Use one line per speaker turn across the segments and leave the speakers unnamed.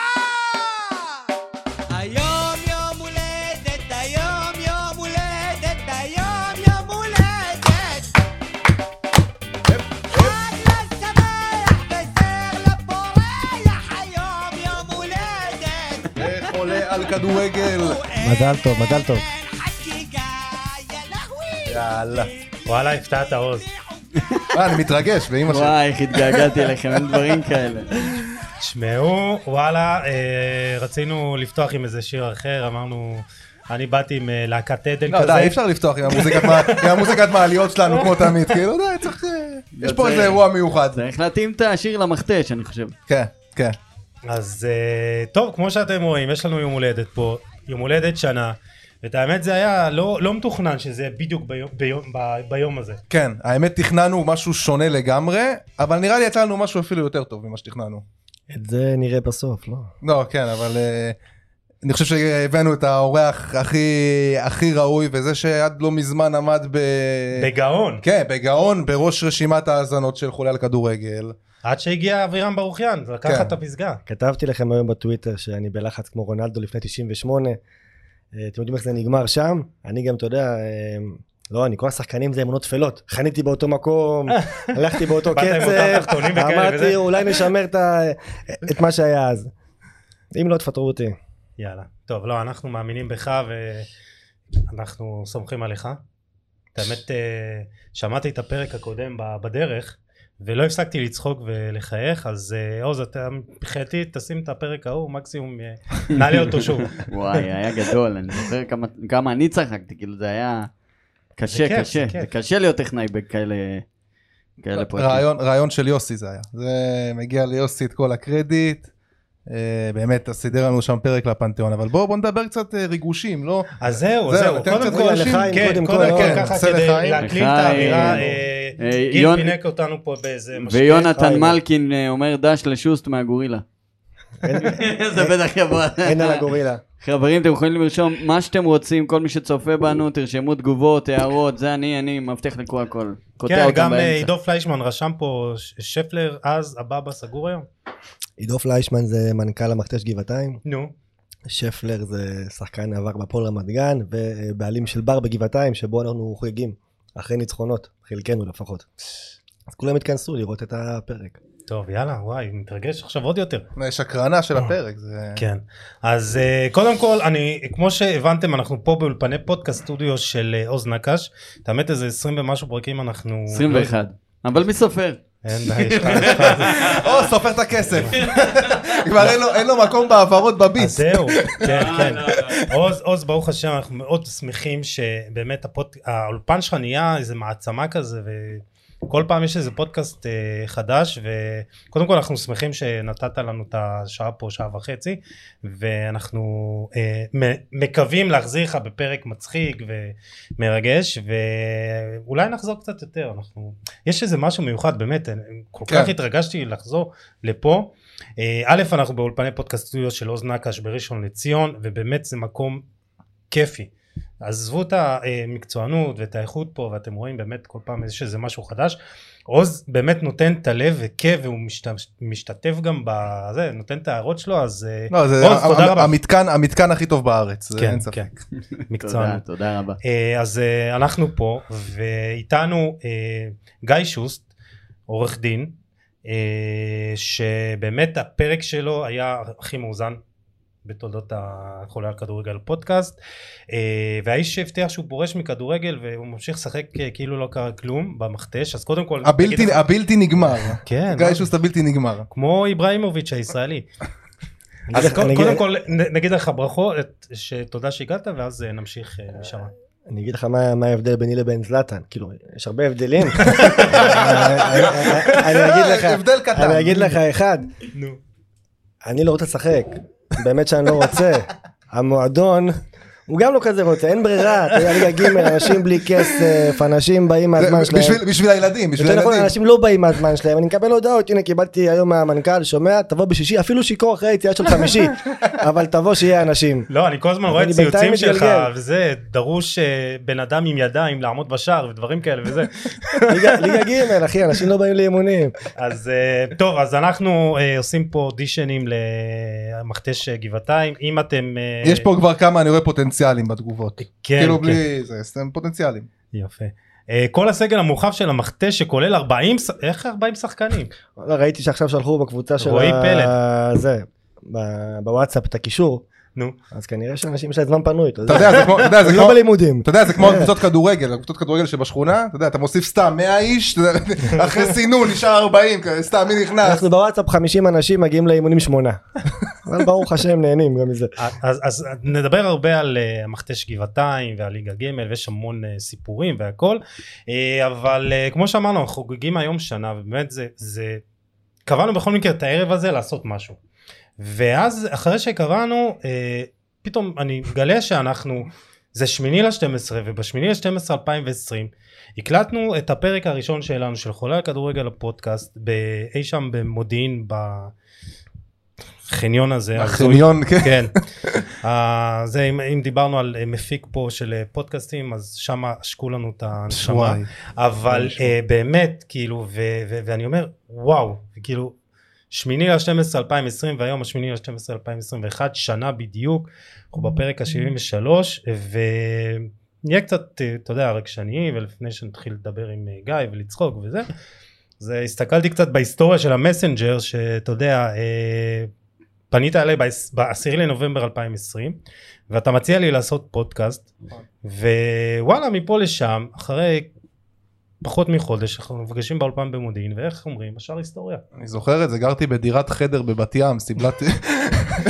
הפתעה! היום יום הולדת, היום יום הולדת, היום יום הולדת! חג לשמח וזר לפורח, היום יום הולדת!
חולה על כדורגל.
מזל טוב, מזל טוב.
אין חגיגה, יא להווי!
יאללה.
וואלה, הפתעת עוז.
אה, אני מתרגש, באמא שלי.
וואי, איך התגעגעתי אליכם, אין דברים כאלה.
תשמעו, וואלה, אה, רצינו לפתוח עם איזה שיר אחר, אמרנו, אני באתי עם אה, להקת עדן
לא, די, אי
כזה.
אפשר לפתוח עם המוזיקת מה- עם המוזיקת מעליות שלנו כמו תמיד, כאילו, די, צריך... אה, יש פה איזה אירוע מיוחד.
צריך להתאים את השיר למכתש, אני חושב.
כן, כן.
אז אה, טוב, כמו שאתם רואים, יש לנו יום הולדת פה, יום הולדת שנה, ואת האמת זה היה לא, לא מתוכנן שזה יהיה בדיוק ביום, ביום, ב- ביום הזה.
כן, האמת תכננו משהו שונה לגמרי, אבל נראה לי יצא לנו משהו אפילו יותר טוב ממה שתכננו.
את זה נראה בסוף, לא?
לא, כן, אבל אה, אני חושב שהבאנו את האורח הכי הכי ראוי, וזה שעד לא מזמן עמד ב...
בגאון,
כן, בגאון, בראש רשימת ההאזנות של חולה על כדורגל.
עד שהגיע אבירם ברוכיאן, לקח
כן.
לך את הפסגה.
כתבתי לכם היום בטוויטר שאני בלחץ כמו רונלדו לפני 98. אה, אתם יודעים איך זה נגמר שם? אני גם, אתה יודע, אה, לא, אני כל השחקנים זה אמונות טפלות. חניתי באותו מקום, הלכתי באותו
באת עם אותם
קצב,
תחתונים וכאלה
אמרתי
וזה.
אולי נשמר את ה- את מה שהיה אז. אם לא, תפטרו אותי.
יאללה. טוב, לא, אנחנו מאמינים בך ואנחנו סומכים עליך. את האמת, אה, שמעתי את הפרק הקודם ב- בדרך, ולא הפסקתי לצחוק ולחייך, אז אה, עוז, אתה מבחינתי תשים את הפרק ההוא, מקסימום אה, נעלה אותו שוב.
וואי, היה גדול, אני זוכר כמה- כמה אני צחקתי, כאילו זה היה
זה
קשה,
כיף,
קשה.
זה
זה
כיף.
קשה להיות טכנאי בכאלה כאלה פרקים.
רעיון, רעיון של יוסי זה היה. זה מגיע ליוסי את כל הקרדיט. אה, באמת, אז סידר לנו שם פרק לפנתיאון, אבל בואו בוא נדבר קצת אה, ריגושים, לא?
אז זהו,
זהו,
זהו,
אתם
קודם
תדברו
כל,
לחיים,
כן,
קודם
קודם
כל,
כל,
כן,
ככה
עושה
כדי
לחיים.
להקליל את
לחיים.
האווירה, אה,
אה,
גיל
יונ-
פינק אותנו פה באיזה משקה.
ויונתן
חיים.
מלקין אה, אומר דש לשוסט מהגורילה. זה בטח יבוא.
אין על הגורילה.
חברים, אתם יכולים לרשום מה שאתם רוצים, כל מי שצופה בנו, תרשמו תגובות, הערות, זה אני, אני מבטיח לקרוא הכל. קוטע
כן,
אותם
גם אה,
באמצע.
עידו פליישמן רשם פה, ש- שפלר אז, הבבא סגור היום?
עידו פליישמן זה מנכ"ל המכתש גבעתיים.
נו.
שפלר זה שחקן עבר בפועל רמת גן ובעלים של בר בגבעתיים שבו אנחנו חוגגים אחרי ניצחונות, חלקנו לפחות. אז כולם התכנסו לראות את הפרק.
טוב, יאללה, וואי, מתרגש עכשיו עוד יותר.
יש הקרנה של הפרק, זה...
כן אז אה, קודם כל אני כמו שהבנתם אנחנו פה באולפני פודקאסט סטודיו של אה, עוז נקש את האמת איזה 20 ומשהו פרקים אנחנו
21. אבל מי סופר?
אין בעיה, יש לך- יש לך-
או, סופר את הכסף. כבר אין לו- אין לו מקום בהעברות
אז
בביט.
זהו כן כן עוז עוז ברוך השם אנחנו מאוד שמחים שבאמת הפוד- האולפן שלך נהיה איזה מעצמה כזה וכל פעם יש איזה פודקאסט אה, חדש וקודם כל אנחנו שמחים שנתת לנו את השעה פה שעה וחצי ואנחנו אה, מ- מקווים להחזיר לך בפרק מצחיק ומרגש ואולי נחזור קצת יותר אנחנו יש איזה משהו מיוחד באמת אני- כל
כן.
כך התרגשתי לחזור לפה אה, א' אנחנו באולפני פודקאסט סטודיו של עוז נקש בראשון לציון ובאמת זה מקום כיפי עזבו את המקצוענות ואת האיכות פה ואתם רואים באמת כל פעם יש איזה משהו חדש עוז באמת נותן את הלב וכיף והוא משת- משתתף גם בזה נותן את ההערות שלו אז אה,
לא, זה
עוז, תודה
המ-
רבה.
המתקן- המתקן הכי טוב בארץ, זה
כן,
אין ספק.
כן.
תודה,
מקצוענות.
תודה רבה.
אה, אז אה, אנחנו פה ואיתנו אה, גיא שוסט עורך דין אה, שבאמת הפרק שלו היה הכי מאוזן בתולדות החולה על כדורגל פודקאסט אה, והאיש שהבטיח שהוא פורש מכדורגל והוא ממשיך לשחק אה, כאילו לא קרה כלום במכתש אז קודם כל
הבלתי-
נגיד-
הבלתי נגמר.
כן,
גיא
מה?
שוסט הבלתי נגמר.
כמו איברהימוביץ' הישראלי. אז
אני-
קודם
אני-
קודם כל נ- נגיד לך ברכות שתודה שהגעת ואז אה, נמשיך אה, משם.
אני אגיד לך מה, מה ההבדל ביני לבין זלאטן, כאילו, יש הרבה הבדלים. אני- אני- אני אגיד לך,
הבדל קטן.
אני אגיד לך אחד,
נו.
אני לא רוצה לשחק, באמת שאני לא רוצה. המועדון הוא גם לא כזה רוצה, אין ברירה, אתה יודע, ליגה ג', אנשים בלי כסף, אנשים באים מהזמן
זה-
שלהם.
בשביל- בשביל הילדים, בשביל
יותר נכון,
הילדים.
אנשים לא באים מהזמן שלהם, אני מקבל הודעות, הנה קיבלתי היום מהמנכ"ל, שומע, תבוא בשישי, אפילו שיכור אחרי היציאה של חמישי, אבל תבוא שיהיה אנשים.
לא, אני כל הזמן
אבל
רואה
אני
ציוצים
בינתיים
שלך,
מתגלגל.
וזה, דרוש אה, בן אדם עם ידיים לעמוד בשער ודברים כאלה וזה.
ליגה- ליגה ג', אחי, אנשים לא באים לאימונים.
אז אה, טוב, אז אנחנו אה, עושים פה אודישנים למכתש אה, גבעתיים. אם אתם... אה,
יש פה כבר כמה, אני רואה פוטנציאלים בתגובות.
כן,
כאילו
כן.
בלי זה, סתם פוטנציאלים.
יפה. אה, כל הסגל המורחב של המכתש שכולל 40, ש- איך 40 שחקנים?
לא, ראיתי שעכשיו שלחו בקבוצה של
רועי פלד.
זה, ב- בוואטסאפ את הקישור,
נו.
אז כנראה שאנשים יש להם זמן פנוי, אתה
אתה
יודע,
יודע, זה כמו- אתה יודע, זה
הם
כמו...
לא בלימודים.
אתה יודע, זה כמו
כן.
הקבוצות כדורגל, הקבוצות כדורגל שבשכונה, אתה יודע, אתה מוסיף סתם 100 איש, אתה יודע, אחרי סינון נשאר 40, כזה, סתם מי נכנס.
אנחנו בוואטסאפ 50 אנשים מגיעים לאימונים שמונה. אבל ברוך השם נהנים גם מזה.
אז, אז נדבר הרבה על אה, המכתש גבעתיים ועל ליגה ג' ויש המון אה, סיפורים והכל אה, אבל אה, כמו שאמרנו אנחנו חוגגים היום שנה ובאמת זה זה קבענו בכל מקרה את הערב הזה לעשות משהו ואז אחרי שקבענו אה, פתאום אני מגלה שאנחנו זה שמיני ל-12 ובשמיני ל-12 2020 הקלטנו את הפרק הראשון שלנו של חולה על כדורגל הפודקאסט ב- אי שם במודיעין בחניון הזה ההזוי.
החניון, כן.
כן. אה, זה אם, אם דיברנו על אה, מפיק פה של אה, פודקאסטים אז שם עשקו לנו את הנשמה.
וואי.
אבל אה, באמת כאילו ו- ו- ואני אומר וואו כאילו שמיני ל-12 2020 והיום השמיני ל-12 2021 שנה בדיוק אנחנו בפרק ה-73 ונהיה קצת אה, אתה יודע רגשני ולפני שנתחיל לדבר עם אה, גיא ולצחוק וזה אז אה, הסתכלתי קצת בהיסטוריה של המסנג'ר שאתה יודע אה, פנית אליי ב-10 לנובמבר 2020 ואתה מציע לי לעשות פודקאסט ווואלה מפה לשם אחרי פחות מחודש אנחנו נפגשים באולפן במודיעין ואיך אומרים השאר היסטוריה.
אני זוכר את זה, גרתי בדירת חדר בבת ים, סיבלתי-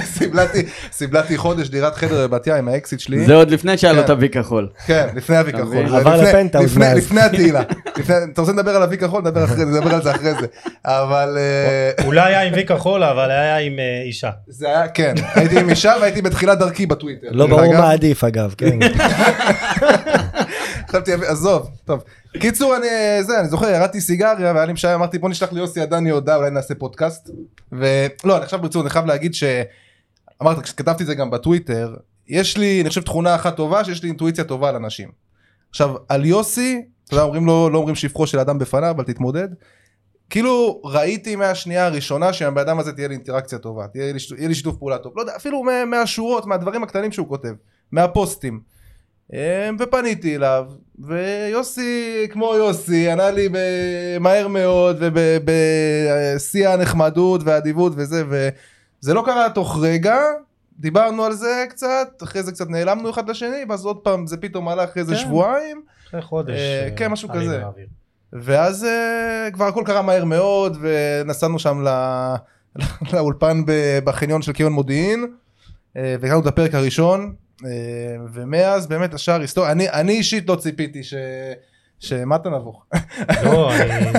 סיבלתי- סיבלתי חודש דירת חדר בבת ים עם האקסיט שלי.
זה עוד לפני שהיה לו
כן.
את אבי כחול.
כן, לפני אבי כחול.
מבין?
זה
עבר
לפני-
לפנטהאוז
לפני-
מאז.
לפני התהילה. לפני- אתה רוצה לדבר על אבי כחול? נדבר אחרי- נדבר על זה אחרי זה. אבל... אה,
הוא לא היה עם וי כחול אבל היה עם אה, אישה.
זה היה, כן, הייתי עם אישה והייתי בתחילת דרכי בטוויטר.
לא
דרך
ברור
אגב.
מה עדיף אגב, כן.
חשבתי, עזוב, טוב. קיצור, אני, זה, אני זוכר, ירדתי סיגריה, והיה לי משעמם, אמרתי, בוא נשלח ליוסי עדני הודעה, אולי נעשה פודקאסט. ולא, אני עכשיו ברצינות, אני חייב להגיד ש... אמרת, כשכתבתי את זה גם בטוויטר, יש לי, אני חושב, תכונה אחת טובה, שיש לי אינטואיציה טובה על אנשים. עכשיו, על יוסי, אתה יודע, אומרים לו, לא אומרים שבחו של אדם בפניו, אבל תתמודד. כאילו ראיתי מהשנייה הראשונה שהבן אדם הזה תהיה לי אינטראקציה טובה, תהיה לי, שיתוף- יהיה לי שיתוף פעולה טוב, לא יודע, אפילו מה, מהשורות, מהדברים הקטנים שהוא כותב, מהפוסטים. אמ, ופניתי אליו, ויוסי, כמו יוסי, ענה לי ב- מהר מאוד, ובשיא הנחמדות והאדיבות וזה, וזה לא קרה תוך רגע, דיברנו על זה קצת, אחרי זה קצת נעלמנו אחד לשני, ואז עוד פעם זה פתאום עלה אחרי איזה
כן.
שבועיים.
אחרי חודש.
אה,
אה,
כן, משהו
עלינו
כזה.
לאוויר.
ואז uh, כבר הכל קרה מהר מאוד ונסענו שם לא, לאולפן ב- בחניון של קיון מודיעין uh, והקראנו את הפרק הראשון uh, ומאז באמת השאר היסטוריה אני, אני אישית לא ציפיתי ש... שמה אתה נבוך?
לא, אני-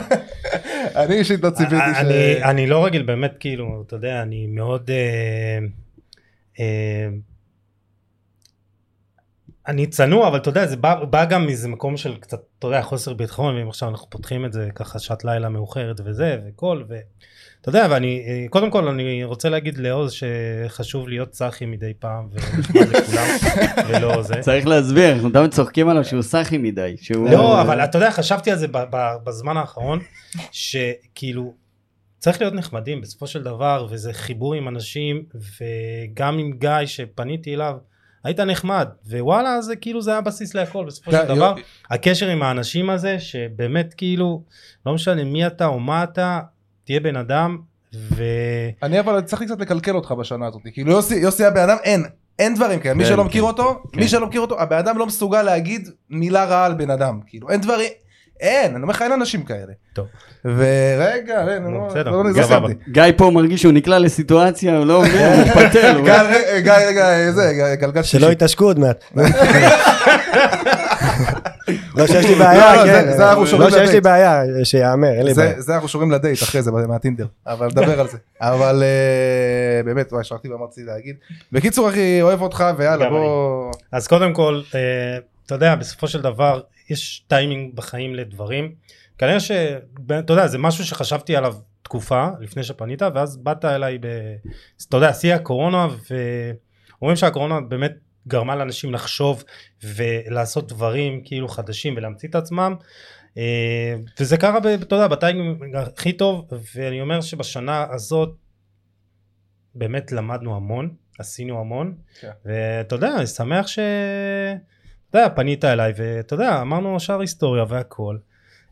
אני אישית לא ציפיתי ש...
אני- אני לא רגיל באמת כאילו אתה יודע אני מאוד אה, אה, אני צנוע אבל אתה יודע זה בא, בא גם מאיזה מקום של קצת אתה יודע חוסר ביטחון ואם עכשיו אנחנו פותחים את זה ככה שעת לילה מאוחרת וזה וכל ואתה יודע ואני אה, קודם כל אני רוצה להגיד לעוז שחשוב להיות צחי מדי פעם ונחמד לכולם ולא זה.
צריך להסביר, אנחנו תמיד צוחקים עליו שהוא סאחי מדי. שהוא-
לא אבל אתה יודע חשבתי על זה ב- ב- בזמן האחרון שכאילו צריך להיות נחמדים בסופו של דבר וזה חיבור עם אנשים וגם עם גיא שפניתי אליו היית נחמד ווואלה זה כאילו זה היה הבסיס להכל בסופו
אתה-
של לא, דבר
יו-
הקשר עם האנשים הזה שבאמת כאילו לא משנה מי אתה או מה אתה תהיה בן אדם ו-
אני אבל צריך קצת לקלקל אותך בשנה הזאת כאילו יוסי, יוסי הבן אדם אין אין דברים כאלה מי
כן,
שלא
כן,
מכיר אותו
כן.
מי שלא מכיר אותו הבן אדם לא מסוגל להגיד מילה רעה על בן אדם כאילו אין דברים אין אני אומר לך אין אנשים כאלה.
טוב.
ורגע אין,
נו,
לא-
בסדר,
לא לא
סבבה.
סיימתי.
גיא פה מרגיש שהוא נקלע לסיטואציה, הוא לא מבין, הוא מתפתל. הוא-
גל, רגע, גיא, רגע, זה, גלגל
שלא
שלישי.
יתעשקו עוד מעט. לא שיש לי
לא,
בעיה,
זה-
כן.
זה אנחנו שומרים
לא שיש לי
לדייט.
בעיה, שיאמר, אין לי
זה-
בעיה.
זה אנחנו שומרים לדייט אחרי זה מהטינדר, אבל נדבר על זה. אבל אה, באמת, וואי, שכחתי מה רציתי להגיד. בקיצור אחי, אוהב אותך ויאללה
גם
בוא...
אז קודם כל, אה, אתה יודע, בסופו של דבר יש טיימינג בחיים לדברים. כנראה ש... ב- אתה יודע, זה משהו שחשבתי עליו תקופה לפני שפנית, ואז באת אליי ב... אתה יודע, שיא הקורונה, ואומרים שהקורונה באמת גרמה לאנשים לחשוב ולעשות דברים כאילו חדשים ולהמציא את עצמם. אה, וזה קרה, ב- אתה יודע, בטיימינג הכי טוב, ואני אומר שבשנה הזאת באמת למדנו המון, עשינו המון. ואתה יודע, אני שמח ש... אתה יודע, פנית אליי, ואתה יודע, אמרנו שאר היסטוריה והכל.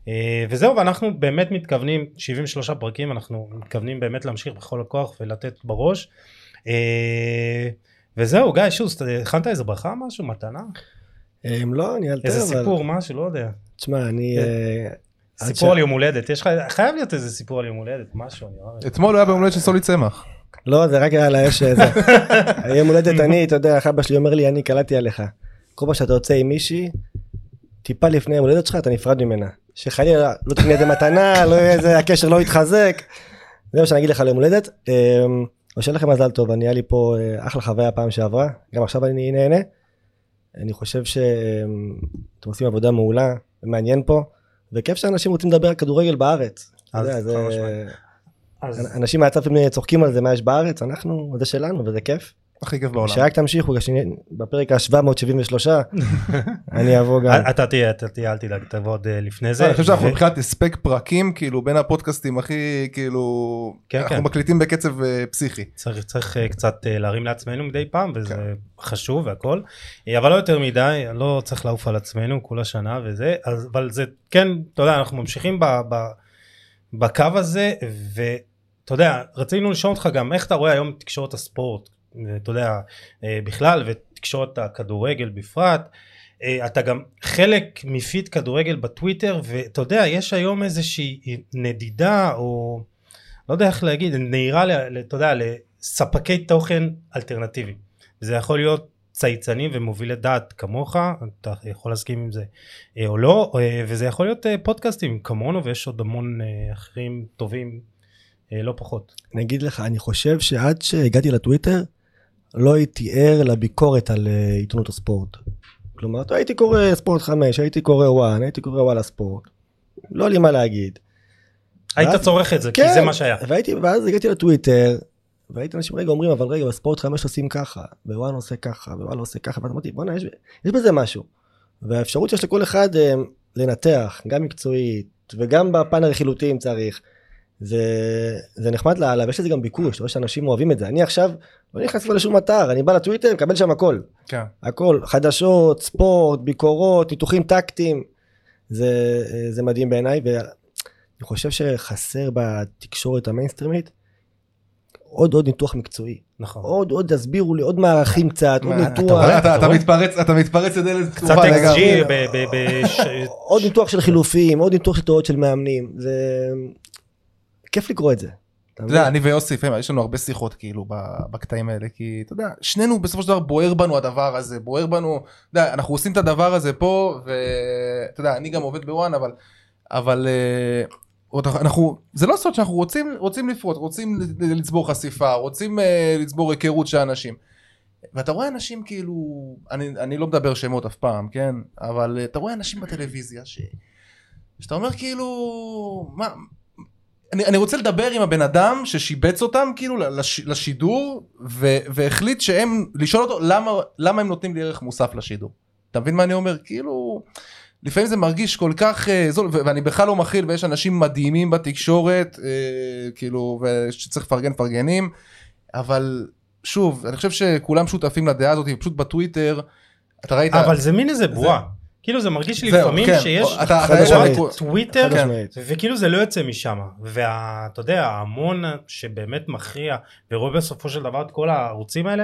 אה, וזהו, ואנחנו באמת מתכוונים, 73 פרקים, אנחנו מתכוונים באמת להמשיך בכל הכוח ולתת בראש. אה, וזהו, גיא שוסט, הכנת איזה ברכה, משהו, מתנה?
הם לא, אני אלתר,
איזה
כן, אבל...
סיפור, משהו, לא יודע.
תשמע, אני...
כן.
אה, עד
סיפור
ש-
על יום הולדת, יש לך, חייב להיות איזה סיפור על יום הולדת, משהו, אני לא אוהב.
אתמול היה ביום הולדת של סולי צמח.
לא, זה רק היה על האש הזה. יום הולדת אני, אתה יודע, איך אבא שלי אומר לי, אני קלטתי עליך. כל פעם שאתה יוצא עם מישהי, טיפה לפני יום הולדת שלך, אתה נפרד ממנה. שחלילה לא תקנה איזה מתנה, לא יהיה איזה, הקשר לא יתחזק. זה מה שאני אגיד לך על יום הולדת. אמ, אז שיהיה לכם מזל טוב, אני היה לי פה אה, אחלה חוויה פעם שעברה, גם עכשיו אני נהנה. אני חושב שאתם עושים עבודה מעולה, מעניין פה, וכיף שאנשים רוצים לדבר על כדורגל בארץ. אתה
אז
יודע, זה-
חד משמעית. אז-
אנשים מהצד לפעמים צוחקים על זה מה יש בארץ אנחנו זה שלנו וזה כיף
הכי כיף בעולם.
שרק תמשיכו כשנ- בפרק ה-773 אני אבוא גם
אתה תהיה, אתה תהיה, אל תדאג, תבוא עוד אה, לפני זה.
אני חושב
ו-
שאנחנו מבחינת הספק פרקים כאילו בין הפודקאסטים הכי כאילו
כן,
אנחנו
כן.
מקליטים בקצב אה, פסיכי.
צריך, צריך אה, קצת אה, להרים לעצמנו מדי פעם וזה כן. חשוב והכל אה, אבל לא יותר מדי לא צריך לעוף על עצמנו כל השנה וזה אז, אבל זה כן אתה יודע אנחנו ממשיכים ב, ב, בקו הזה ואתה יודע רצינו לשאול אותך גם איך אתה רואה היום את תקשורת הספורט אה, אתה יודע אה, בכלל ותקשורת הכדורגל בפרט. אה, אתה גם חלק מפיד כדורגל בטוויטר ואתה יודע יש היום איזושהי נדידה או לא יודע איך להגיד, נהירה, ל- ל- אתה יודע, לספקי תוכן אלטרנטיבי. זה יכול להיות צייצנים ומובילי דעת כמוך, אתה יכול להסכים עם זה אה, או לא, אה, וזה יכול להיות אה, פודקאסטים כמונו, ויש עוד המון אה, אחרים טובים, אה, לא פחות.
אני אגיד לך אני חושב שעד שהגעתי לטוויטר לא הייתי ער לביקורת על אה, עיתונות הספורט. כלומר אתה- הייתי קורא ספורט 5 הייתי קורא וואן הייתי קורא וואלה ספורט. לא לי מה להגיד.
היית
ואז-
צורך את זה, כי
כן.
זה מה שהיה.
והייתי, ואז הגעתי לטוויטר, והייתי אנשים רגע אומרים, אבל רגע, בספורט חמש עושים ככה, ווואן עושה ככה, ווואלה עושה ככה, ואז אמרתי, בואנה, יש, יש בזה משהו. והאפשרות שיש לכל אחד אה, לנתח, גם מקצועית, וגם בפן הרכילותי אם צריך, זה, זה נחמד לאללה, ויש לזה גם ביקוש, אתה רואה שאנשים אוהבים את זה. אני עכשיו לא נכנס כבר לשום אתר, אני בא לטוויטר, מקבל שם הכל.
כן.
הכל, חדשות, ספורט, ביקורות, ניתוחים טקטיים. זה, זה מדהים בעיניי, ואני חושב שחסר בתקשורת המיינסטרימית עוד עוד ניתוח מקצועי.
נכון.
עוד עוד תסבירו לי, עוד מערכים קצת, עוד
מה, אתה
ניתוח,
רואה? אתה- אתה
רואה?
מתפרץ אתה מתפרץ לדלת
קצת
פתוחה
XG
לגמרי.
ב... ב, ב ש...
עוד ניתוח של חילופים, עוד ניתוח של תיאוריות של מאמנים. זה... כיף לקרוא את זה. אתה
אתה יודע,
מבין?
אני ויוסי, לפעמים יש לנו הרבה שיחות כאילו ב- בקטעים האלה, כי אתה יודע, שנינו בסופו של דבר בוער בנו הדבר הזה, בוער בנו, אתה יודע, אנחנו עושים את הדבר הזה פה, ואתה יודע, אני גם עובד בוואן, אבל, אבל אה, עוד- אנחנו, זה לא סוד שאנחנו רוצים, רוצים לפרוט, רוצים לצבור חשיפה, רוצים אה, לצבור היכרות של אנשים. ואתה רואה אנשים כאילו, אני, אני לא מדבר שמות אף פעם, כן? אבל אה, אתה רואה אנשים בטלוויזיה ש... שאתה אומר כאילו, מה, אני, אני רוצה לדבר עם הבן אדם ששיבץ אותם כאילו לש, לשידור ו, והחליט שהם לשאול אותו למה, למה הם נותנים לי ערך מוסף לשידור. אתה מבין מה אני אומר? כאילו לפעמים זה מרגיש כל כך אה, זול ו- ואני בכלל לא מכיל ויש אנשים מדהימים בתקשורת אה, כאילו שצריך לפרגן מפרגנים אבל שוב אני חושב שכולם שותפים לדעה הזאת פשוט בטוויטר אתה ראית
אבל זה מין איזה בועה. כאילו זה מרגיש לי
זהו,
לפעמים
כן.
שיש
אתה- אתה-
חד
יש לך
משמעית.
ויכוח.
טוויטר
חד משמעית.
וכאילו זה לא יוצא משם ואתה יודע ההמון שבאמת מכריע ורואה בסופו של דבר את כל הערוצים האלה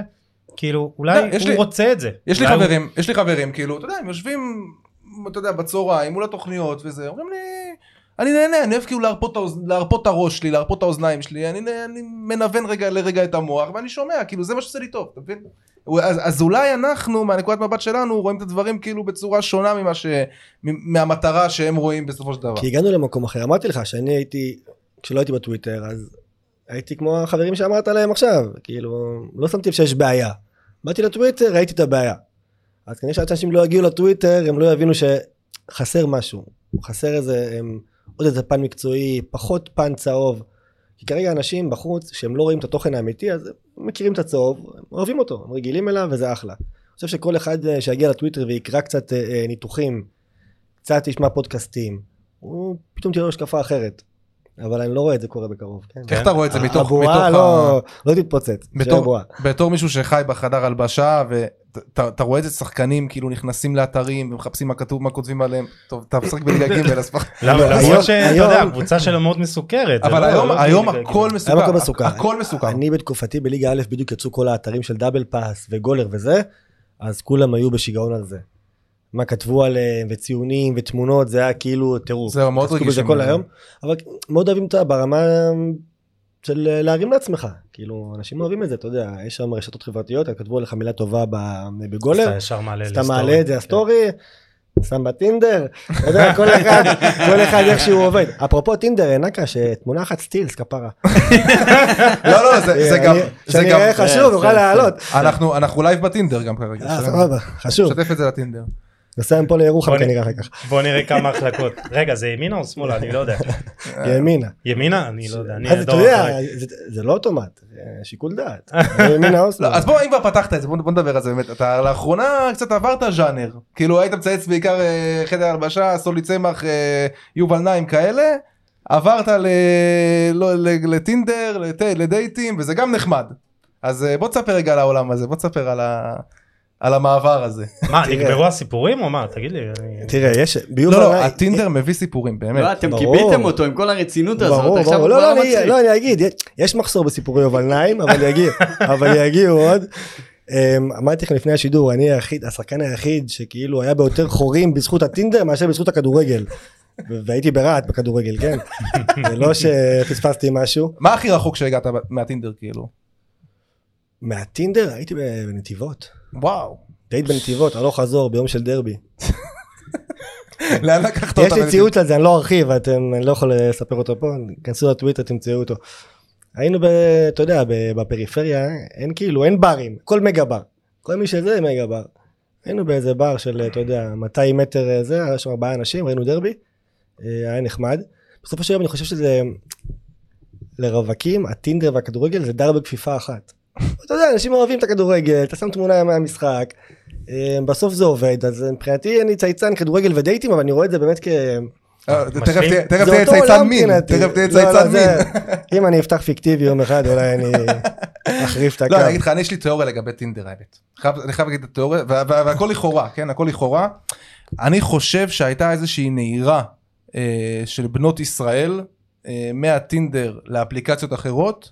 כאילו אולי
לא, יש
הוא
לי-
רוצה את זה.
יש לי
אולי הוא-
חברים, יש לי חברים, כאילו, אתה יודע, הם יושבים, אתה יודע, בצהריים, מול התוכניות וזה, אומרים לי, אני נהנה, אני אוהב כאילו להרפות, את האוז- להרפות את הראש שלי, להרפות את האוזניים שלי, אני, נה- אני מנוון רגע לרגע את המוח, ואני שומע, כאילו, זה מה שעושה לי טוב, אתה מבין? הוא- אז, אז אולי אנחנו מהנקודת מבט שלנו רואים את הדברים כאילו בצורה שונה ממה ש... מ- מהמטרה שהם רואים בסופו של דבר.
כי הגענו למקום אחר. אמרתי לך שאני הייתי, כשלא הייתי בטוויטר, אז הייתי כמו החברים שאמרת להם עכשיו. כאילו, לא שמתי לב שיש בעיה. באתי לטוויטר, ראיתי את הבעיה. אז כנראה שעד שאנשים לא יגיעו לטוויטר, הם לא יבינו שחסר משהו. חסר איזה, הם, עוד איזה פן מקצועי, פחות פן צהוב. כי כרגע אנשים בחוץ, שהם לא רואים את התוכן האמיתי, אז הם מכירים את הצהוב, הם אוהבים אותו, הם רגילים אליו וזה אחלה. אני חושב שכל אחד אה, שיגיע לטוויטר ויקרא קצת אה, אה, ניתוחים, קצת ישמע פודקאסטים, הוא פתאום תראה לו השקפה אחרת. אבל אני לא רואה את זה קורה בקרוב. כן.
איך אתה רואה את זה מתוך...
הבועה
מתוך
לא, לא תתפוצץ, שיהיה
בתור,
בועה.
בתור מישהו שחי בחדר הלבשה ואתה רואה איזה שחקנים כאילו נכנסים לאתרים ומחפשים מה כתוב מה כותבים עליהם טוב אתה משחק בליגה ג' אז פח-
למה?
לא, היום-
למרות שאתה יודע,
היום-
הקבוצה שלו מאוד מסוכרת. זה
אבל
לא-
היום
לא
היום
כאילו-
הכל
היום הכל
מסוכר
מסוכר.
הכל מסוכר
אני בתקופתי בליגה א' בדיוק יצאו כל האתרים של דאבל פאס וגולר וזה, אז כולם היו בשיגעון על זה. מה כתבו עליהם וציונים ותמונות זה היה כאילו טירוף.
זהו, מאוד
התעסקו
רגישים
בזה כל
לזה.
היום, אבל מאוד אוהבים את ה- ברמה של אה, להרים לעצמך. כאילו אנשים אוהבים את זה אתה יודע יש שם רשתות חברתיות כתבו עליך מילה טובה ב-
אז
בגולר.
אתה ישר מעלה
אז אתה
לסטורי.
מעלה את זה כן. הסטורי, שם בטינדר, אתה יודע, כל אחד, כל אחד איך שהוא עובד. אפרופו טינדר, נקה, שתמונה אחת סטילס, כפרה.
לא לא זה זה
אה, אני-
גם זה
שאני
גם
אראה חשוב,
כן,
נוכל
כן,
לעלות.
אנחנו אנחנו לייב בטינדר גם כרגע
אה,
שלנו.
סבבה, חשוב.
שתף את זה לטינדר
נוסע מפה לירוחם
בוא נ-
כנראה אחר כך.
כן. בוא נראה כמה החלקות. רגע, זה ימינה או שמאלה? אני לא יודע.
אה.
ימינה.
ימינה? אני לא יודע. אני
אז אתה
הדור
יודע,
האחורי.
זה- זה לא אוטומט, זה שיקול דעת. ימינה אוסלו.
לא, אז בוא אם כבר פתחת את זה בוא בוא נדבר על זה באמת אתה לאחרונה קצת עברת ז'אנר כאילו היית מצייץ בעיקר אה, חדר הלבשה סולי צמח אה, יובל נעים כאלה עברת ל... לא, ל... לטינדר לט... לדייטים וזה גם נחמד אז אה, בוא תספר רגע על העולם הזה בוא תספר על, ה... על המעבר הזה
מה,
תראה.
נגמרו הסיפורים או מה? תגיד לי. אני-
תראה, יש... ביובל
לא לא
נעים-
הטינדר מביא סיפורים באמת
לא, אתם
ברור.
קיביתם אותו עם כל הרצינות הזאת,
ברור,
עכשיו
ברור,
הוא
לא,
כבר
לא,
לא
אני-
מצחיק.
לא, אני אגיד, יש- יש מחסור בסיפורי יובל נעים, אבל יגיעו, אבל יגיעו עוד. אמ, אמרתי לכם לפני השידור, אני היחיד, השחקן היחיד שכאילו היה ביותר חורים בזכות הטינדר מאשר בזכות הכדורגל. ו- והייתי ברהט בכדורגל, כן? זה לא שפספסתי משהו.
מה הכי רחוק שהגעת ב- מהטינדר כאילו
מהטינדר הייתי בנתיבות.
וואו
דייט בנתיבות, הלוך חזור ביום של דרבי.
לאן לקחת
יש
אותה
לי ציוץ על זה, אני לא ארחיב, אתם, אני לא יכול לספר אותו פה, כנסו לטוויטר, תמצאו אותו. היינו, ב, אתה יודע, ב- בפריפריה, אין כאילו, אין ברים, כל מגה בר. כל מי שזה מגה בר. היינו באיזה בר של, אתה יודע, 200 מטר אה, זה, היה שם ארבעה אנשים, ראינו דרבי, אה, היה נחמד. בסופו של יום אני חושב שזה, לרווקים, הטינדר והכדורגל זה דר בכפיפה אחת. אתה יודע, אנשים אוהבים את הכדורגל, אתה שם תמונה מהמשחק, אה, בסוף זה עובד, אז מבחינתי אני צייצן כדורגל ודייטים, אבל אני רואה את זה באמת כ...
אה,
משלים?
תכף תהיה- תכף
זה
תהיה
אותו
צייצן
עולם
מין
מבחינתי.
תכף תהיה
לא, לא,
צייצן
זה-
מין
אם אני אפתח פיקטיבי יום אחד, אולי אני אחריף את הקו.
לא, אני אגיד לך, אני יש לי תיאוריה לגבי טינדר האמת. חייב- אני חייב להגיד את התיאוריה, וה- וה- והכל לכאורה, כן, הכל לכאורה. אני חושב שהייתה איזושהי נהירה אה, של בנות ישראל אה, מהטינדר לאפליקציות אחרות,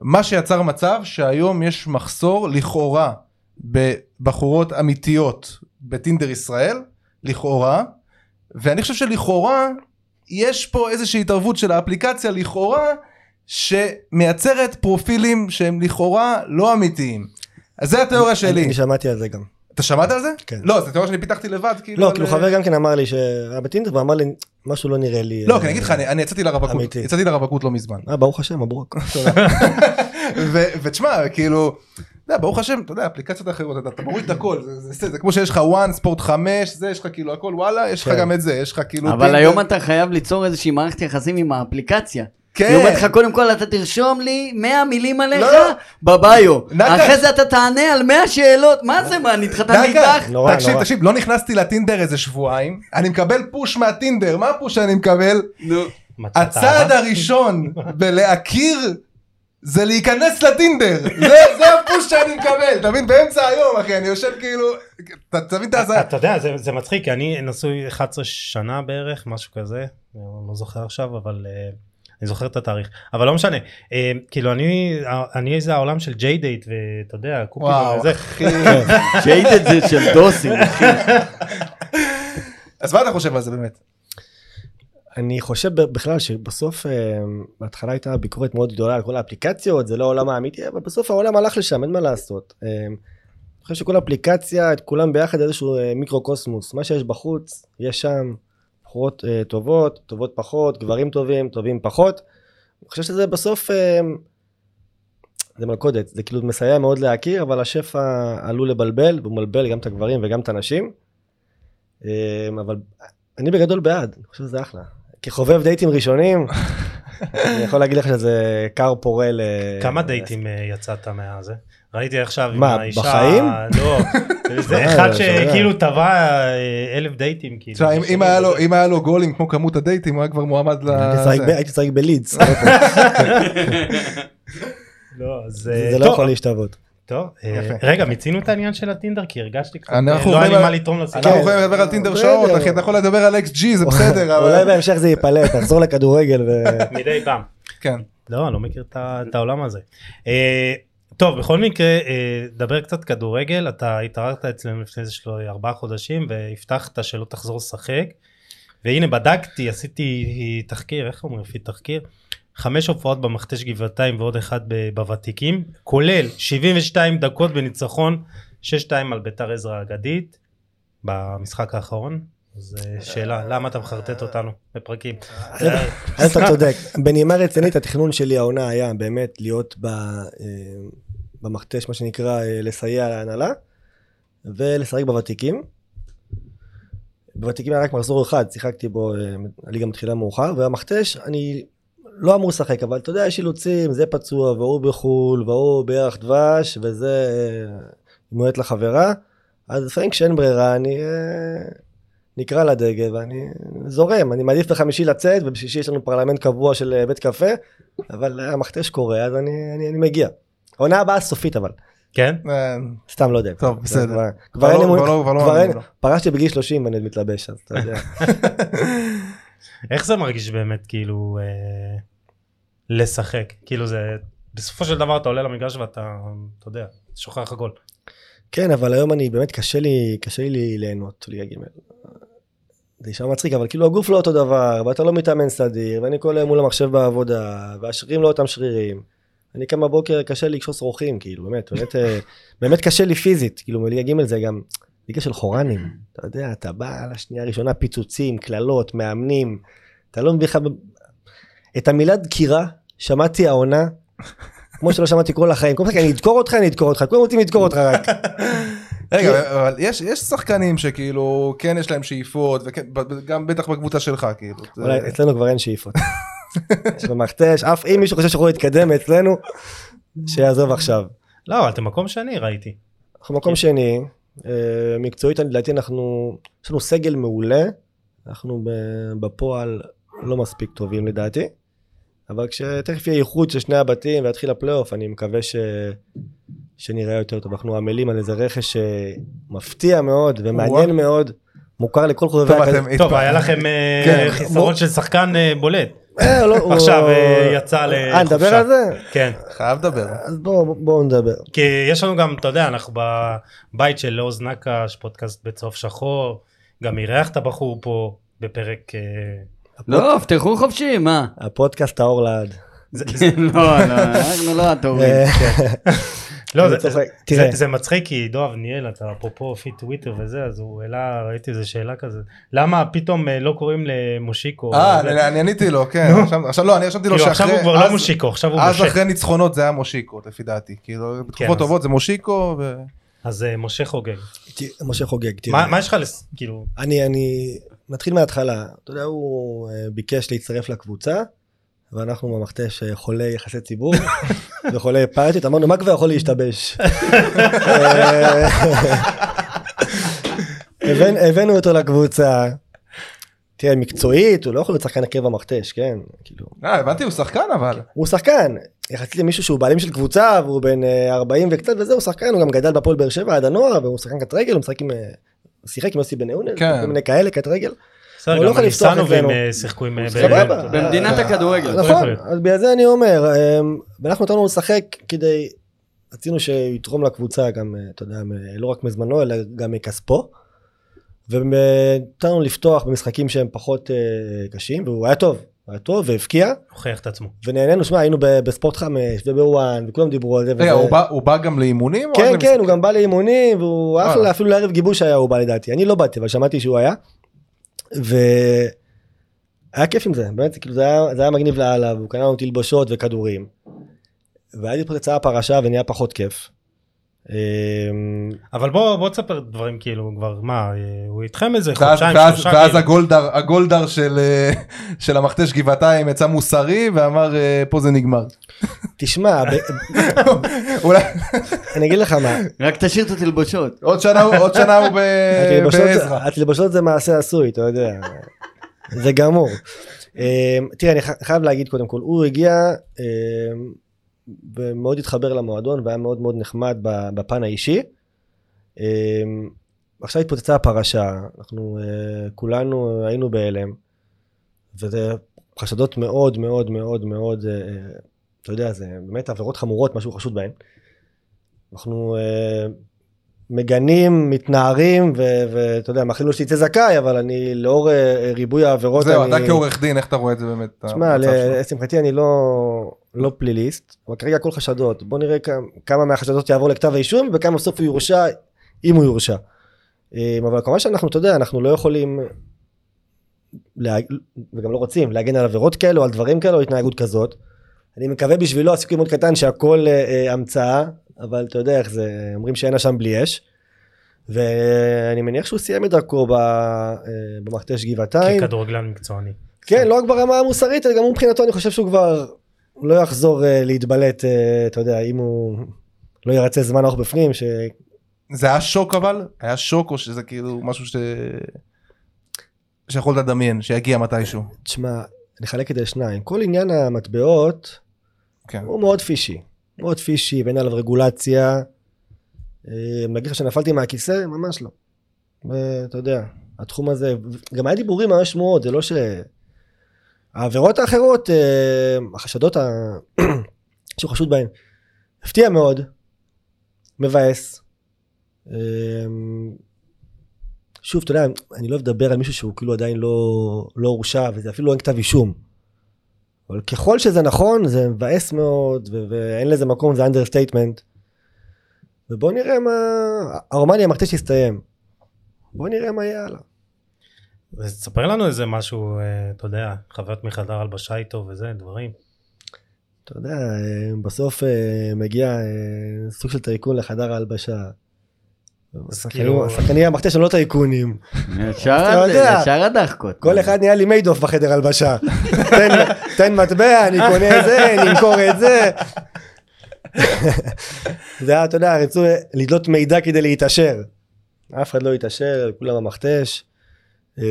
מה שיצר מצב שהיום יש מחסור לכאורה בבחורות אמיתיות בטינדר ישראל, לכאורה, ואני חושב שלכאורה יש פה איזושהי התערבות של האפליקציה לכאורה שמייצרת פרופילים שהם לכאורה לא אמיתיים. אז זה התיאוריה שלי.
אני שמעתי על זה גם.
אתה שמעת על זה?
כן.
לא, זו תיאוריה שאני פיתחתי לבד.
לא,
על- אה,
כאילו חבר גם כן אמר לי שהיה בטינדר, ואמר לי, משהו לא נראה לי...
לא,
אה,
כי אני אגיד לך, אני אני יצאתי לרווקות,
אמיתי.
יצאתי לרווקות לא מזמן.
אה, ברוך השם, מברוק.
ו- ותשמע, כאילו, אתה יודע, ברוך השם, אתה יודע, אפליקציות אחרות, אתה- אתה מוריד את הכל, זה- זה- זה זה כמו שיש לך וואן, ספורט 5, זה, יש לך כאילו הכל, וואלה, יש לך
כן.
גם את זה, יש לך כאילו...
אבל
טינדר.
היום אתה חייב ליצור איזושהי מערכת יחסים עם האפליקציה.
כן.
היא אומרת לך, קודם כל אתה תרשום לי 100 מילים עליך
לא.
בביו.
נקש.
אחרי זה אתה תענה על 100 שאלות. מה זה, מה, אני התחתנתי
דקה,
איתך?
נורא,
תקשיב,
נורא.
תקשיב, לא נכנסתי לטינדר איזה שבועיים, אני מקבל פוש מהטינדר, מה הפוש שאני מקבל?
נו.
מצאת
הצעד
אהבה?
הראשון בלהכיר זה להיכנס לטינדר, זה- זה הפוש שאני מקבל, אתה מבין? באמצע היום, אחי, אני יושב כאילו, אתה אתה מבין את ההזיה?
אתה יודע, זה- זה מצחיק, כי אני נשוי 11 שנה בערך, משהו כזה, אני לא זוכר עכשיו, אבל אה, אני זוכר את התאריך, אבל לא משנה, אה, כאילו אני, אני איזה העולם של ג'יי דייט, ואתה יודע,
וואו,
קופידו וזה,
שייטד זה של דוסים. אחי.
אז מה אתה חושב על זה באמת?
אני חושב ב- בכלל שבסוף אה, בהתחלה הייתה ביקורת מאוד גדולה על כל האפליקציות זה לא העולם האמיתי אבל בסוף העולם הלך לשם אין מה לעשות. אה, אני חושב שכל אפליקציה, את כולם ביחד, איזשהו אה, מיקרוקוסמוס. מה שיש בחוץ, יש שם בחורות אה, טובות, טובות פחות, גברים טובים, טובים פחות. אני חושב שזה בסוף, אה, זה מלכודת, זה כאילו מסייע מאוד להכיר, אבל השפע עלול לבלבל, והוא מבלבל גם את הגברים וגם את הנשים. אה, אבל אני בגדול בעד, אני חושב שזה אחלה. כחובב דייטים ראשונים, אני יכול להגיד לך שזה כר פורה ל...
כמה דייטים אה, יצאת מהזה? ראיתי עכשיו עם
מה,
האישה...
בחיים?
לא, זה
אה,
אחד
שומע.
שכאילו טבע אה, אלף דייטים, כאילו.
לא, תשמע, אם- אם היה לו- אם היה לו גולים כמו כמות הדייטים הוא היה כבר מועמד ל...
הייתי צריך ב-
זה.
הייתי צריך בלידס,
לא, אז...
זה לא
טוב,
יכול להשתוות.
טוב, אה,
יפה.
רגע, מיצינו את העניין של הטינדר, כי הרגשתי קצת...
אנחנו
אה, לא
עוברים
היה לי מה
על-
לתרום לסיפור.
אנחנו יכולים לדבר על טינדר
בסדר.
שעות אחי אתה יכול לדבר על אקס ג'י זה בסדר
אולי
אבל
בהמשך זה ייפלט, תחזור לכדורגל ו...
מדי פעם.
כן.
לא, אני לא מכיר את ה- את העולם הזה. אה, טוב, בכל מקרה, אה, דבר קצת כדורגל, אתה התעררת אצלנו לפני איזה שלו- ארבעה חודשים והבטחת שלא תחזור לשחק. והנה בדקתי, עשיתי תחקיר, איך אומרים לפי תחקיר? חמש הופעות במכתש גבעתיים ועוד אחד ב- בוותיקים, כולל 72 דקות בניצחון 6-2 על ביתר עזרא האגדית במשחק האחרון. זו שאלה, למה אתה מחרטט אותנו בפרקים?
אז אתה צודק. בנימה רצינית, התכנון שלי העונה היה באמת להיות ב- אה, במכתש, מה שנקרא, אה, לסייע להנהלה, ולשחק בוותיקים. בוותיקים היה רק מחזור אחד, שיחקתי בו, אה, הליגה מתחילה מאוחר, והמכתש, אני לא אמור לשחק, אבל אתה יודע, יש אילוצים, זה פצוע, והוא בחו"ל, והוא בירח דבש, וזה אה, מועט לחברה, אז לפעמים כשאין ברירה, אני... אה, נקרא לדגל ואני זורם, אני מעדיף בחמישי לצאת ובשישי יש לנו פרלמנט קבוע של אה, בית קפה, אבל אה, המכתש קורה אז אני, אני, אני מגיע. העונה הבאה סופית אבל,
כן?
אה,
סתם לא יודע.
טוב
זה
בסדר.
כבר- כבר
כבר
אין
לא-
אמון,
כבר לא- כבר לא
כבר אין,
מאמין לו.
פרשתי בגיל 30 ואני עוד מתלבש אז אתה יודע.
איך זה מרגיש באמת כאילו אה, לשחק כאילו זה בסופו של דבר אתה עולה למגרש ואתה אתה יודע שוכח הכל.
כן אבל היום אני באמת קשה לי, קשה לי ליהנות ליגה ג' זה נשמע מצחיק אבל כאילו הגוף לא אותו דבר ואתה לא מתאמן סדיר ואני כל היום מול המחשב בעבודה והשרירים לא אותם שרירים. אני קם בבוקר קשה לי לקשוס רוחים כאילו באמת באמת אה, באמת קשה לי פיזית כאילו מליגה ג' זה גם ליגה של חורנים אתה יודע אתה בא על השנייה הראשונה פיצוצים קללות מאמנים אתה לא מבין לך ב- את המילה דקירה שמעתי העונה כמו שלא שמעתי כל החיים כל פעם אני אדקור אותך אני אדקור אותך כולם רוצים לדקור אותך רק.
רגע אבל יש יש שחקנים שכאילו כן יש להם שאיפות וגם בטח בקבוצה שלך כאילו. זה-
אה,
אולי אצלנו כבר אין שאיפות. יש במכתש, אף אם מישהו חושב שיכול להתקדם אצלנו, שיעזוב עכשיו.
לא אבל אתם מקום שני ראיתי.
אנחנו
כן.
מקום שני, אה, מקצועית לדעתי אנחנו, יש לנו סגל מעולה, אנחנו ב- בפועל לא מספיק טובים לדעתי, אבל כשתכף יהיה איחוד של שני הבתים ויתחיל הפלייאוף, אני מקווה ש... שנראה יותר טוב. אנחנו עמלים על איזה רכש אה, מפתיע מאוד ומעניין מאוד, מוכר לכל חובבי
טוב,
הכדור-
אתם התפ-
טוב היה לכם אה,
כן.
חיסרון של שחקן אה, בולט
אה, לא, הוא-
עכשיו, אה, יצא
אה, נדבר
לחופשה.
על זה?
כן
חייב לדבר.
אז בואו בוא נדבר.
כי יש לנו גם אתה יודע אנחנו בבית של עוז נקש פודקאסט בצהוב שחור גם אירח את הבחור פה בפרק אה,
לא, פתחו חופשי, מה?
הפודקאסט האור לעד. אה,
זה- זה-
לא, לא, אנחנו לא התורים.
אוקיי, כן. לא,
אני
זה, זה,
צוחק. תראה.
זה, זה מצחיק כי עידו אבניאל, אתה אפרופו לפי טוויטר וזה, אז הוא העלה, ראיתי איזה שאלה כזה, למה פתאום אה, לא קוראים למושיקו?
אה
זה-
לא
אני- אני עניתי לו כן. עכשיו- עכשיו לא אני רשמתי לו
כאילו, עכשיו הוא כבר
אז-
לא מושיקו, עכשיו הוא
אז
משה.
אחרי ניצחונות זה היה מושיקו לפי דעתי כאילו בתקופות
אז-
טובות זה מושיקו. ו-
אז אה, משה חוגג.
ת- משה חוגג, תראה.
מה מה יש לך, לס- כאילו,
אני, אני מתחיל מההתחלה. אתה יודע, הוא אה, ביקש להצטרף לקבוצה, ואנחנו במכתש אה, חולי יחסי ציבור וחולי פאטיות, אמרנו, מה כבר יכול להשתבש? אה, הבאנו- הבאנו אותו לקבוצה. תראה, מקצועית, הוא לא יכול להיות שחקן הרכב המכתש, כן? כאילו,
אה, הבנתי הוא שחקן אבל.
הוא שחקן, יחסית למישהו שהוא בעלים של קבוצה והוא בן אה, 40 וקצת וזה, הוא שחקן, הוא גם גדל בהפועל באר שבע עד הנוער, והוא שחקן קט רגל, הוא משחק עם, אה, שיחק עם יוסי בניון,
כן.
כל מיני כאלה קט רגל. הוא
בסדר,
לא
גם
יכול לפתוח
הניסנובים
אצלנו.
אה, שיחקו עם... אה,
סבבה.
ב- ב-
במדינת הכדורגל.
יכול
נכון,
להיות.
אז בגלל זה אני אומר, אה, ואנחנו נתנו לו לשחק כדי, רצינו שיתרום לקבוצה גם, אה, אתה יודע, מ- לא רק מזמנו אלא גם מכספו. ונתנו לפתוח במשחקים שהם פחות אה, קשים, והוא היה טוב, היה טוב והבקיע,
הוכיח את עצמו.
ונהנינו, שמע, היינו ב- בספורט חמש ובוואן, וכולם דיברו על זה.
רגע,
וזה-
הוא בא- הוא בא גם לאימונים? או רק
כן, כן,
למשחקים?
הוא גם בא לאימונים, והוא
אה.
אחלה, אפילו לערב גיבוש היה הוא בא לדעתי. אני לא באתי, אבל שמעתי שהוא היה. ו... היה כיף עם זה, באמת, כאילו זה היה, זה היה מגניב לאללה, והוא קנה לנו תלבושות וכדורים. ואז התפוצצה הפרשה ונהיה פחות כיף. אמ,
אבל בוא בוא תספר דברים כאילו כבר מה אה, הוא איתכם איזה
ואז-
חודשיים
ואז-
שלושה
ואז
כאילו.
הגולדר הגולדר של אה, של המכתש גבעתיים יצא מוסרי ואמר אה, פה זה נגמר.
תשמע, ב-
אולי
אני אגיד לך מה,
רק תשאיר את התלבושות.
עוד שנה הוא- עוד שנה הוא ב-
התלבשות-
בעזרא.
התלבשות אוקיי, זה מעשה עשוי, אתה יודע. זה גמור. אמ, תראה, אני ח- חייב להגיד קודם כל, הוא הגיע אמ, ומאוד התחבר למועדון והיה מאוד מאוד נחמד ב- בפן האישי. אמ, עכשיו התפוצצה הפרשה, אנחנו אה, כולנו היינו בהלם, וזה חשדות מאוד מאוד מאוד מאוד, אה, אה, אתה יודע, זה באמת עבירות חמורות, משהו חשוד בהן. אנחנו אה, מגנים, מתנערים, ו- ואתה יודע, מאחלים לו שיצא זכאי, אבל אני לאור אה, ריבוי העבירות,
זהו,
אני...
אתה כעורך דין איך אתה רואה את זה באמת?
תשמע,
המצב שלו?
לשמחתי אני לא, לא פליליסט, אבל כרגע הכל חשדות. בוא נראה כמה, כמה מהחשדות יעבור לכתב האישום וכמה בסוף הוא יורשע, אם הוא יורשע. אמ, אבל כמובן שאנחנו, אתה יודע, אנחנו לא יכולים, לה, וגם לא רוצים, להגן על עבירות כאלו, על דברים כאלו, התנהגות כזאת. אני מקווה בשבילו, הסיכוי מאוד קטן שהכל אה, אה, המצאה, אבל אתה יודע איך זה, אומרים שאין אשם בלי אש. ואני מניח שהוא סיים את דרכו ב- אה, במכתש גבעתיים.
ככדורגלן מקצועני.
כן, לא רק ברמה המוסרית, אלא גם הוא מבחינתו, אני חושב שהוא כבר לא יחזור אה, להתבלט, אה, אתה יודע, אם הוא לא ירצה זמן ארוך בפנים, ש...
זה היה שוק אבל? היה שוק או שזה כאילו משהו ש... שיכולת לדמיין שיגיע מתישהו.
תשמע, נחלק את זה לשניים. כל עניין המטבעות
כן.
הוא מאוד פישי. מאוד פישי, ואין עליו רגולציה. אה, להגיד לך שנפלתי מהכיסא? ממש לא. אה, אתה יודע, התחום הזה, גם היה דיבורים, היה שמועות, זה לא ש... העבירות האחרות, אה, החשדות ה... שהוא חשוד בהן, הפתיע מאוד, מבאס. אה, שוב, אתה יודע, אני לא אוהב לדבר על מישהו שהוא כאילו עדיין לא, לא הורשע, וזה אפילו לא אין כתב אישום. אבל ככל שזה נכון, זה מבאס מאוד, ו- ואין לזה מקום, זה אנדרסטייטמנט. ובואו נראה מה... הרומניה המכתש הסתיים. בואו נראה מה יהיה הלאה.
אז תספר לנו איזה משהו אה, אתה יודע חוויות מחדר הלבשה איתו וזה דברים.
אתה יודע, אה, בסוף אה, מגיע אה, סוג של טייקון לחדר ההלבשה. השחקנים-
כאילו-
השחקני המכתש הם לא טייקונים.
ישר
אתה יודע.
ישר הדחקות.
כל אחד נהיה לי מיידוף בחדר הלבשה. תן- תן מטבע, אני קונה את זה, אני אמכור את זה. זה היה, אתה יודע, רצו לדלות מידע כדי להתעשר. אף אחד לא התעשר, כולם המכתש. אמ,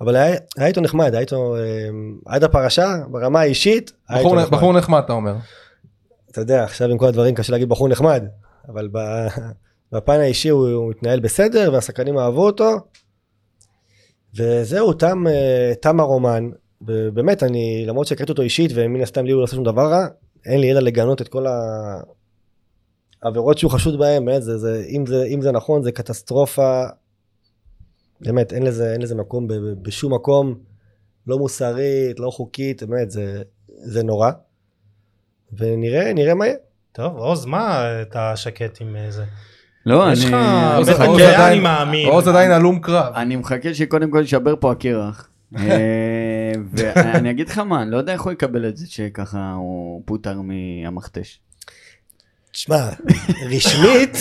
אבל היה היה איתו נחמד, היה איתו אמ, עד הפרשה, ברמה האישית, היה איתו
בחור-
נחמד.
בחור נחמד אתה אומר.
אתה יודע, עכשיו עם כל הדברים קשה להגיד בחור נחמד, אבל ב- בפן האישי הוא, הוא התנהל בסדר, והשחקנים אהבו אותו. וזהו, תם, אה, תם הרומן, ובאמת, אני, למרות שהקראתי אותו אישית, ומן הסתם לי הוא לא עשה שום דבר רע, אין לי אלא לגנות את כל העבירות שהוא חשוד בהן, באמת, זה, זה, אם, זה, אם זה נכון, זה קטסטרופה. באמת, אין לזה, אין לזה מקום ב, ב, בשום מקום, לא מוסרית, לא חוקית, באמת, זה, זה נורא. ונראה, נראה מה יהיה.
טוב עוז מה אה, אתה שקט עם אה, זה.
לא,
יש לך
אני...
עוז-
מחכה,
עוז
אני
עדיין-
מאמין.
עוז עדיין הלום קרב.
אני מחכה שקודם כל יישבר פה הקרח. אה, ואני אגיד לך מה, אני לא יודע איך הוא יקבל את זה שככה הוא פוטר מהמכתש.
תשמע, רשמית,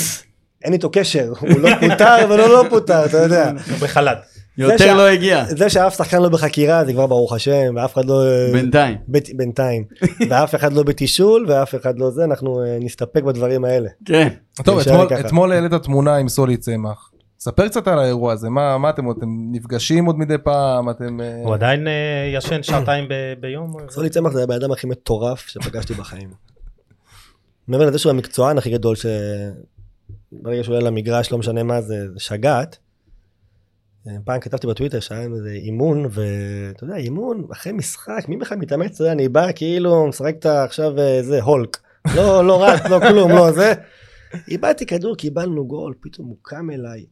אין איתו קשר, הוא לא פוטר ולא לא פוטר, אתה יודע.
הוא בחל"ת.
יותר
שה-
לא הגיע,
זה שאף שחקן לא בחקירה, זה כבר ברוך השם, ואף אחד לא...
בינתיים.
בית- בינתיים. ואף אחד לא בתישול, ואף אחד לא זה, אנחנו אה, נסתפק בדברים האלה.
כן.
טוב,
נשאר
אתמול-
ככה.
אתמול העלית תמונה עם סולי צמח. ספר קצת על האירוע הזה, מה מה אתם אתם נפגשים עוד מדי פעם, אתם... אה,
הוא עדיין אה, ישן שעתיים ב- ביום. אה, זה-
סולי צמח זה הבן אדם הכי מטורף שפגשתי בחיים. מעבר לזה שהוא המקצוען הכי גדול ש... ברגע שהוא עולה למגרש, לא משנה מה זה, זה שגעת. אה, פעם כתבתי בטוויטר שהיה עם איזה אימון, ואתה יודע, אימון אחרי משחק, מי בכלל מתאמץ? אתה יודע, אני בא כאילו, משחק את ה- עכשיו אה, זה, הולק. לא, לא רץ, לא כלום, לא זה. איבדתי כדור, קיבלנו גול, פתאום הוא קם אליי.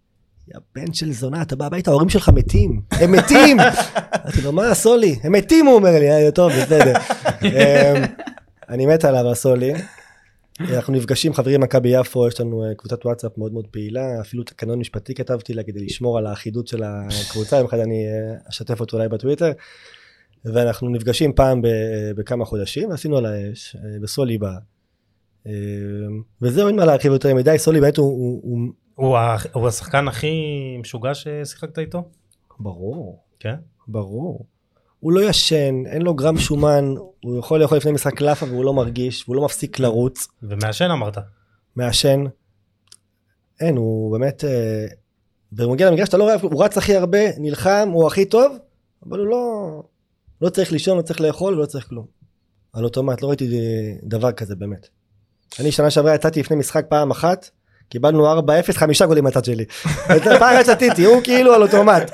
יא בן של זונה, אתה בא הביתה, ההורים שלך מתים, הם מתים! אמרתי לו, מה, סולי? הם מתים, הוא אומר לי, "אה, טוב, בסדר. אמ, אני מת עליו, הסולי. אנחנו נפגשים, חברים מכבי יפו, יש לנו אה, קבוצת וואטסאפ מאוד מאוד פעילה, אפילו תקנון משפטי כתבתי לה כדי לשמור על האחידות של הקבוצה, יום אחד אני אה, אשתף אותו אולי בטוויטר. ואנחנו נפגשים פעם ב- אה, בכמה חודשים, ועשינו על האש, אה, וסולי בא. אה, וזהו, אין מה להרחיב יותר מדי, סולי באמת הוא- הוא... הוא-
הוא ה- הוא השחקן הכי משוגע ששיחקת איתו?
ברור.
כן.
ברור. הוא לא ישן, אין לו גרם שומן, הוא יכול לאכול לפני משחק לאפה והוא לא מרגיש, והוא לא מפסיק לרוץ,
ומעשן אמרת.
מעשן. אין, הוא באמת... אה, והוא מגיע למגרש, אתה לא רואה, הוא רץ הכי הרבה, נלחם, הוא הכי טוב, אבל הוא לא... לא צריך לישון, לא צריך לאכול, לא צריך כלום. על אוטומט, לא ראיתי ד- דבר כזה באמת. אני שנה שעברה יצאתי לפני משחק פעם אחת, קיבלנו 4-0, חמישה גולים מהצד שלי. פעם אחת שתיתי, הוא כאילו על אוטומט.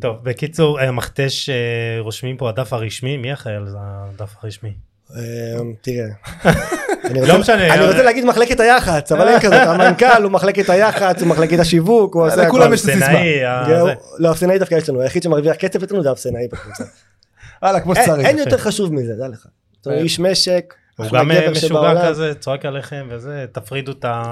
טוב, בקיצור, אה, מכתש, אה, רושמים פה הדף הרשמי, מי אחראי על הדף הרשמי?
אמ, תראה, אני רוצה-
לא משנה,
אני
אבל-
רוצה להגיד מחלקת היח"צ, אבל אין כזאת, המנכ"ל הוא מחלקת היח"צ, הוא מחלקת השיווק,
אה,
הוא עושה
לכולם
הכל.
יש את הסיסמה.
סנאי, ה-
כן,
זה.
הוא- לא, אפסנאי דווקא יש לנו, היחיד שמרוויח כסף אצלנו זה אפסנאי בקבוצה.
וואלה, כמו
אין-
שצריך.
אין יותר חשוב מזה, דע לך. אתה
אה.
איש משק,
הוא
אחלה
גם אה,
גבר
משוגע
שבעולם.
כזה, צועק עליכם וזה, תפרידו את ה...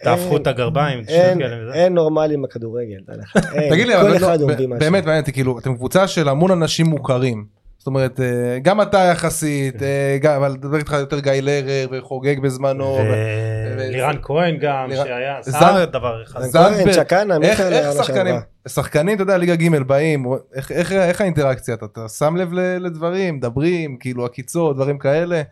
אין-
תהפכו את הגרביים,
אין-
תשתו כאלה וזה.
אין נורמלים בכדורגל, דע לך. אין.
תגיד לי,
כל
אבל
אחד
לא,
עומדים
ב-
משהו.
באמת מעניין אותי, כאילו, אתם קבוצה של המון אנשים מוכרים. זאת אומרת, אה, גם אתה
כן.
יחסית, אה, גם- אבל דבר איתך יותר גיא לרר וחוגג בזמנו. ו-
ולירן כהן גם,
לירן-
שהיה,
זר-
עשה דבר אחד.
אז-
זנדברג.
כהן, צ'קנה, מיכאל,
איך- איך
העונה
שחקנים,
שעברה.
שחקנים, אתה יודע, ליגה ג' באים, איך- איך- איך האינטראקציה? אתה- אתה שם לב ל- לדברים, מדברים, כאילו עקיצות, דברים כאלה?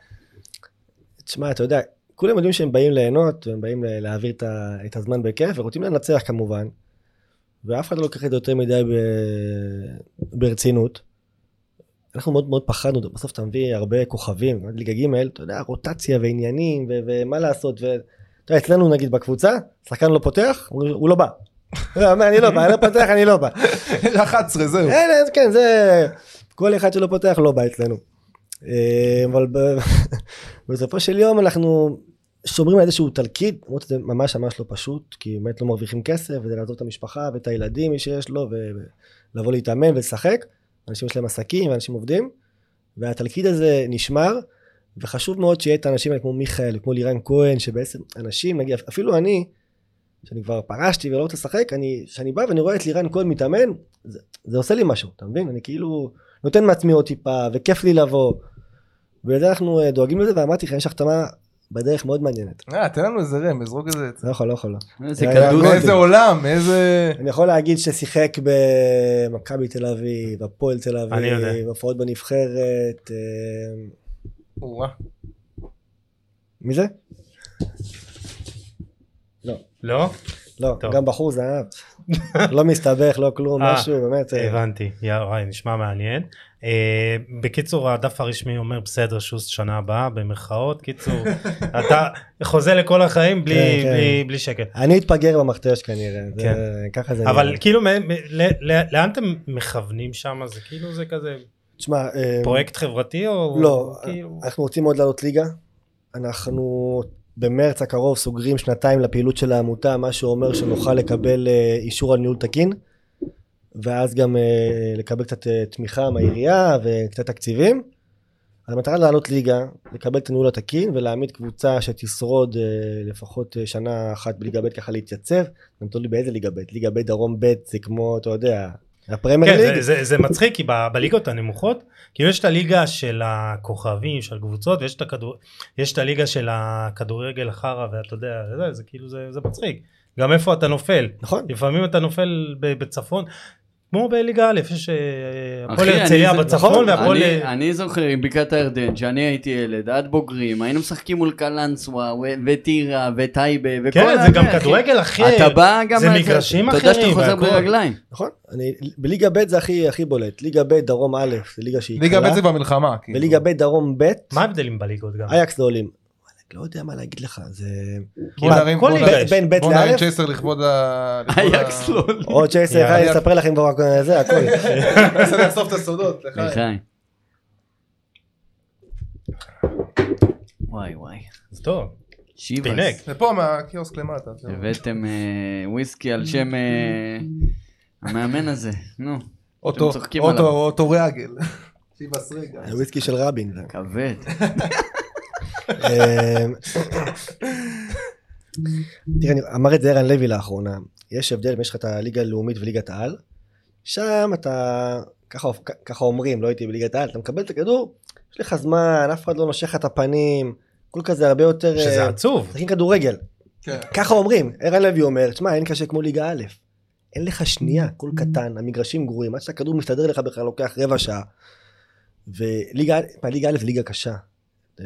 תשמע, אתה יודע, כולם יודעים שהם באים ליהנות, והם באים ל- להעביר את, ה, את הזמן בכיף, ורוצים לנצח כמובן, ואף אחד לא לוקח את זה יותר מדי ב, ברצינות. אנחנו מאוד מאוד פחדנו, בסוף אתה מביא הרבה כוכבים, ליגה ג', אתה יודע, רוטציה ועניינים, ו, ומה לעשות, ו... אתה יודע, אצלנו נגיד בקבוצה, שחקן לא פותח, הוא הוא לא בא. הוא אומר, אני לא בא, אני לא פותח, אני לא בא.
11 זהו.
אין, אין, כן, זה... כל אחד שלא פותח לא בא אצלנו. אה, אבל ב- בסופו של יום אנחנו שומרים על איזשהו תלכיד, למרות שזה ממש ממש לא פשוט, כי באמת לא מרוויחים כסף, וזה לעזוב את המשפחה ואת הילדים, מי שיש לו, ולבוא להתאמן ולשחק. אנשים יש להם עסקים, ואנשים עובדים, והתלכיד הזה נשמר, וחשוב מאוד שיהיה את האנשים האלה כמו מיכאל, כמו לירן כהן, שבעצם אנשים, נגיד, אפילו אני, שאני כבר פרשתי ולא רוצה לשחק, אני, כשאני בא ואני רואה את לירן כהן מתאמן, זה, זה עושה לי משהו, אתה מבין? אני כאילו נותן מעצמי עוד טיפה, וכיף לי לבוא. ובגלל זה אנחנו אה, דואגים לזה, ואמרתי לך, יש החתמה בדרך מאוד מעניינת.
אה, תן לנו איזה רמז, זרוק איזה...
לא יכול, לא יכול. לא.
איזה
היה
כדור.
גול.
איזה עולם, איזה...
אני יכול להגיד ששיחק במכבי תל אביב, הפועל תל
אני יודע.
אביב, הופעות בנבחרת, אה,
אורה.
מי זה?
לא?
לא,
טוב.
גם בחור זהב. לא מסתבך, לא כלום,
אה,
משהו, באמת. אה,
הבנתי, יא וואי, נשמע מעניין. אה, בקיצור, הדף הרשמי אומר, בסדר, שוסט שנה הבאה, במרכאות. קיצור, אתה חוזה לכל החיים בלי-
כן, כן.
בלי- בלי שקל.
אני אתפגר במכתש כנראה, זה-
כן.
ככה זה
אבל
נראה.
כאילו, מ- מ- ל- ל- לאן אתם מכוונים שם? זה כאילו, זה כזה
תשמע, אה,
פרויקט חברתי או...
לא,
כאילו-
אנחנו רוצים מאוד לעלות ליגה. אנחנו במרץ הקרוב סוגרים שנתיים לפעילות של העמותה, מה שאומר שנוכל לקבל אה, אישור על ניהול תקין, ואז גם אה, לקבל קצת אה, תמיכה מהעירייה וקצת תקציבים. אז המטרה לעלות ליגה, לקבל את הניהול התקין ולהעמיד קבוצה שתשרוד אה, לפחות אה, שנה אחת בליגה ב' ככה להתייצב. גם תלוי באיזה ליגה ב', ליגה ב' דרום ב' זה כמו, אתה יודע, הפרמייר
כן, זה,
ליג.
זה, זה מצחיק, כי ב- בליגות הנמוכות, כאילו יש את הליגה של הכוכבים, של הקבוצות, ויש את, הכדור, יש את הליגה של הכדורגל החרא, ואתה יודע, זה, זה כאילו, זה, זה מצחיק. גם איפה אתה נופל.
נכון.
לפעמים אתה נופל ב- בצפון, כמו בליגה א', יש אה, הפועל
אחי, אני
הרצליה
זה-
בצפון,
נכון,
והפועל...
אני- אני זוכר עם בקעת הירדן, שאני הייתי ילד, עד בוגרים, היינו משחקים מול קלנסווה ו- וטירה וטייבה וכל...
כן, זה
הזה,
גם
אחי.
כדורגל אחר.
אתה בא גם...
זה
אתה-
מגרשים
אתה יודע
אחרים
שאתה חוזר
והכל.
ברגליים.
נכון, אני, בליגה ב' זה הכי הכי בולט, ליגה ב' דרום א', זה ליגה שהיא
ליגה
קלה,
ב' זה במלחמה. כאילו.
וליגה ב' דרום ב',
מה ההבדלים בליגות גם?
אייקס לא עולים. וואלכ, לא יודע מה להגיד לך, זה...
בוא
מה,
נרים-
כל
בוא
ליגה
נרים-
יש.
בין ב' לא',
בוא נרים
לאלף,
צ'ייסר לכבוד ה... לכבוד ה-
אייקס לא...
עוד שייסר,
יאללה.
אני אספר לכם כבר הכל- זה הכל.
מנסה לאסוף את הסודות.
אה,
לחיים.
לחיים. וואי וואי.
זה טוב.
שיבאס.
פינק.
זה פה מהקיוסק למטה. זהו.
הבאתם אה, וויסקי על שם אה, המאמן הזה, נו,
אוטו,
צוחקים
אוטו,
עליו.
אוטו רגל. שיבאס רגל.
הוויסקי של רבין. זה.
כבד.
אמ, תראה, אני- אמר את זה ערן לוי לאחרונה, יש הבדל אם יש לך את הליגה הלאומית וליגת העל, שם אתה, ככה, ככה אומרים, לא הייתי בליגת העל, אתה מקבל את הכדור, יש לך זמן, אף אחד לא נושך לך את הפנים, הכל כזה הרבה יותר...
שזה
אה,
עצוב.
משחקים כדורגל,
כן.
ככה אומרים, ערן לוי אומר, תשמע, אין קשה כמו ליגה א', אין לך שנייה, הכל קטן, המגרשים גרועים, עד שהכדור מסתדר לך בכלל לוקח רבע שעה. וליגה מה, ליגה א' זה ליגה קשה.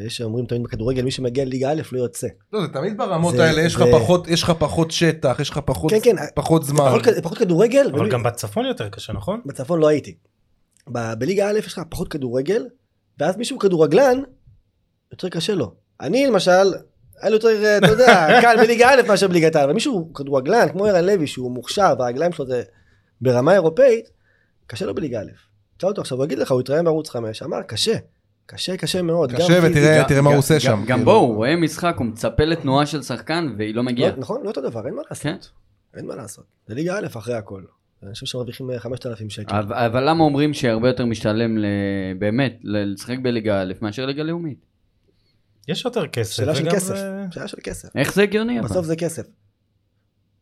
יש שאומרים תמיד בכדורגל, מי שמגיע לליגה א' לא יוצא.
לא, זה תמיד ברמות
זה-
האלה, יש לך
זה-
פחות- יש לך פחות שטח, יש לך פחות-
כן, כן,
פחות זמן.
פחות כד- פחות כדורגל,
אבל
ומי-
גם בצפון יותר קשה, נכון?
בצפון לא הייתי. ב- בליגה א' יש לך פחות כדורגל, ואז מישהו כדורגלן, יותר קשה לו. אני למשל, היה לי יותר, אה, אתה יודע, קל בליגה א' מאשר בליגת העל, ומישהו כדורגלן, כמו ערן לוי, שהוא מוכשר, והרגליים שלו זה ברמה אירופאית, קשה לו בליגה א'. תשאל אותו עכשיו, הוא יגיד לך, הוא התראיין בערוץ 5, אמר, קשה, קשה, קשה מאוד. גם
קשה
פיזית,
ותראה
גם-
תראה מה הוא
גם-
עושה
גם-
שם.
גם
כאילו.
בו, הוא רואה משחק, הוא מצפה לתנועה של שחקן והיא לא מגיעה.
לא, נכון, לא אותו דבר, אין מה לעשות.
כן.
אין מה לעשות. זה ליגה א' אחרי הכל. אנשים שמרוויחים אה, 5,000 שקל.
אבל אבל למה אומרים שהרבה יותר משתלם ל- באמת ל- לשחק בליגה א' מאשר ליגה לאומית?
יש יותר כסף.
שאלה של
וגם,
כסף,
אה,
שאלה של כסף.
איך זה הגיוני אבל?
בסוף זה כסף.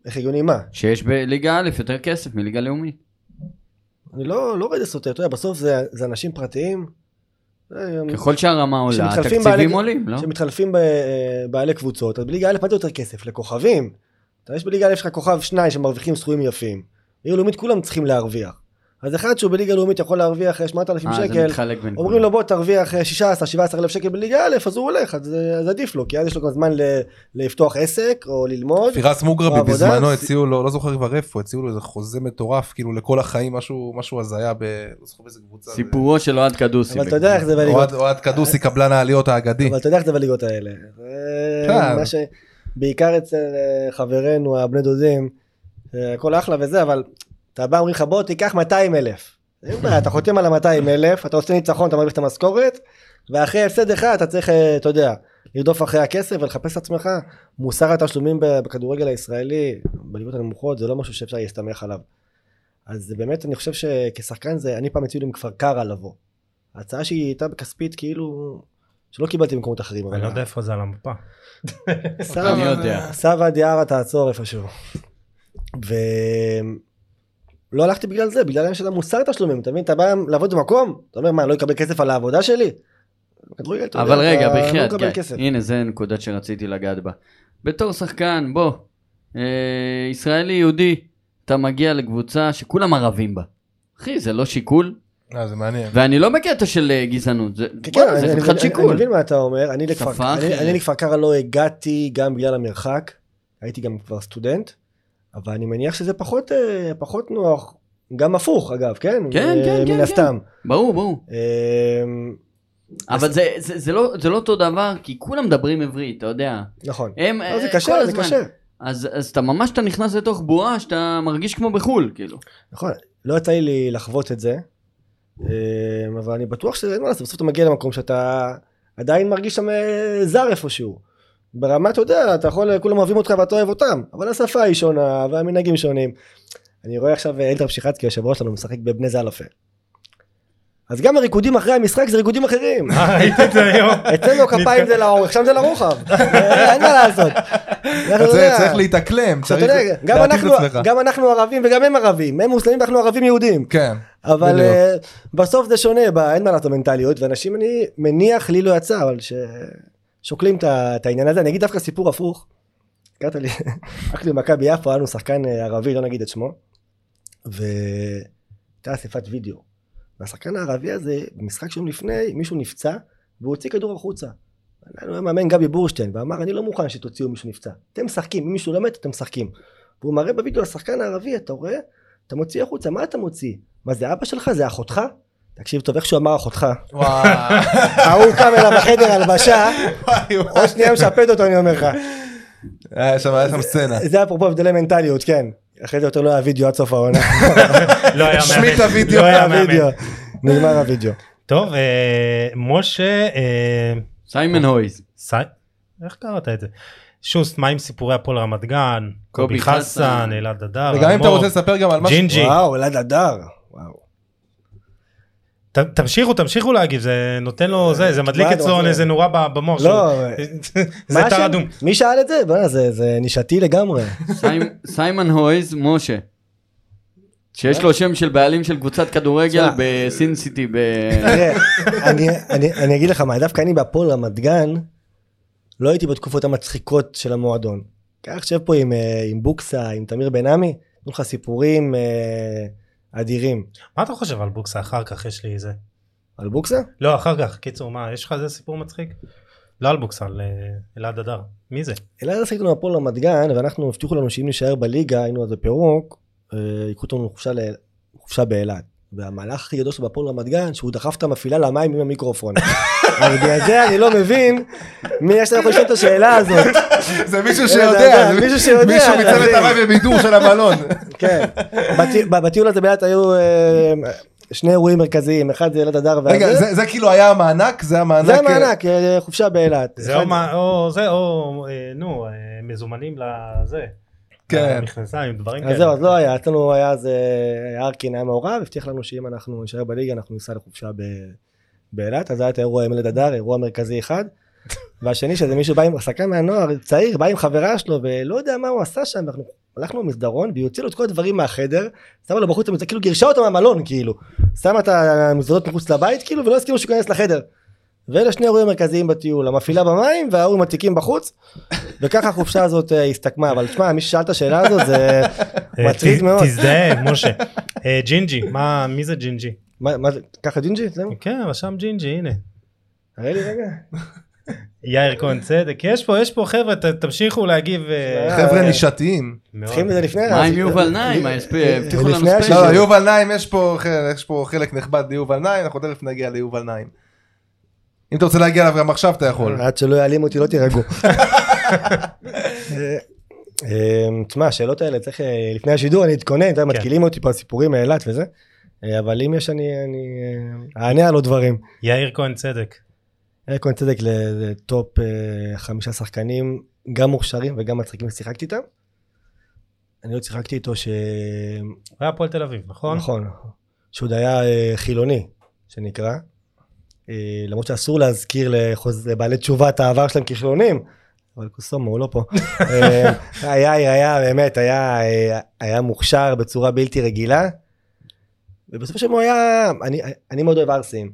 איך הגיוני מה?
שיש בליגה א' יותר כסף מליגה לאומית.
אני לא, לא רואה את זה סותר, אתה יודע, בסוף זה, זה אנשים פרטיים. אה,
ככל שהרמה עולה,
שמתחלפים
התקציבים
בעלי-
עולים, לא?
שמתחלפים ב- אה, בעלי קבוצות, אז בליגה א' מה זה יותר כסף? לכוכבים. אתה יש בליגה א' יש לך כוכב שניים שמרוויחים סכומים יפים. בליגה לאומית כולם צריכים להרוויח. אז אחד שהוא בליגה לאומית יכול להרוויח אה, 8,000
אה, זה
שקל,
מתחלק בין...
אומרים לו בוא תרוויח אה, 16-17 אלף שקל בליגה א', אז הוא הולך, אז, אה, אז עדיף לו, כי אז יש לו גם זמן ל- לפתוח עסק או ללמוד.
פירס מוגרבי
בעבודה,
בזמנו
זה-
הציעו לו, לא זוכר כבר איפה, הציעו לו איזה חוזה מטורף, כאילו לכל החיים, משהו משהו הזיה ב... לא זוכר באיזה קבוצה. זה-
סיפורו של אוהד קדוסי.
אבל אתה יודע איך זה בליגות
אוהד- אוהד קדוסי, קבלן העליות האגדי.
אבל אתה יודע איך זה בליגות האלה. זה
כן.
מה ש... בעיקר אצל אה, חברינו הבני דודים, אה, הכל אחלה וזה, אבל אתה בא אומרים לך בוא תיקח 200 אלף. אין בעיה, אתה חותם על ה-200 אלף, אתה עושה ניצחון, אתה מרוויח את המשכורת, ואחרי הפסד אחד אתה צריך, אה, אתה יודע, לרדוף אחרי הכסף ולחפש את עצמך. מוסר התשלומים ב- בכדורגל הישראלי, בליגות הנמוכות, זה לא משהו שאפשר להסתמך עליו. אז זה באמת, אני חושב שכשחקן זה, אני פעם הציעו לי מכפר קרע לבוא. ההצעה שהיא הייתה בכספית כאילו, שלא קיבלתי במקומות אחרים.
אני לא יודע איפה זה על המפה.
סבא-
אני יודע.
סבא דיארה תעצור איפשהו. ולא לא הלכתי בגלל זה, בגלל העניין של המוסר תשלומים, אתה מבין? אתה בא לעבוד במקום, אתה אומר מה, אני לא אקבל כסף על העבודה שלי? בכדורגל, אתה יודע,
אבל רגע,
אתה לא
בחייאת, כן.
מקבל
גיא,
כסף.
הנה זה נקודה שרציתי לגעת בה. בתור שחקן, בוא, אה, ישראלי יהודי, אתה מגיע לקבוצה שכולם ערבים בה. אחי, זה לא שיקול,
אה, זה מעניין.
ואני לא בקטע של אה, גזענות, זה
כן,
בוא,
כן, אני-
זה
אני-
חתיכת
אני- אני
שיקול.
מבין מה אתה אומר, אני לכפר-
שפה
אני-
אחרת.
אני לכפר קרא לא הגעתי גם בגלל המרחק, הייתי גם כבר סטודנט, אבל אני מניח שזה פחות אה, פחות נוח, גם הפוך אגב, כן?
כן,
אה,
כן,
מן
כן,
הסתם.
ברור, ברור.
אה,
אבל זה- זה זה לא- זה לא אותו דבר, כי כולם מדברים עברית, אתה יודע.
נכון.
הם
לא, זה
אה, כל
קשה, זה
הזמן.
קשה.
אז אז אתה ממש, אתה נכנס לתוך בועה שאתה מרגיש כמו בחול, כאילו.
נכון, לא יצא לי לחוות את זה, אמ, אבל אני בטוח שאין מה לעשות, בסוף אתה מגיע למקום שאתה עדיין מרגיש שם אה, זר איפשהו. ברמה, אתה יודע, אתה יכול, כולם אוהבים אותך ואתה אוהב אותם, אבל השפה היא שונה והמנהגים שונים. אני רואה עכשיו אה, אלתר פשיחצקי, היושב ראש שלנו, משחק בבני זלפה. אז גם הריקודים אחרי המשחק זה ריקודים אחרים.
אה, ראיתי את זה היום.
אצלנו כפיים זה לאורך, שם זה לרוחב. אה, אין מה לעשות.
אתה
אתה יודע.
צריך- צריך להתאקלם,
אתה
צריך
יודע, גם
להתאים את
אנחנו-
עצמך.
גם אנחנו ערבים וגם הם ערבים, הם מוסלמים ואנחנו ערבים יהודים.
כן.
אבל
בדיוק.
אה, בסוף זה שונה, ב- אין מה לעשות מנטליות, ואנשים אני מניח, לי לא יצא, אבל ששוקלים את ה- את העניין הזה, אני אגיד דווקא סיפור הפוך. הזכרת לי, רק במכבי יפו, היה לנו שחקן אה, ערבי, לא נגיד את שמו, והייתה אספת וידאו. והשחקן הערבי הזה, במשחק שם לפני, מישהו נפצע, והוא הוציא כדור החוצה. היה לו מאמן גבי בורשטיין, ואמר, אני לא מוכן שתוציאו מישהו נפצע. אתם משחקים, אם מישהו לא מת, אתם משחקים. והוא מראה בווידאו לשחקן הערבי, אתה רואה? אתה מוציא החוצה, מה אתה מוציא? מה זה אבא שלך? זה אחותך? תקשיב טוב, איך שהוא אמר אחותך.
וואי.
ההוא קם אליו בחדר הלבשה,
וואי, וואי.
עוד שנייה משפט אותו, אני אומר לך.
היה אה, שם היה שם סצנה.
זה אפרופו הבדלי מנטליות, כן. אחרי זה יותר לא היה וידאו עד סוף העונה.
לא היה מאמן.
השמיט את הוידאו,
לא היה
היה וידאו.
מאמן.
נגמר הוידאו.
טוב, אה, משה, אה,
סיימון הויז.
סי- איך קראת את זה? שוסט, מה עם סיפורי הפועל רמת גן?
קובי
קובי חסן,
חסן,
אלעד אדר,
וגם אם אתה
אלמוג,
רוצה לספר גם על משהו,
ג'ינג'י.
וואו, אלעד הדר. וואו.
ת- תמשיכו, תמשיכו להגיב, זה נותן לו זה, זה מדליק
מה,
אצלו
אתה-
איזה נורה ב- במוח שלו.
לא,
זה
מה
תר
השם?
אדום.
מי שאל את זה? בוא'נה, זה- זה נישתי לגמרי.
סיימ- סיימון הויז משה. שיש לו שם של בעלים של קבוצת כדורגל
תשמע.
בסינסיטי ב...
תראה, אני, אני, אני אגיד לך מה, דווקא אני בהפועל רמת גן, לא הייתי בתקופות המצחיקות של המועדון. קח, שב פה עם, אה, עם בוקסה, עם תמיר בן עמי, נותנים לך סיפורים אה, אדירים.
מה אתה חושב על בוקסה? אחר כך יש לי זה.
על בוקסה?
לא, אחר כך, קיצור, מה, יש לך איזה סיפור מצחיק? לא על בוקסה, על אה, אלעד אדר. מי זה?
אלעד עשינו הפועל רמת גן, ואנחנו הבטיחו לנו שאם נשאר בליגה, היינו אז בפירוק, אה, ייקחו אותנו לחופשה ל- לחופשה באילת. והמהלך הכי גדול שלו בהפועל רמת גן, שהוא דחף את המפעילה למים עם המיקרופון. אבל בגלל זה אני לא מבין, מי יש לנו לשאול את השאלה הזאת.
זה מישהו
אתה אה, יודע,
שיודע, זה
מישהו שיודע,
מישהו
אתה
מצוות
מבין.
הרב ובידור של המלון,
כן, בטי- בטיול הזה באילת היו אה, שני אירועים מרכזיים, אחד זה אלעד הדר
רגע
והזה,
זה- זה כאילו היה המענק, זה המענק,
זה המענק, אה, חופשה באילת.
זה
אחד-
או מה- או זה, או אה, נו, אה, מזומנים לזה.
כן.
מכנסיים, דברים
אז
כאלה.
זהו, אז לא היה, אצלנו היה אז אה, ארקין היה מעורב, הבטיח לנו שאם אנחנו נשאר בליגה אנחנו ניסע לחופשה ב- באילת, אז היה את האירוע עם אלעד הדר, אירוע מרכזי אחד. והשני שזה מישהו בא עם הסקה מהנוער, צעיר, בא עם חברה שלו ולא יודע מה הוא עשה שם, אנחנו הלכנו במסדרון והיא הוציאה לו את כל הדברים מהחדר, שמה לו בחוץ, המזוודה, כאילו גירשה אותו מהמלון כאילו, שמה את המזוודות מחוץ לבית כאילו ולא הסכימו שהוא ייכנס לחדר. ואלה שני אירועים מרכזיים בטיול, המפעילה במים וההוא עם התיקים בחוץ, וככה החופשה הזאת אה, הסתכמה, אבל תשמע, מי ששאל את השאלה הזאת זה
אה,
מטריד
ת-
מאוד.
תזדהה, משה. אה, ג'ינג'י, מה, מי זה ג'ינג'י?
מה מה זה, ככה ג'ינג'י? זהו?
כן, לא, רשם ג'ינג'י, הנה.
תראה לי רגע.
יאיר כהן צדק, יש פה, יש פה חבר'ה, ת- תמשיכו להגיב. אה,
אה,
חבר'ה נישתיים,
מאוד.
צריכים את זה לפני?
מה עם
אז-
יובל נעים?
אה,
הספ-
אה,
הבטיחו
לפני
לנו
השאלה.
לא,
ספיישל.
לא, יובל נעים, יש פה חלק- יש פה חלק נכבד ליובל נעים, אנחנו תכף נגיע ליובל נעים. אם אתה רוצה להגיע אליו גם עכשיו אתה יכול.
עד שלא יעלים אותי לא תירגעו. אה, אה, תשמע, השאלות האלה צריך אה, לפני השידור אני אתכונן,
כן.
אתה יודע, מתקילים אותי פה סיפורים מאילת וזה, אה, אבל אם יש אני אני, אה, אענה על עוד דברים.
יאיר כהן צדק.
אריק כהן צדק לטופ אה, חמישה שחקנים, גם מוכשרים וגם מצחיקים ששיחקתי איתם. אני עוד שיחקתי איתו ש...
הוא היה הפועל תל אביב, נכון?
נכון. שעוד היה אה, חילוני, שנקרא. אה, למרות שאסור להזכיר לחוז- לבעלי תשובה את העבר שלהם כחילונים, אבל קוסומו הוא לא פה. אה, היה, היה, באמת, היה, אה, היה מוכשר בצורה בלתי רגילה. ובסופו של דבר הוא היה, אני, אני מאוד אוהב ערסים.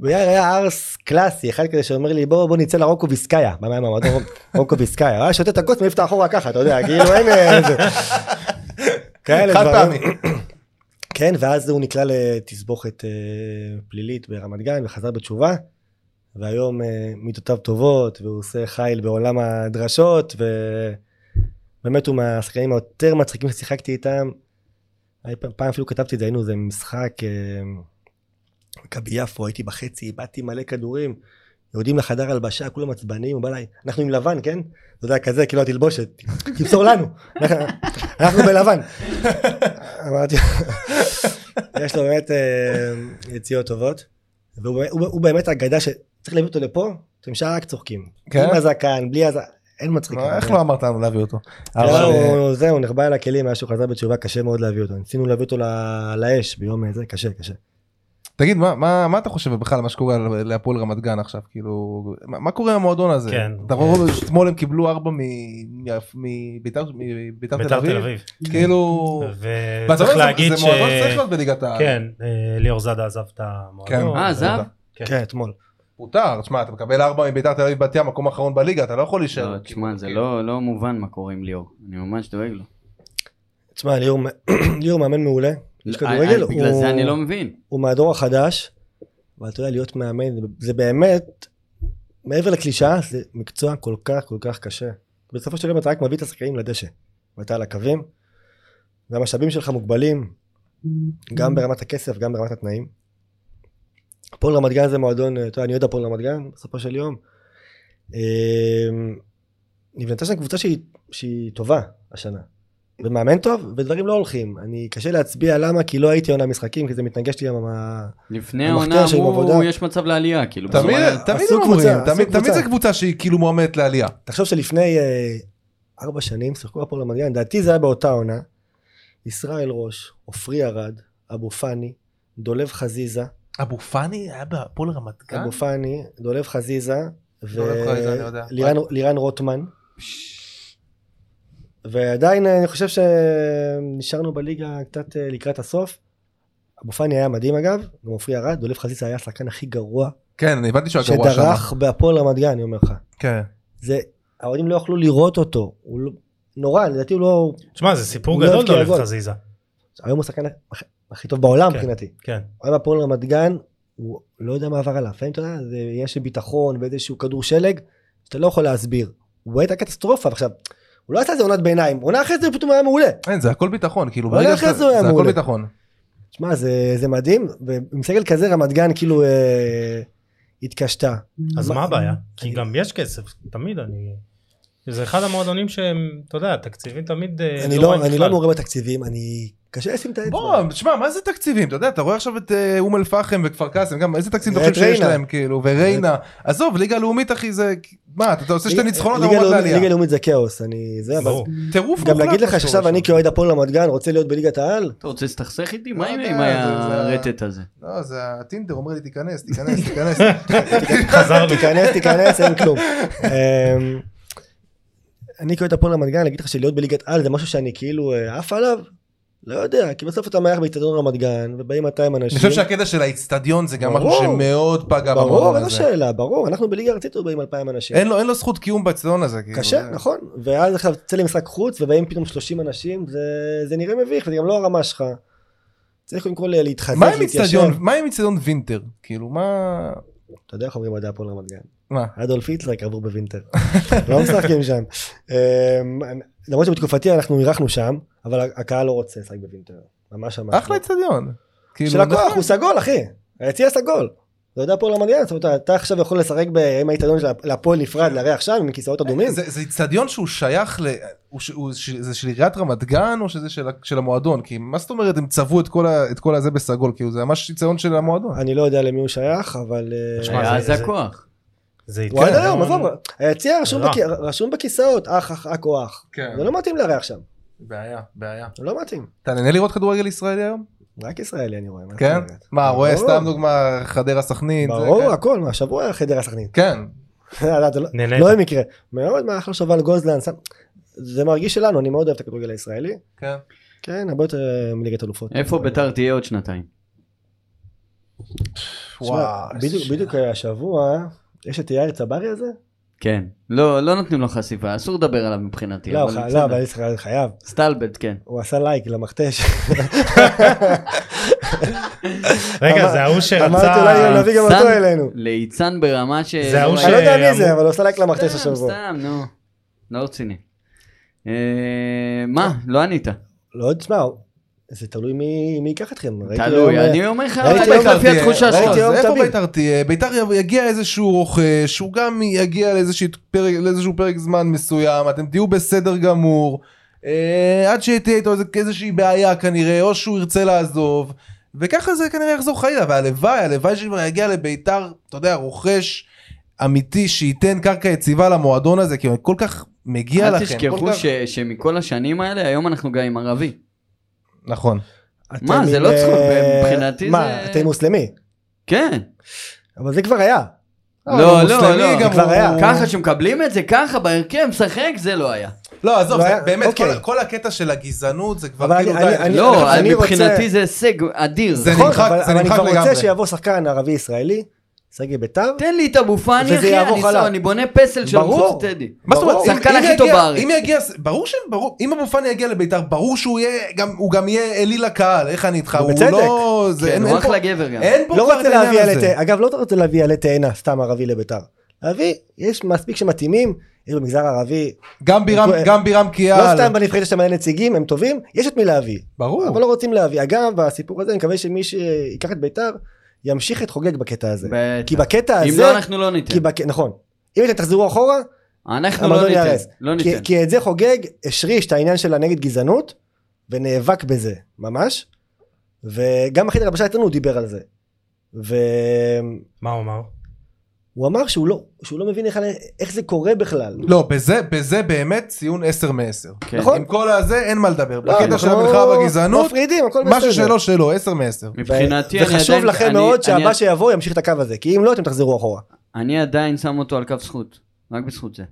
ויאיר היה ערס קלאסי, אחד כזה שאומר לי בוא בוא נצא לרוקו ויסקאיה, מה מה מה מה רוקו ויסקאיה, הוא היה שותה את הכוס מעיף את האחורה ככה, אתה יודע, כאילו אין איזה, כאלה
חד
דברים.
פעמי.
כן, ואז הוא נקלע לתסבוכת אה, פלילית ברמת גן וחזר בתשובה, והיום אה, מידותיו טובות, והוא עושה חיל בעולם הדרשות, ובאמת הוא מהשחקנים היותר מצחיקים ששיחקתי איתם. היה פעם- פעם אפילו כתבתי את זה, היינו איזה משחק, אה, מכבי יפו, הייתי בחצי, איבדתי מלא כדורים. יורדים לחדר הלבשה, כולם עצבניים, הוא בא אליי, אנחנו עם לבן, כן? אתה יודע, כזה, כאילו התלבושת, תמסור לנו, אנחנו בלבן. אמרתי, יש לו באמת אה, יציאות טובות, והוא באמת- הוא הוא באמת אגדה שצריך להביא אותו לפה, אתם שאר רק צוחקים.
כן?
עם הזקן, בלי הזקן, אין מצחיק.
מה, איך לא אמרת לנו להביא אותו? אבל, אה,
זהו, זהו, נחבא על הכלים, מאז שהוא חזר בתשובה, קשה מאוד להביא אותו. ניסינו להביא אותו ל- לאש ביום אה, זה, קשה, קשה.
תגיד מה- מה מה אתה חושב בכלל על מה שקורה ל- להפועל רמת גן עכשיו כאילו מה מה קורה עם המועדון הזה?
כן.
אתה רואה אתמול הם קיבלו ארבע מ- מ- מביתר מביתר תל
ביתר תל
אביב
אביב.
כאילו ואתה
לא
וצריך
אומר, זה-
להגיד ש...
זה מועדון שצריך להיות בליגת העל.
כן, אה, ליאור זאדה עזב את המועדון.
אה, עזב?
כן, אתמול.
פוטר תשמע אתה מקבל ארבע מביתר תל אביב בת ים מקום אחרון בליגה אתה לא יכול להישאר.
לא, תשמע, זה לא לא מובן מה קורה עם ליאור. אני ממש דואג לו.
תשמע, ליאור מ- ליאור מאמן מעולה. יש כדורגל,
אה, אה, בגלל
הוא-
זה אני לא מבין.
הוא מהדור החדש, אבל אתה יודע, להיות מאמן, זה באמת, מעבר לקלישאה, זה מקצוע כל כך כל כך קשה. בסופו של יום אתה רק מביא את השחקנים לדשא, ואתה על הקווים, והמשאבים שלך מוגבלים, גם ברמת הכסף, גם ברמת התנאים. הפועל רמת גן זה מועדון, אתה יודע, אני אוהד הפועל רמת גן, בסופו של יום. אמ, נבנתה שם קבוצה שהיא, שהיא טובה השנה. ומאמן טוב, ודברים לא הולכים. אני קשה להצביע למה, כי לא הייתי עונה משחקים, כי זה מתנגש לי עם ה...
לפני
המחתרת
העונה
שלהם
אמרו
עבודה.
יש מצב לעלייה, כאילו.
תמיד
בזמן-
תמיד
עשו
הם אומרים,
קבוצה, עשו
תמיד- תמיד
קבוצה.
זו קבוצה שהיא כאילו מועמדת לעלייה.
תחשוב שלפני אה, ארבע שנים שיחקו הפועל רמת גן, לדעתי זה היה באותה עונה. ישראל ראש, עופרי ארד, אבו פאני, דולב חזיזה,
אבו פאני היה בהפועל רמת
אבו פאני, דולב חזיזה,
כן? דולב חזיזה, אני יודע.
ולירן רוטמן. ועדיין אה, אני חושב שנשארנו בליגה קצת אה, לקראת הסוף. אבו פאני היה מדהים אגב, גם עופרי ארד, דולב חזיזה היה השחקן הכי גרוע
כן, אני הבנתי שהוא היה גרוע שם.
שדרך בהפועל רמת גן, אני אומר לך.
כן.
זה, האוהדים לא יכלו לראות אותו, הוא לא- נורא, לדעתי הוא לא,
תשמע, זה סיפור
לא
גדול
הבקיע
דולב
גול.
חזיזה.
היום הוא השחקן הכ- הכי טוב בעולם
כן.
מבחינתי.
כן.
הוא היה בהפועל רמת גן, הוא לא יודע מה עבר עליו. לפעמים אתה יודע, זה עניין של ביטחון ואיזשהו כדור שלג, שאתה לא יכול להסביר. הוא הייתה קטסטרופה עכשיו. הוא לא עשה איזה עונת ביניים, עונה אחרי זה הוא פתאום היה מעולה.
אין, זה הכל ביטחון, כאילו,
אבל
ברגע
אחרי
שאתה-
זה הוא היה
זה הכל
מעולה.
ביטחון.
שמע, זה, זה מדהים, ועם סגל כזה רמת גן כאילו אה, התקשתה.
אז
מה-
מה הבעיה? כי
אני-
גם יש כסף, תמיד אני... זה אחד המועדונים שהם, אתה יודע, תקציבים תמיד אה,
אני לא,
רואים
אני
בכלל.
לא מעורה בתקציבים, אני... קשה לשים את האצבע.
בוא, תשמע, מה זה תקציבים? אתה יודע, אתה רואה עכשיו את אה, אום אל פחם וכפר קאסם, גם איזה תקציב אתה חושב
ואת
שיש
ריינה.
להם, כאילו, וריינה. עזוב, ליגה לאומית, אחי, זה... מה, אתה אתה עושה שתי
ליגה-
ניצחונות, אתה
ליגה
מועמד
לאומית-
לעלייה.
ליגה לאומית זה כאוס, אני... זה, אבל...
ברור.
טירוף
גם
מוחלט
להגיד
מה
לך
שקורה
שעכשיו
שם.
אני כאוהד הפועל רמת גן רוצה להיות בליגת העל?
אתה רוצה להסתכסך איתי? מה
לא
עם
יודע,
עם
זה- זה-
הרטט הזה?
לא, זה הטינדר אומר לי, תיכנס, תיכנס, תיכנס.
חזרנו.
תיכנס, תיכנס, אין כלום. אמ, אני כאוהד הפועל רמת גן, להגיד לך שלהיות בליגת על זה משהו שאני כאילו אה, עף עליו? לא יודע, כי בסוף אתה מארח באיצטדיון רמת גן, ובאים 200
אני
אנשים.
חושב שהקטע של האיצטדיון זה גם משהו
ברור.
שמאוד פגע במועדון
ברור, לא אין לו
הזה.
שאלה, ברור, אנחנו בליגה ארצית ובאים 2,000 אנשים.
אין לו אין לו זכות קיום באיצטדיון הזה. כאילו,
קשה,
זה-
נכון, ואז עכשיו תצא למשחק חוץ ובאים פתאום 30 אנשים, זה, זה נראה מביך, וזה גם לא הרמה שלך. צריך קודם כל אה, להתחזק,
מה עם
להתיישר.
איצטדיון- מה עם איצטדיון וינטר? כאילו, מה...
אתה יודע איך אומרים עדי הפועל רמת גן.
מה?
אדולף היטלר קבור בווינטר, לא משחקים שם. אמ, למרות שבתקופתי אנחנו אירחנו שם, אבל הקהל לא רוצה לשחק בווינטר, ממש ממש.
אחלה
לא.
איצטדיון. כאילו,
של הכוח,
נכון.
הוא סגול אחי, היציע סגול. אתה יודע פה למדינה, זאת אומרת, אתה עכשיו יכול לשחק ב- עם האיתנון של הפועל נפרד, לארח שם עם כיסאות אדומים.
אה, זה זה איצטדיון שהוא שייך ל... הוא ש- הוא ש- זה של עיריית רמת גן או שזה של ה- של המועדון? כי מה זאת אומרת הם צבעו את כל ה- את כל הזה בסגול? כאילו זה ממש איצטדיון של המועדון.
אני לא יודע למי הוא שייך, אבל... אה,
תשמע,
היה
זה-
אז
זה-
הכוח.
זה
הוא עד
כן,
ייתן
אה,
היום,
המון-
עזוב, היציע רשום
רע.
בכ- רשום בכיסאות, אח, אח, אח או אח.
לא. כן.
זה לא מתאים לארח שם,
בעיה, בעיה.
זה לא מתאים.
אתה נהנה לראות כדורגל ישראלי היום?
רק ישראלי אני רואה. מה זאת
כן?
אומרת?
מה, רואה
ברור.
סתם דוגמה חדרה סכנין? זה-
ברור, הכל, מה, השבוע היה חדרה סכנין.
כן.
לא, זה לא-
נהנית.
לא במקרה. מאוד מה אחלה שובל גוזלן. שם- זה מרגיש שלנו, אני מאוד אוהב את הכדורגל הישראלי.
כן.
כן, הרבה יותר אה, מליגת אלופות.
איפה ביתר תהיה עוד שנתיים?
תשמע,
וואו, איזה
בדיוק-
שאלה.
בדיוק אה, השבוע, יש את יאיר צברי הזה?
כן. לא, לא נותנים לו חשיפה, אסור לדבר עליו מבחינתי.
לא,
אבל
ח-
בסדר.
לא, אבל ישראל חייב.
סטלבט, כן.
הוא עשה לייק למכתש.
רגע,
אמר-
זה ההוא
אמרתי
שרצה...
אולי נביא גם
ליצן-
אותו אלינו.
ליצן ברמה ש...
זה ההוא ש-
אני לא יודע מי זה,
אמרו-
אבל הוא עשה לייק למכתש
סתם,
השבוע.
סתם, נו. לא רציני. אה, מה? לא ענית.
לא, תשמע, זה תלוי מי מי ייקח אתכם. ראיתי היום,
תלוי,
אה,
אני אומר לך,
ראיתי
אני
יום
הולך לפי
תהיה?
התחושה
ראיתי
שלך.
לא,
יום
אז איפה
תמיד.
ביתר תהיה? ביתר יב- יגיע איזשהו רוכש, שהוא גם יגיע לאיזשהו פרק, לאיזשהו פרק זמן מסוים, אתם תהיו בסדר גמור, אה, עד שתהיה איתו איזה- איזושהי בעיה כנראה, או שהוא ירצה לעזוב, וככה זה כנראה יחזור חלילה, והלוואי, הלוואי שכבר יגיע לביתר, אתה יודע, רוכש אמיתי שייתן קרקע יציבה למועדון הזה, כי הוא כל כך מגיע
אל
לכם. כל
תשכחו
כך...
ש- שמכל השנים האלה, היום אנחנו גם עם ערבי.
נכון.
אתם
מה, זה
עם,
לא
אה,
צחוק, מבחינתי
מה,
זה-
אתם מוסלמי?
כן.
אבל זה כבר היה.
לא,
הוא
לא,
מוסלמי
לא.
גם,
כבר
הוא-
היה.
ככה שמקבלים את זה, ככה בהרכב, משחק, זה לא היה.
לא, עזוב,
לא
זה-
היה-
באמת,
אוקיי.
כל- כל הקטע של הגזענות זה כבר
אבל
כאילו...
אני-
די.
אני-
לא,
אני רוצה-
מבחינתי זה הישג אדיר.
זה
נכון,
נמחק-
אבל
זה
אבל אני
נמחק
כבר
לגמרי.
רוצה שיבוא שחקן ערבי ישראלי, שחק בביתר,
תן לי את אבו פאני,
וזה
אחי,
יעבור
אני
חלק.
סתם, אני בונה פסל של
ברור.
מחוץ טדי.
מה זאת אומרת?
ברור.
אם-
שחקן
אם
הכי
יגיע-
טוב בארץ.
אם יגיע, ברור ש... ברור, אם אבו פאני יגיע לביתר, ברור שהוא יהיה, גם- הוא גם יהיה אליל לקהל, איך אני איתך? הוא
ובצדק.
לא... זה-
כן,
אין-
הוא
אין פה-
אחלה גבר גם.
אין פה
לא
כבר
רוצה
את העניין
להביא עלי
הזה.
תאנה, אגב לא רוצה להביא עלי תאנה סתם ערבי לביתר. להביא, יש מספיק שמתאימים, יש במגזר הערבי,
גם בירם-
אין פה-
גם בירם
לא
קיאל.
סתם בנבחרת יש שם מלא נציגים, הם טובים, יש את מי להביא, אבל
ברור.
לא רוצים להביא. אגב, הסיפור הזה, אני מקווה שמי שיקח את ביתר, ימשיך את חוגג בקטע הזה.
בטח.
כי בקטע
אם
הזה,
לא, אנחנו לא ניתן.
כי בק... נכון, אם אתם תחזרו אחורה,
אנחנו לא
המועדון ייהרס.
ניתן, לא
כי-
ניתן.
כי את זה חוגג השריש את העניין שלה נגד גזענות, ונאבק בזה, ממש. וגם אחי דרבשה אצלנו הוא דיבר על זה. והוא
מה הוא אמר?
אמר שהוא לא, שהוא לא מבין איך, איך זה קורה בכלל.
לא, בזה, בזה באמת ציון 10 מ-10.
כן.
נכון.
עם כל הזה אין מה לדבר.
לא,
בקטע
אנחנו
של המלחמה בגזענות,
מפרידים, הכל בסדר.
משהו שלא שלו, 10 מ-10.
מבחינתי אני
וחשוב
עדיין,
לכם
אני-
מאוד
אני-
שהבא שיבוא ימשיך את הקו הזה, כי אם לא אתם תחזרו אחורה.
אני עדיין שם אותו על קו זכות, רק בזכות זה.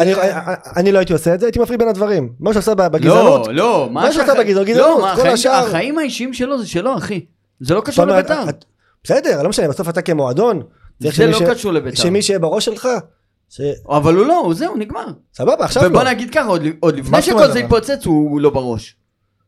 אני, אני- אני לא הייתי עושה את זה, הייתי מפריד בין הדברים. מה שהוא עשה בגזענות,
לא, לא,
מה שעשה בגזענות, גזענות,
מה,
כל
החיים-
השאר.
החיים האישיים שלו זה שלו, אחי. זה לא
אתה
קשור
אומר,
לבית"ר.
את- בסדר, לא משנה, בסוף אתה כמועדון, צריך
זה
שמי
לא
ש-
קשור לבית"ר.
שמי שיהיה בראש שלך, ש-
אבל הוא לא, הוא זהו, נגמר.
סבבה, עכשיו לא.
ובוא נגיד ככה, עוד- עוד לפני
מה זאת
שכל
אומרת,
זה
אבל?
התפוצץ, הוא הוא לא בראש.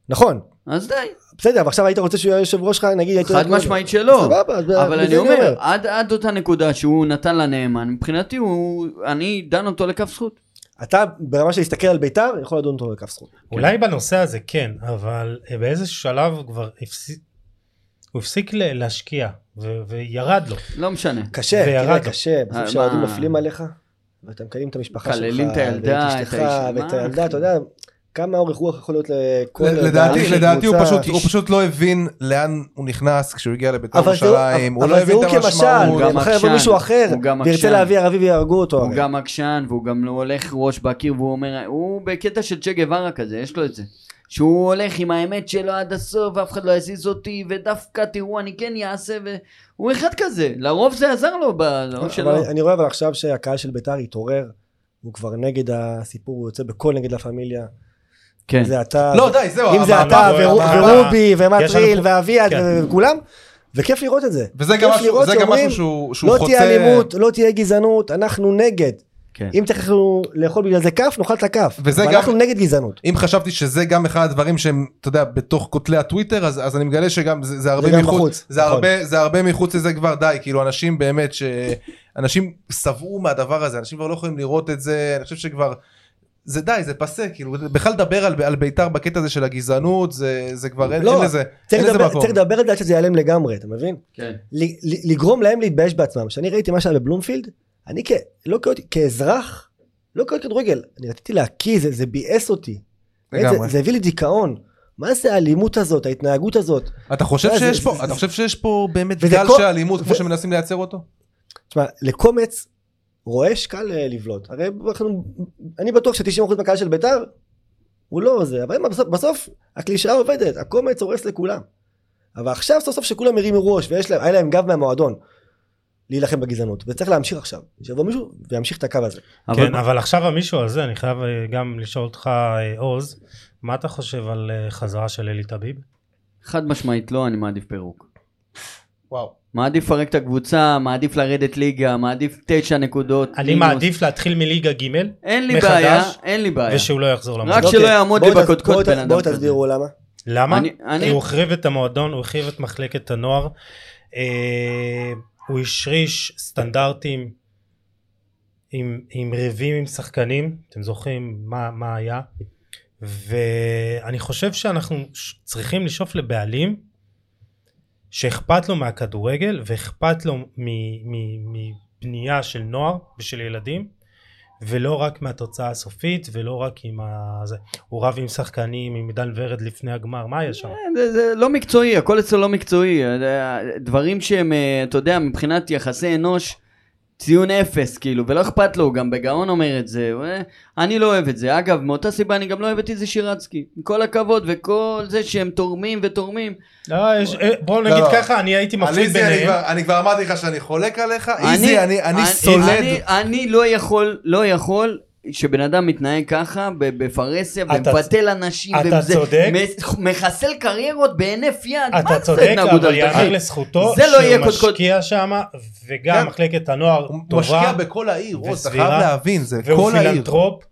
נכון,
אז די,
בסדר, אבל עכשיו היית רוצה שהוא יהיה יושב ראש שלך, נגיד... היית-
חד משמעית שלא.
לא- סבבה, אז ב-
אבל
בזה
אני אומר, עד עד אותה נקודה שהוא נתן לנאמן, מבחינתי הוא, אני דן אותו לקו זכות.
אתה ברמה של להסתכל על בית"ר, יכול לדון אותו לכף זכות.
אולי בנושא הזה כן, אבל אה, באיזשהו שלב הוא כבר הפסיק, הוא הפסיק ל- להשקיע ו- וירד לו.
לא משנה.
קשה,
וירד
תראה,
לו.
קשה, בסוף
אה,
כשהאוהדים
מה?
נופלים עליך, ואתה מקיים את המשפחה שלך,
מקללים את הילדה,
ואת
את
אשתך,
האישה,
ואת
מה?
הילדה, אתה יודע, כמה אורך רוח יכול להיות לכל...
לדעתי,
בעלים של
לדעתי הוא
קבוצה.
פשוט, הוא פשוט לא הבין לאן הוא נכנס כשהוא הגיע לבית"ר
אבל זה הוא-
ירושלים, הוא
אבל
לא
זה
הבין את
הוא
המשמעות.
גם
כמשל, מחר יבוא
עקשן,
מישהו אחר,
הוא גם
וירצה
עקשן.
להביא ערבי ויהרגו אותו.
הוא
אוקיי.
הרי.
גם עקשן והוא גם לא הולך ראש בקיר והוא אומר, הוא בקטע של צ'ה גווארה כזה, יש לו את זה. שהוא הולך עם האמת שלו עד הסוף ואף אחד לא יזיז אותי ודווקא תראו אני כן יעשה והוא אחד כזה, לרוב זה עזר לו בראש שלו.
אבל אני רואה אבל עכשיו שהקהל של בית"ר התעורר, הוא כבר נגד הסיפור, הוא יוצא בקול נגד לה פמיליה.
כן.
זה אתה,
לא, די, זהו.
אם זה
המעמד-
אתה
אבל-
ורו-
המעמד-
אבל-
ורובי
יש לנו
ומטריל
פה-
ואביעד
כן.
וכולם, וכיף לראות את זה.
וזה
כיף
גם משהו,
לראות
זה גם
שאומרים,
משהו שהוא, שהוא
לא
חוצה...
תהיה אלימות, לא תהיה גזענות, אנחנו נגד.
כן.
אם צריך לנו לאכול בגלל זה כף, נאכל את הכף.
וזה
אבל
גם-
אנחנו נגד גזענות.
אם חשבתי שזה גם אחד הדברים שהם, אתה יודע, בתוך כותלי הטוויטר, אז, אז אני מגלה שגם זה, זה הרבה
גם
מחוץ,
בחוץ,
זה,
נכון.
הרבה, זה הרבה מחוץ לזה כבר די, כאילו אנשים באמת, ש... אנשים שבעו מהדבר הזה, אנשים כבר לא יכולים לראות את זה, אני חושב שכבר, זה די, זה פסה, כאילו, בכלל לדבר על, על בית"ר בקטע הזה של הגזענות, זה, זה כבר אין,
לא,
אין לזה,
צריך
אין לזה
לדבר-
מקום.
צריך לדבר על זה עד שזה ייעלם לגמרי, אתה מבין?
כן.
ל- ל- לגרום להם להתבייש בעצמם. כשאני ראיתי מה שהיה בבלומפילד, אני כ- לא כאותי- כאזרח, לא כאוהד כדורגל, אני רציתי להקיא, זה- זה ביאס אותי.
לגמרי.
באמת, זה- זה הביא לי דיכאון. מה זה האלימות הזאת, ההתנהגות הזאת?
אתה חושב
זה-
שיש
זה-
פה,
זה-
אתה חושב שיש פה באמת
וזה
גל
כל-
של אלימות, כמו
ו-
שמנסים לייצר אותו?
תשמע, לקומץ רועש קל אה, לבלוט. הרי אנחנו, אני בטוח ש-90% מהקהל של בית"ר הוא לא זה, אבל הם בסוף, בסוף הקלישאה עובדת, הקומץ הורס לכולם. אבל עכשיו סוף סוף שכולם הרימו ראש ויש להם, היה להם גב מהמועדון להילחם בגזענות, וצריך להמשיך עכשיו. שיבוא מישהו וימשיך את הקו הזה.
כן, אבל עכשיו המישהו הזה, אני חייב אה, גם לשאול אותך, אה, עוז, מה אתה חושב על אה, חזרה של אלי טביב?
חד משמעית לא, אני מעדיף פירוק.
וואו.
מעדיף לפרק את הקבוצה, מעדיף לרדת ליגה, מעדיף תשע נקודות.
אני
מינוס.
מעדיף להתחיל מליגה ג'
אין לי
מחדש,
בעיה, אין לי בעיה.
ושהוא לא יחזור
רק
למועדון.
שלא יעמוד לי
אוקיי, בואו ת-
בקודקוד
בואו ת-
בן אדם
בואו
כזה.
תסבירו למה.
למה?
אני-
כי
אני-
הוא החריב את המועדון, הוא החריב את מחלקת הנוער, אה, הוא השריש סטנדרטים עם, עם ריבים עם שחקנים, אתם זוכרים מה, מה היה, ואני חושב שאנחנו ש- צריכים לשאוף לבעלים שאכפת לו מהכדורגל ואכפת לו מ- מ- מבנייה של נוער ושל ילדים ולא רק מהתוצאה הסופית ולא רק עם ה... זה. הוא רב עם שחקנים, עם עידן ורד לפני הגמר, מה היה שם?
זה, זה לא מקצועי, הכל אצלו לא מקצועי. דברים שהם, אה, אתה יודע, מבחינת יחסי אנוש, ציון אפס, כאילו, ולא אכפת לו, הוא גם בגאון אומר את זה. הוא, אה, אני לא אוהב את זה. אגב, מאותה סיבה אני גם לא אוהב את איזי שירצקי. עם כל הכבוד וכל זה שהם תורמים ותורמים.
לא, יש- אה, בואו נגיד
לא.
ככה, אני הייתי מפריד
עליזי, אני
ביניהם.
כבר- אני כבר אמרתי לך שאני חולק עליך, איזי, אני- אני סולד.
אני, אני לא יכול, לא יכול. שבן אדם מתנהג ככה ב- בפרהסיה
אתה-
ומבטל אנשים
אתה
וזה-
צודק.
מח- מחסל קריירות בהינף יד מה
אתה
זה
צודק,
התנהגות
אבל
אנטי-
יאמר לזכותו
זה לא יהיה
שהוא
קודקוד.
משקיע שם, וגם
כן.
מחלקת הנוער
הוא משקיע
טובה,
בכל העיר, רוס, אתה
וסבירה,
חייב להבין, זה
והוא
כל העיר.
פילנטרופ,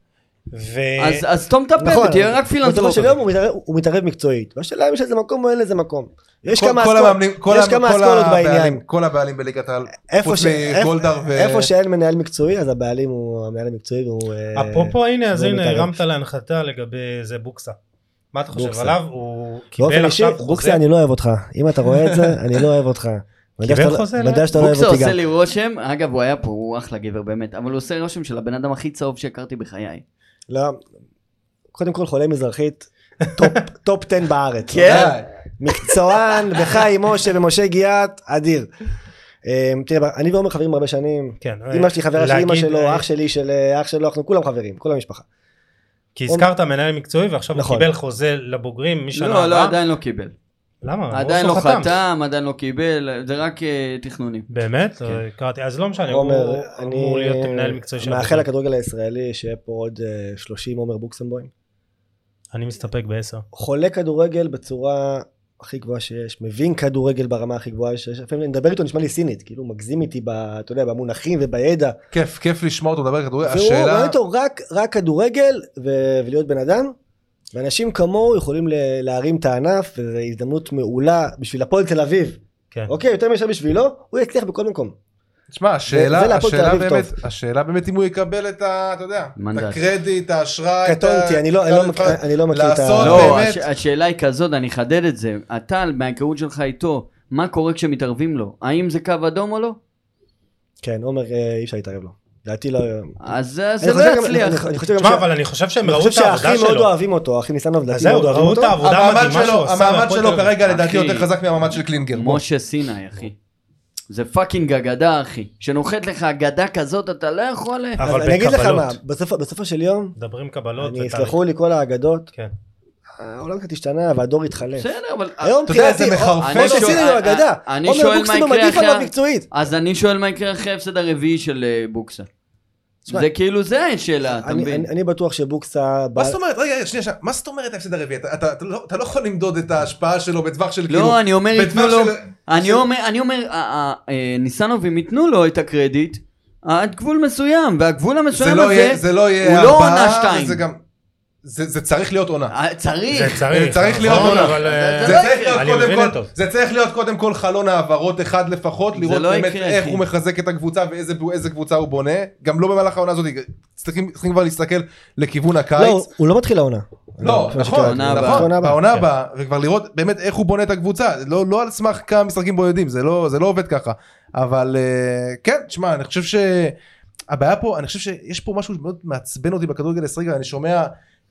ו-
אז- אז תום את הפה ותהיה רק
נכון, בסופו
פילנטרופ.
של יום הוא מתערב- הוא מתערב מקצועית. והשאלה אם יש לזה מקום או אין לזה מקום. יש
כל-
כמה
כל
אסכול-
המאמנים- כל
יש
ה-
כמה
כל
אסכולות
הבעלים-
בעניין.
כל הבעלים בליגת העל,
איפה
חוץ
ש- איפה-
מגולדהר ו...
איפה שאין מנהל מקצועי אז הבעלים הוא המנהל המקצועי והוא... אה,
אפרופו הנה, אז
לא
הנה,
מתערב.
הרמת להנחתה לגבי זה בוקסה. מה אתה חושב
בוקסה.
עליו? הוא
באופן
קיבל
אישי,
עכשיו
בוקסי
חוזה,
אני לא אוהב אותך, אם אתה רואה את זה, אני לא אוהב אותך. אני יודע
קיבל
שאתה-
חוזה
אני יודע
לאן?
שאתה לא אוהב
בוקסה
אותי
עושה
גם.
לי רושם, אגב הוא היה פה, הוא אחלה גבר באמת, אבל הוא עושה רושם של הבן אדם הכי צהוב שהכרתי בחיי.
לא. קודם כל חולה מזרחית, טופ- טופ 10 בארץ.
כן?
מקצוען, וחיים משה ומשה גיאת, אדיר. אמ, תראה, אני ועומר חברים הרבה שנים,
כן,
אמא שלי חברה של אמא
להגיד,
שלו,
אה,
אח שלי של אה, אח שלו, אנחנו כולם חברים, כל המשפחה.
כי הזכרת מנהל מקצועי ועכשיו הוא
נכון.
קיבל חוזה לבוגרים משנה
לא, לא,
הבאה.
עדיין לא קיבל.
למה?
עדיין לא
הוא
חתם, עדיין לא קיבל, זה רק אה, תכנונים.
באמת?
כן.
אה, קראתי, אז לא משנה, הוא
עומר,
הוא
אני אה,
אמור להיות מנהל מקצועי של
מאחל
הבוגרים.
לכדורגל הישראלי שיהיה פה עוד אה, 30 עומר בוקסמבוים.
אני מסתפק בעשר.
חולה כדורגל בצורה הכי גבוהה שיש, מבין כדורגל ברמה הכי גבוהה שיש, לפעמים אני מדבר איתו נשמע לי סינית, כאילו הוא מגזים איתי, ב- אתה יודע, במונחים ובידע.
כיף, כיף לשמוע אותו מדבר כדורגל.
והוא רואה
השאלה,
איתו רק, רק כדורגל ו- ולהיות בן אדם, ואנשים כמוהו יכולים ל- להרים את הענף, וזו הזדמנות מעולה בשביל הפועל תל אביב.
כן.
אוקיי, יותר מאשר בשבילו, הוא יצליח בכל מקום.
תשמע,
זה
השאלה,
להפועל תל
השאלה
אביב
באמת,
טוב.
השאלה באמת אם הוא יקבל את ה, אתה יודע, את
מנדט.
הקרדיט, האשראי, את ה-
קטונתי, אני לא- אני לא מכיר- אני לא מכיר את ה-
לעשות
לא,
באמת,
הש- השאלה היא כזאת, אני אחדד את זה. אתה, מההיכרות שלך איתו, מה קורה כשמתערבים לו? האם זה קו אדום או לא?
כן, עומר אה, אי אפשר להתערב לו. לדעתי לא...
אז זה
אני
זה לא
חושב גם-
יצליח.
אני- אני חושב גם
תשמע,
ש-
אבל אני חושב שהם
אני
ראו
חושב
את העבודה
שהאחים מאוד
שלו.
אוהבים אותו, האחים ניסנוב
אז
לדעתי
זהו,
מאוד אוהבים
ראו את
אותו.
העבודה
המעמד
המדהימה
שלו,
שהוא עשה.
המעמד
בהפועל
שלו
תל אביב.
כרגע לדעתי
אחי.
יותר חזק מהמעמד של קלינגר. בוא.
משה סיני, אחי. זה פאקינג אגדה, אחי. שנוחת לך אגדה כזאת, אתה לא יכול... ל-
אז
אבל לא.
אני אגיד לך מה,
בקבלות.
בסופו- בסופו של יום,
מדברים קבלות.
אני-
ותאריך.
יסלחו לי כל האגדות,
כן.
העולם קצת השתנה והדור התחלף.
בסדר, אבל...
היום
אתה יודע, זה
מבחינתי,
מחרפן.
אני
משה
שואל-
סיני הוא אגדה.
אני
עומר
שואל
בוקסמבום
מה יקרה
עדיף עליו
אחרי-
מקצועית.
אז אני שואל מה יקרה אחרי ההפסד הרביעי של אה, בוקסה.
תשמע,
זה כאילו זה השאלה, אתה
אני-
מבין?
אני- אני בטוח שבוקסה...
מה
בא-
זאת אומרת, רגע, רגע, שנייה, שנייה, מה זאת אומרת ההפסד הרביעי? אתה- אתה- אתה לא- אתה לא יכול למדוד את ההשפעה שלו בטווח של כאילו...
לא, אני אומר,
בטווח
ייתנו לו...
של-
אני
של-
אומר, אני אומר, אה, אה, אה, ניסנובים ייתנו לו את הקרדיט עד גבול מסוים, והגבול
זה
המסוים
לא יהיה,
הזה,
זה לא יהיה
הוא לא
ארבעה,
עונה שתיים.
וזה גם- זה זה צריך להיות עונה.
אה, צריך.
זה צריך.
זה צריך להיות
נכון,
עונה.
אבל, אה,
זה
זה
לא
צריך
יקרה.
להיות
אני
קודם
מבין
כל-
אותו.
זה צריך להיות קודם כל חלון העברות אחד לפחות, לראות
לא
באמת
יקרה,
איך
אחי.
הוא מחזק את הקבוצה ואיזה איזה קבוצה הוא בונה, גם לא במהלך העונה הזאת, צריכים צריכים כבר להסתכל לכיוון
לא,
הקיץ.
הוא לא מתחיל העונה.
לא,
זה מה
נכון,
שקראתי.
העונה הבאה.
נכון,
העונה הבאה.
בעונה
כן.
הבאה, וכבר לראות באמת איך הוא בונה את הקבוצה, לא לא על סמך כמה משחקים בודדים, זה לא זה לא עובד ככה, אבל אה, כן, תשמע, אני חושב ש... הבעיה פה, אני חושב שיש פה משהו שמאוד מעצבן אותי בכדורגל הישראלי, אני שומע,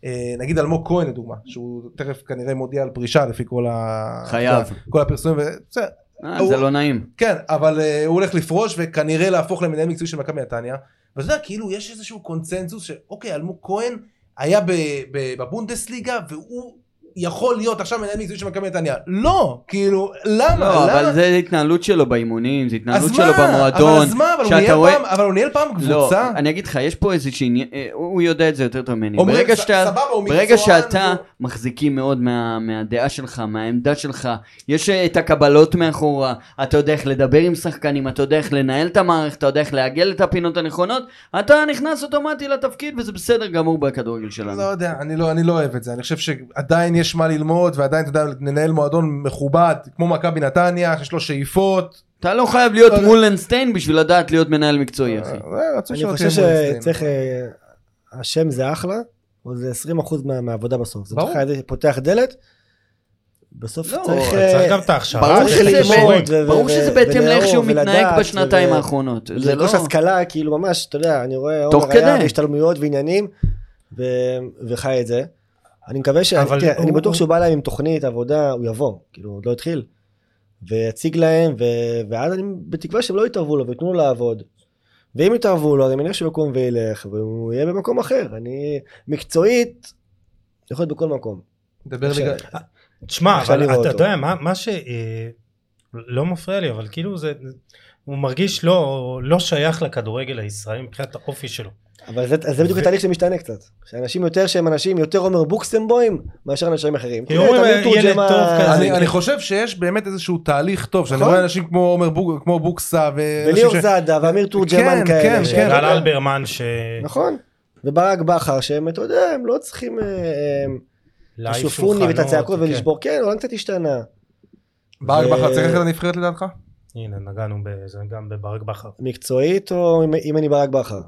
אה, נגיד אלמוג כהן לדוגמה, שהוא תכף כנראה מודיע על פרישה לפי כל ה...
חייב.
כל- כל הפרסומים, וזה,
אה,
הוא-
זה לא נעים.
כן, אבל אה, הוא הולך לפרוש וכנראה להפוך למנהל מקצועי של מכבי נתניה, ואתה יודע, כאילו יש איזשהו קונצנזוס שאוקיי, אלמוג כהן היה ב- ב- בבונדסליגה והוא יכול להיות עכשיו מנהל מקצועי של מכבי נתניה. לא, כאילו, למה?
לא,
למה?
אבל זה התנהלות שלו באימונים, זה התנהלות
אז
שלו
מה? אבל
במועדון.
אז מה, אבל הוא
שאתה
ניהל
רואה-
פעם- אבל הוא ניהל פעם
לא,
קבוצה?
אני אגיד לך, יש פה איזה שהיא, הוא יודע את זה יותר טוב ממני.
אומרים,
ברגע
"ס-
שאתה-
סבבה, הוא
ברגע
מקצוען,
שאתה
הוא-
מחזיקים מאוד מה, מהדעה שלך, מהעמדה שלך, יש אה, את הקבלות מאחורה, אתה יודע איך לדבר עם שחקנים, אתה יודע איך לנהל את המערכת, אתה יודע איך לעגל את הפינות הנכונות, אתה נכנס אוטומטי לתפקיד וזה בסדר גמור בכדורגל שלנו.
לא יודע, אני לא, אני לא אוהב את זה, אני חושב שעדיין יש מה ללמוד ועדיין אתה יודע, ננהל מועדון מכובד כמו מכבי נתניה שיש לו שאיפות.
אתה לא חייב להיות
לא יודע.
מולנשטיין בשביל לדעת להיות מנהל מקצועי, אחי.
אה, רצוי
אני
שלא
חושב
תהיה מולנשטיין.
שצריך, אה, השם זה אחלה, אבל זה 20% מה- מהעבודה בסוף. זה
ברור.
צריך לדעת, פותח דלת, בסוף
לא,
צריך...
אתה
אה,
צריך גם את ההכשרה.
ברור
צריך
שזה
את הכישורים.
ללמוד ו-
ברור
ו-
שזה
ו-
בהתאם
ולאור,
לאיך שהוא מתנהג
ולדעת,
בשנתיים
ו-
האחרונות. זה לא...
לרכוש השכלה, כאילו ממש, אתה יודע, אני רואה
תוך
עומר היה
כדי.
בהשתלמויות ועניינים, ו- וחי את זה. אני מקווה ש...
אבל
תראה,
הוא-
אני בטוח
הוא-
שהוא בא להם עם תוכנית עבודה, הוא יבוא, כאילו, עוד לא התחיל. ויציג להם, ו- ואז אני בתקווה שהם לא יתערבו לו וייתנו לו לעבוד. ואם יתערבו לו, אני מניח שהוא יקום וילך, והוא יהיה במקום אחר. אני מקצועית, יכול להיות בכל מקום.
דבר ליגה.
עכשיו,
תשמע,
אפשר
אבל
לראות
אתה
אותו.
יודע, מה מה ש... אה, לא מפריע לי, אבל כאילו זה... הוא מרגיש לא, לא שייך לכדורגל הישראלי מבחינת האופי שלו.
אבל זה, זה בדיוק
ו-
התהליך שמשתנה קצת. שאנשים יותר שהם אנשים יותר עומר בוקסמבוים מאשר אנשים אחרים.
כי אומרים,
תמיד
"אה, ילד
תורג'מן-
טוב כזה".
אני, אני חושב שיש באמת איזשהו תהליך טוב שאני
נכון.
רואה אנשים כמו עומר בוג, כמו בוקסה ואנשים
וליאור זאדה ואמיר תורג'מן
כן,
כאלה.
כן,
ש-
כן.
גל אלברמן ש...
נכון. וברק בכר שהם, אתה יודע, הם לא צריכים אה, אה, את
להעיף
השופוני ואת
שולחנות,
הצעקות
כן.
ולשבור. כן, העולם קצת השתנה.
ברק
ו-
בכר צריך ללכת לנבחרת לדעתך?
הנה, נגענו בזה גם בברק בכר.
מקצועית או אם- אם אני ברק בכר?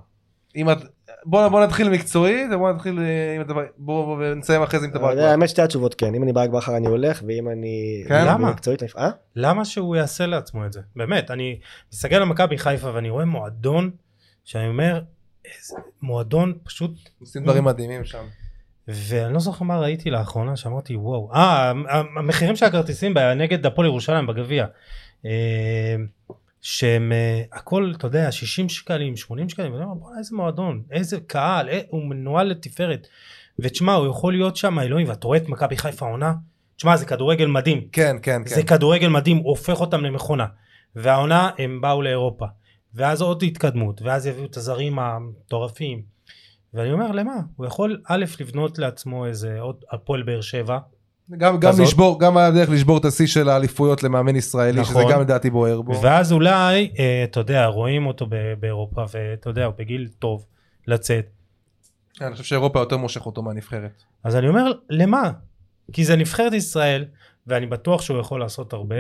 אם את... בוא, בוא נתחיל מקצועית ובוא נתחיל אה, עם הדבר... בוא, בוא, ונסיים אחרי זה עם דבר.
אבל אה, האמת שתי התשובות כן, אם אני ברק בכר אני הולך, ואם אני...
כן?
למה?
מקצועית, אני- אה?
למה שהוא יעשה לעצמו את זה? באמת, אני מסתכל על מכבי חיפה ואני רואה מועדון שאני אומר, איזה מועדון פשוט,
עושים דברים מדהימים שם.
ואני לא זוכר מה ראיתי לאחרונה שאמרתי וואו, אה, המחירים של הכרטיסים ב- נגד הפועל ירושלים בגביע, אה, שהם אה, הכל, אתה יודע, 60 שקלים, 80 שקלים, ואני אומר בואנה איזה מועדון, איזה קהל, אה, הוא מנוהל לתפארת, ותשמע, הוא יכול להיות שם אלוהים, ואתה רואה את מכבי חיפה עונה, תשמע, זה כדורגל מדהים.
כן, כן,
זה
כן.
כדורגל מדהים, הופך אותם למכונה. והעונה, הם באו לאירופה. ואז עוד התקדמות, ואז יביאו את הזרים המטורפים. ואני אומר, למה? הוא יכול, א', לבנות לעצמו איזה עוד הפועל באר שבע.
גם, גם
כזאת.
לשבור, גם הדרך לשבור את השיא של האליפויות למאמן ישראלי, שזה
נכון.
גם לדעתי בוער בו.
ואז אולי, אה, אתה יודע, רואים אותו ב- באירופה, ואתה יודע, הוא בגיל טוב לצאת.
כן, אני חושב שאירופה יותר מושך אותו מהנבחרת.
אז אני אומר, למה? כי זה נבחרת ישראל, ואני בטוח שהוא יכול לעשות הרבה,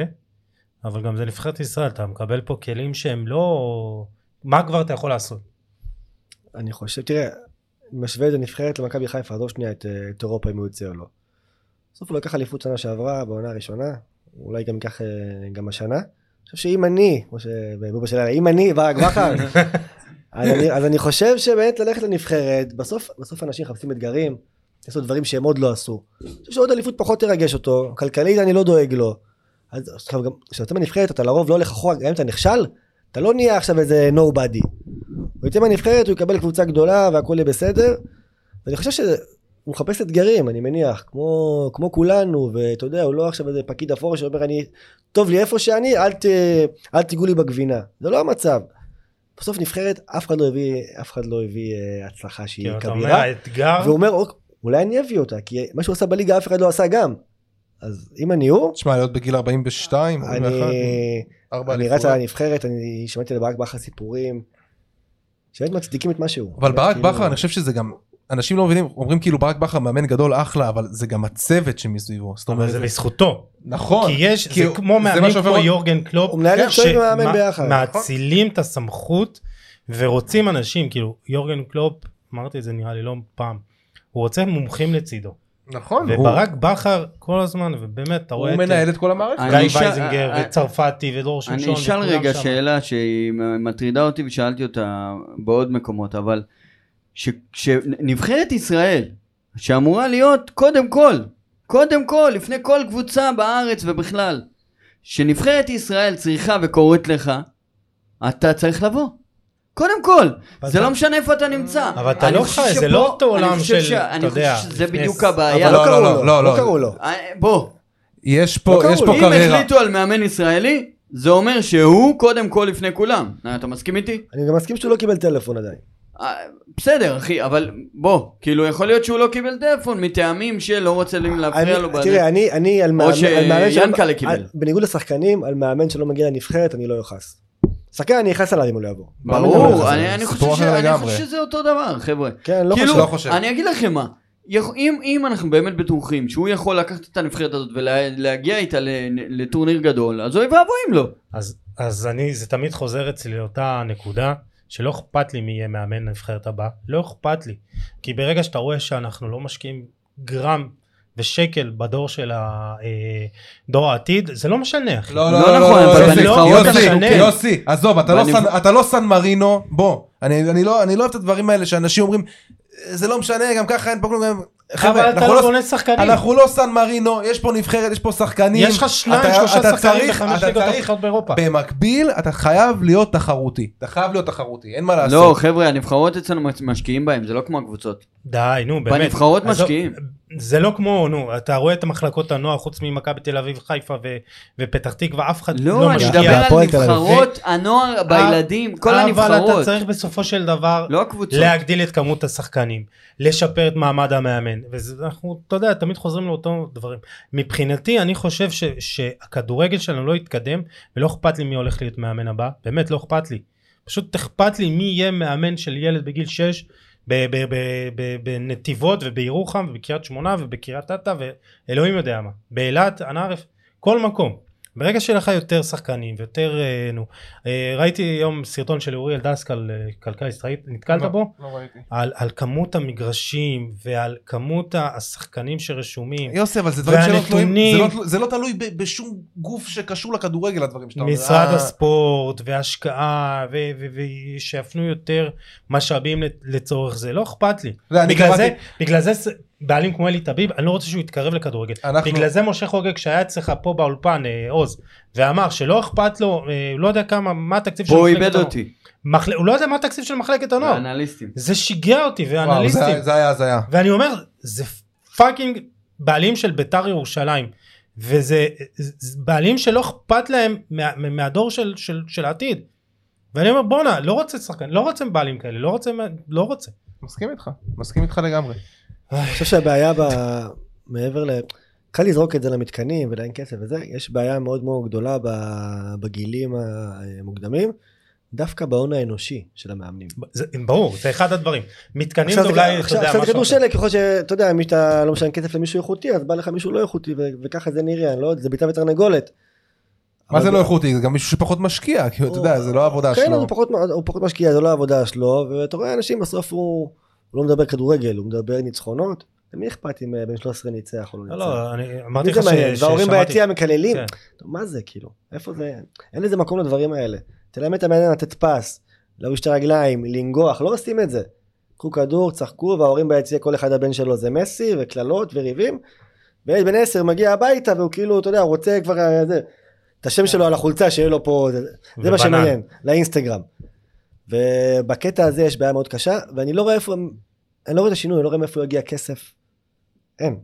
אבל גם זה נבחרת ישראל, אתה מקבל פה כלים שהם לא... מה כבר אתה יכול לעשות?
אני חושב, תראה, משווה את הנבחרת למכבי חיפה, עזוב שנייה את, אה, את אירופה אם הוא יוצא או לא. בסוף הוא לקח אליפות שנה שעברה, בעונה הראשונה, אולי גם ייקח אה, גם השנה. אני חושב שאם אני, כמו שבבובה שלנו, אם אני ברק בכר, אז, אני- אז אני חושב שבאמת ללכת לנבחרת, בסוף, בסוף אנשים מחפשים אתגרים, יעשו דברים שהם עוד לא עשו. אני חושב שעוד אליפות פחות תרגש אותו, כלכלית אני לא דואג לו. אז עכשיו גם, כשאתה בנבחרת אתה לרוב לא הולך אחורה, גם אם אתה נכשל, אתה לא נהיה עכשיו איזה nobody. הוא יצא מהנבחרת, הוא יקבל קבוצה גדולה והכל יהיה בסדר. ואני חושב שהוא מחפש אתגרים, אני מניח, כמו, כמו כולנו, ואתה יודע, הוא לא עכשיו איזה פקיד אפור שאומר, אני, טוב לי איפה שאני, אל, ת, אל תיגעו לי בגבינה. זה לא המצב. בסוף נבחרת, אף אחד לא הביא, אף אחד לא הביא אה, הצלחה שהיא
כאילו, אתה אומר,
כבירה.
האתגר...
והוא אומר, "אוק, "אוקיי, אולי אני אביא אותה, כי מה שהוא עשה בליגה אף אחד לא עשה גם. אז אם אני הוא,
תשמע, להיות בגיל 42, 41,
אני...
נכון. ארבע
אני רץ על
אליפויות.
הנבחרת, אני שמעתי לברק בכר סיפורים שבאמת מצדיקים את מה שהוא.
אבל ברק
כאילו-
בכר, אני חושב שזה גם... אנשים לא מבינים, אומרים כאילו ברק בכר מאמן גדול אחלה, אבל זה גם הצוות שמסביבו. זאת
אבל
אומרת,
זה לזכותו.
נכון.
כי יש,
כי
זה
הוא-
כמו
זה מה
מאמן
שהופך
כמו
אותו-
יורגן קלופ,
הוא מנהל
כן,
מקצועי ומאמן
שמא-
ביחד.
מאצילים את הסמכות ורוצים אנשים, כאילו יורגן קלופ, אמרתי את זה נראה לי לא פעם, הוא רוצה מומחים לצידו.
נכון. הוא-
וברק בכר כל הזמן, ובאמת, אתה רואה
הוא
את
מנהל את כל המערכת.
גיא
אני אשאל-
וייזנגר
אה,
וצרפתי ודור שמשון.
אני אשאל
וכולם
רגע
שם.
שאלה שהיא מטרידה אותי ושאלתי אותה בעוד מקומות, אבל ש- כשנבחרת ישראל, שאמורה להיות קודם כל, קודם כל, לפני כל קבוצה בארץ ובכלל, שנבחרת ישראל צריכה וקוראת לך, אתה צריך לבוא. קודם כל,
אבל
זה
אתה-
לא משנה איפה אתה נמצא.
אבל אתה
אני
לא
חושב
חי, זה
שפה-
לא אותו
אני
עולם
חושב
של,
ש-
אתה
אני
יודע,
חושב שזה
לפני
בדיוק
עשר-
הבעיה.
אבל לא
לא,
קראו
לא,
לו,
לא,
לא
לא.
קראו לו.
אה, בוא,
יש פה,
לא
יש פה
קראו,
אם
קריירה.
החליטו על מאמן ישראלי, זה אומר שהוא קודם כל לפני כולם. אה, אתה מסכים איתי?
אני גם מסכים שהוא לא קיבל טלפון עדיין.
אה, בסדר אחי, אבל בוא, כאילו יכול להיות שהוא לא קיבל טלפון מטעמים שלא רוצה לי להפריע
אני-
לו. בזה.
תראה, אני- אני על מאמן... על מאמן שלא-
שיאנקל'ה
על-
קיבל.
בניגוד לשחקנים, על מאמן שלא מגיע לנבחרת אני לא אכעס. שחקן אני אכעס עליו אם הוא לא יבוא. מאמן אני לא
ברור,
אכעס
אני
עליו.
אני
סיפור
חושב ש-
אחר
אני
לגמרי.
חושב שזה אותו דבר, חבר'ה.
כן, לא
כאילו,
חושב.
לא חושב.
אני אגיד לכם מה, יכ- אם אם אנחנו באמת בטוחים שהוא יכול לקחת את הנבחרת הזאת ולהגיע איתה ל- לטורניר גדול, אז אוי ואבוי אם לא.
אז, אז אני, זה תמיד חוזר אצלי לאותה נקודה, שלא אכפת לי מי יהיה מאמן הנבחרת הבאה, לא אכפת לי. כי ברגע שאתה רואה שאנחנו לא משקיעים גרם ושקל בדור של ה- אה, דור העתיד, זה לא משנה, אחי.
לא,
לא
לא, לא,
נכון,
לא,
אבל
יוסי,
בנבחרות
יוסי,
אנחנו כן.
יוסי, עזוב, אתה לא
בנבח-
סן- אתה לא סן מרינו, בוא, אני אני לא אני לא אוהב את הדברים האלה שאנשים אומרים, זה לא משנה, גם ככה אין פה כלום, גם-"
אבל
חבר'ה,
אתה
אנחנו
לא
לא-
בונה שחקנים.
אנחנו לא סן מרינו, יש פה נבחרת, יש פה שחקנים,
יש לך שניים,
אתה-
שלושה
אתה
שחקנים
צריך-
בחמש
אתה
ליגות
צריך-
אחרות באירופה.
במקביל אתה חייב להיות תחרותי, אתה חייב להיות תחרותי, אין מה
לא
לעשות,
חבר'ה, הנבחרות אצלנו מש- משקיעים בהם, זה לא כמו הקבוצות.
די, נו, באמת.
בנבחרות
עזוב,
משקיעים.
זה לא כמו, נו, אתה רואה את המחלקות הנוער, חוץ ממכבי תל אביב, חיפה ו- ופתח תקווה, אף אחד
לא,
לא
אני
משקיע. אה,
מדבר על
והפועל תל אביב.
נבחרות הנוער, בילדים, כל
אבל אתה
הנבחרות.
צריך בסופו של דבר
לא הקבוצות.
להגדיל את כמות השחקנים, לשפר את מעמד המאמן, ואנחנו, אתה יודע, תמיד חוזרים לאותם דברים. מבחינתי, אני חושב ש, שהכדורגל שלנו לא יתקדם, ולא אכפת לי מי הולך להיות מאמן הבא, באמת לא אכפת לי. פשוט אכפת לי מי יהיה מאמן של ילד בגיל 6 בנתיבות ובירוחם ובקריית שמונה ובקריית אתא ואלוהים יודע מה. באילת, ענף, כל מקום. ברגע שיהיה לך יותר שחקנים ויותר, אה, נו, אה, ראיתי היום סרטון של אוריאל דסק על אה, כלכליסט, ראית- נתקלת
לא,
בו?
לא ראיתי.
על, על כמות המגרשים ועל כמות השחקנים שרשומים.
יוסי, אבל זה דברים שלא תלויים,
והנתונים-
זה לא תלו- זה לא תלוי ב- בשום גוף שקשור לכדורגל הדברים שאתה אומר.
משרד
אה,
הספורט והשקעה ו- ו- ושיפנו יותר משאבים לת- לצורך זה לא אכפת לי
אתה יודע, אני
בגלל זה
קראתי-
בגלל זה ס- בעלים כמו אלי טביב אני לא רוצה שהוא יתקרב לכדורגל
אנחנו-
בגלל זה משה חוגג שהיה אצלך פה באולפן אה, עוז ואמר שלא אכפת לו אה, הוא לא יודע כמה מה התקציב של
פה הוא
מחלקת
איבד
הנוער.
אותי.
מחל- הוא לא יודע מה התקציב של מחלקת הנוער
אנליסטים.
זה שיגע אותי
וואו, זה
ואנליסטים
היה- זה היה הזיה.
ואני אומר זה פאקינג בעלים של ביתר ירושלים וזה זה בעלים שלא אכפת להם מה, מה- מהדור של, של, של העתיד. ואני אומר בואנה לא רוצה שחקן לא רוצה בעלים כאלה לא רוצה לא רוצה.
מסכים איתך, מסכים איתך לגמרי.
אני חושב שהבעיה ב... מעבר ל... קל לזרוק את זה למתקנים ולאין כסף וזה, יש בעיה מאוד מאוד גדולה ב- בגילים המוקדמים, דווקא בהון האנושי של המאמנים.
זה ברור זה אחד הדברים מתקנים זה
עכשיו זה
אולי אתה
עכשיו-
יודע
עכשיו זה
משהו.
כדור
אחר.
שלג, ככל שאתה יודע, אם אתה לא משלם כסף למישהו איכותי, אז בא לך מישהו לא איכותי, ו- וככה זה נראה, אני לא יודע, זה ביצה ותרנגולת.
מה
אבל
זה לא איכותי? זה גם מישהו שפחות משקיע, כי אתה יודע, זה לא העבודה
כן,
שלו.
הוא פחות, הוא פחות משקיע, זה לא העבודה שלו, ואתה רואה אנשים, בסוף הוא, הוא לא מדבר כדורגל, הוא מדבר ניצחונות. למי אכפת אם אה, בן 13 ניצח או לא
לא,
ניצח?
לא, אני
מי
אמרתי לך
זה
ש-
מעניין? וההורים
ששמעתי-
ביציע מקללים?
כן.
מה זה כאילו? איפה זה? אין לזה מקום לדברים האלה. תלמד את המעניין לתת פס, להוריש את הרגליים, לנגוח, לא עושים את זה. קחו כדור, צחקו, וההורים ביציע, כל אחד הבן שלו זה מסי, וקללות, וריבים. וילד בן עשר מגיע הביתה, והוא כאילו, אתה יודע, הוא רוצה כבר... אה, זה, את השם שלו על החולצה, שיהיה לו פה... זה- זה מה
ובנן.
שמעניין, לאינסטגרם. ובקטע הזה יש בעיה מאוד קשה, ואני לא רואה איפה... אני לא רואה את השינוי, אני לא רואה מאיפה יגיע כסף. אין.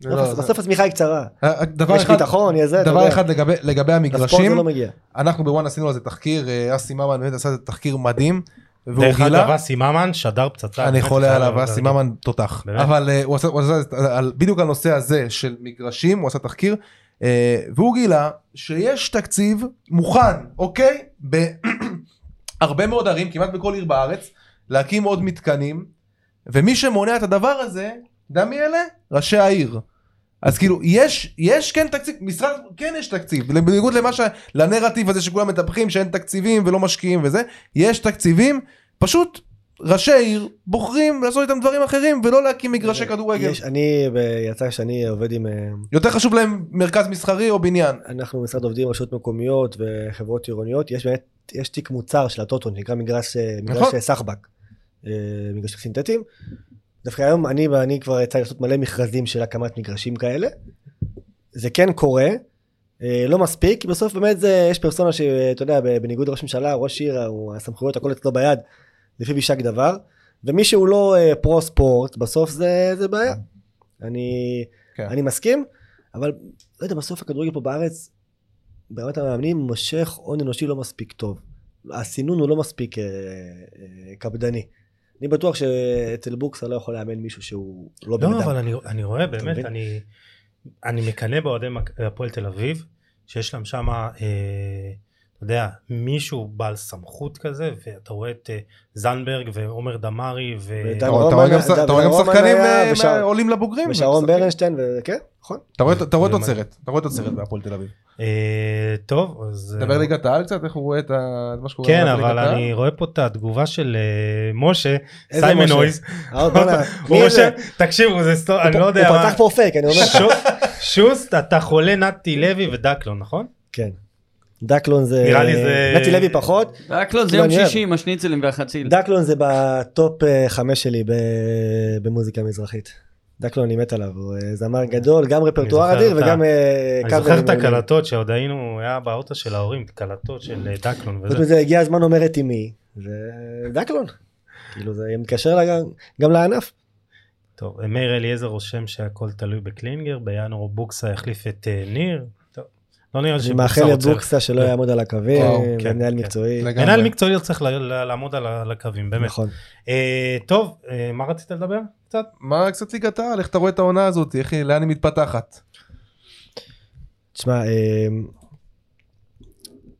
זה לא- זה-
בסוף הצמיחה היא קצרה.
אה, דבר
יש
אחד-
ביטחון, יש זה, אתה
דבר
יודע.
אחד לגבי- לגבי
לספורט
המגרשים,
זה לא מגיע.
אנחנו בוואן עשינו על זה תחקיר, אה, אסי ממן באמת עשה את תחקיר מדהים, והוא
דרך אגב
גילה,
אסי ממן שדר פצצה.
אני
באמת,
חולה
חייב
עליו,
להגיד.
אסי ממן תותח,
באמת?
אבל אה, הוא עשה- הוא עשה את- על- בדיוק על הנושא הזה של מגרשים, הוא עשה תחקיר, אה, והוא גילה שיש תקציב מוכן, אוקיי? בהרבה מאוד ערים, כמעט בכל עיר בארץ, להקים עוד מתקנים, ומי שמונע את הדבר הזה, אתה יודע מי אלה? ראשי העיר. אז כאילו יש יש כן תקציב משרד כן יש תקציב בניגוד למה ש... לנרטיב הזה שכולם מטפחים שאין תקציבים ולא משקיעים וזה יש תקציבים פשוט ראשי עיר בוחרים לעשות איתם דברים אחרים ולא להקים מגרשי כדורגל
יש, אני, ב- יצא שאני עובד עם, אה,
יותר חשוב להם מרכז מסחרי או בניין
אנחנו במשרד עובדים עם רשויות מקומיות וחברות עירוניות, יש באמת, יש תיק מוצר של הטוטו, נקרא מגרש, אה, מגרש
נכון.
אה, סחבק, אה, מגרשים סינתטיים. דווקא היום אני ואני כבר יצא לי לעשות מלא מכרזים של הקמת מגרשים כאלה. זה כן קורה, אה, לא מספיק, כי בסוף באמת זה, יש פרסונה שאתה יודע, ב- בניגוד לראש ממשלה, ראש עיר, הוא- הסמכויות, הכל אצלו ביד, לפי יישק דבר, ומי שהוא לא אה, פרו ספורט, בסוף זה, זה בעיה. אני,
כן.
כן. אני מסכים, אבל לא יודע, בסוף הכדורגל פה בארץ, ברמת המאמנים, מושך הון אנושי לא מספיק טוב. הסינון הוא לא מספיק אה, אה, קפדני. אני בטוח שאצל בוקסה לא יכול לאמן מישהו שהוא לא בן
לא
אדם.
אבל אני- אני רואה באמת
מבין?
אני אני מקנא באוהדי מק- הפועל תל אביב שיש להם שמה אה, אתה יודע מישהו בעל סמכות כזה ואתה רואה את אה, זנדברג ועומר דמארי ו...
ודן
אתה
רומן-
רואה גם ש-
דן
אתה רואה גם
רומן
שחקנים
היה,
אה,
ושאר-
עולים לבוגרים
ושרון
ומשחקים.
ברנשטיין, וכן, נכון.
אתה רואה- אתה רואה
זה
תוצרת אתה רואה תוצרת בהפועל תל אביב
אה, טוב אז אה,
דבר ליגת העל קצת איך הוא רואה את ה- את מה שקורה
כן
בליגת
אבל
העל?
אני רואה פה את התגובה של אה, משה
איזה
סיימון
משה?
נויז
אה, בוא'נה,
הוא
מי זה?
רושם תקשיבו זה סטו- אני לא
הוא
יודע מה-
פתח פה פייק, אני אומר לך.
שו- שוסט אתה חולה נתי לוי ודקלון נכון?
כן. דקלון זה...
נראה לי זה-
נתי לוי פחות.
רק לא, זה
לא,
יום
אני אוהב.
שישי עם השניצלים והחציל.
כאילו.
דקלון זה בטופ אה, חמש שלי ב- במוזיקה מזרחית. דקלון אני מת עליו, הוא אה, זמר גדול, גם רפרטואר
כן. אני זוכר
אדיר
את ה-
וגם אה,
אני
קאברים
זוכר את
מעולים.
הקלטות שעוד היינו, היה באוטו של ההורים, קלטות של אה, דקלון
חוץ
וזה.
מזה הגיע הזמן אומרת אמי, זה דקלון. כאילו זה מתקשר לה- גם לענף.
טוב, אה, מאיר אליעזר רושם שהכל תלוי בקלינגר, בינואר בוקסה החליף את אה, ניר. טוב, לא נראה לי
אני
שבוקסה
מאחל
רוצה...
לבוקסה שלא יעמוד על הקווים,
וואו,
כן,
ומנהל
כן.
מקצועי.
לגמרי.
מנהל מקצועי לא צריך ל- ל- לעמוד על ה- על הקווים, באמת.
נכון.
אה, טוב, אה, מה רצית לדבר? קצת?
מה קצת ליגת העל איך אתה רואה את העונה הזאת איך היא לאן היא מתפתחת
תשמע, אמ,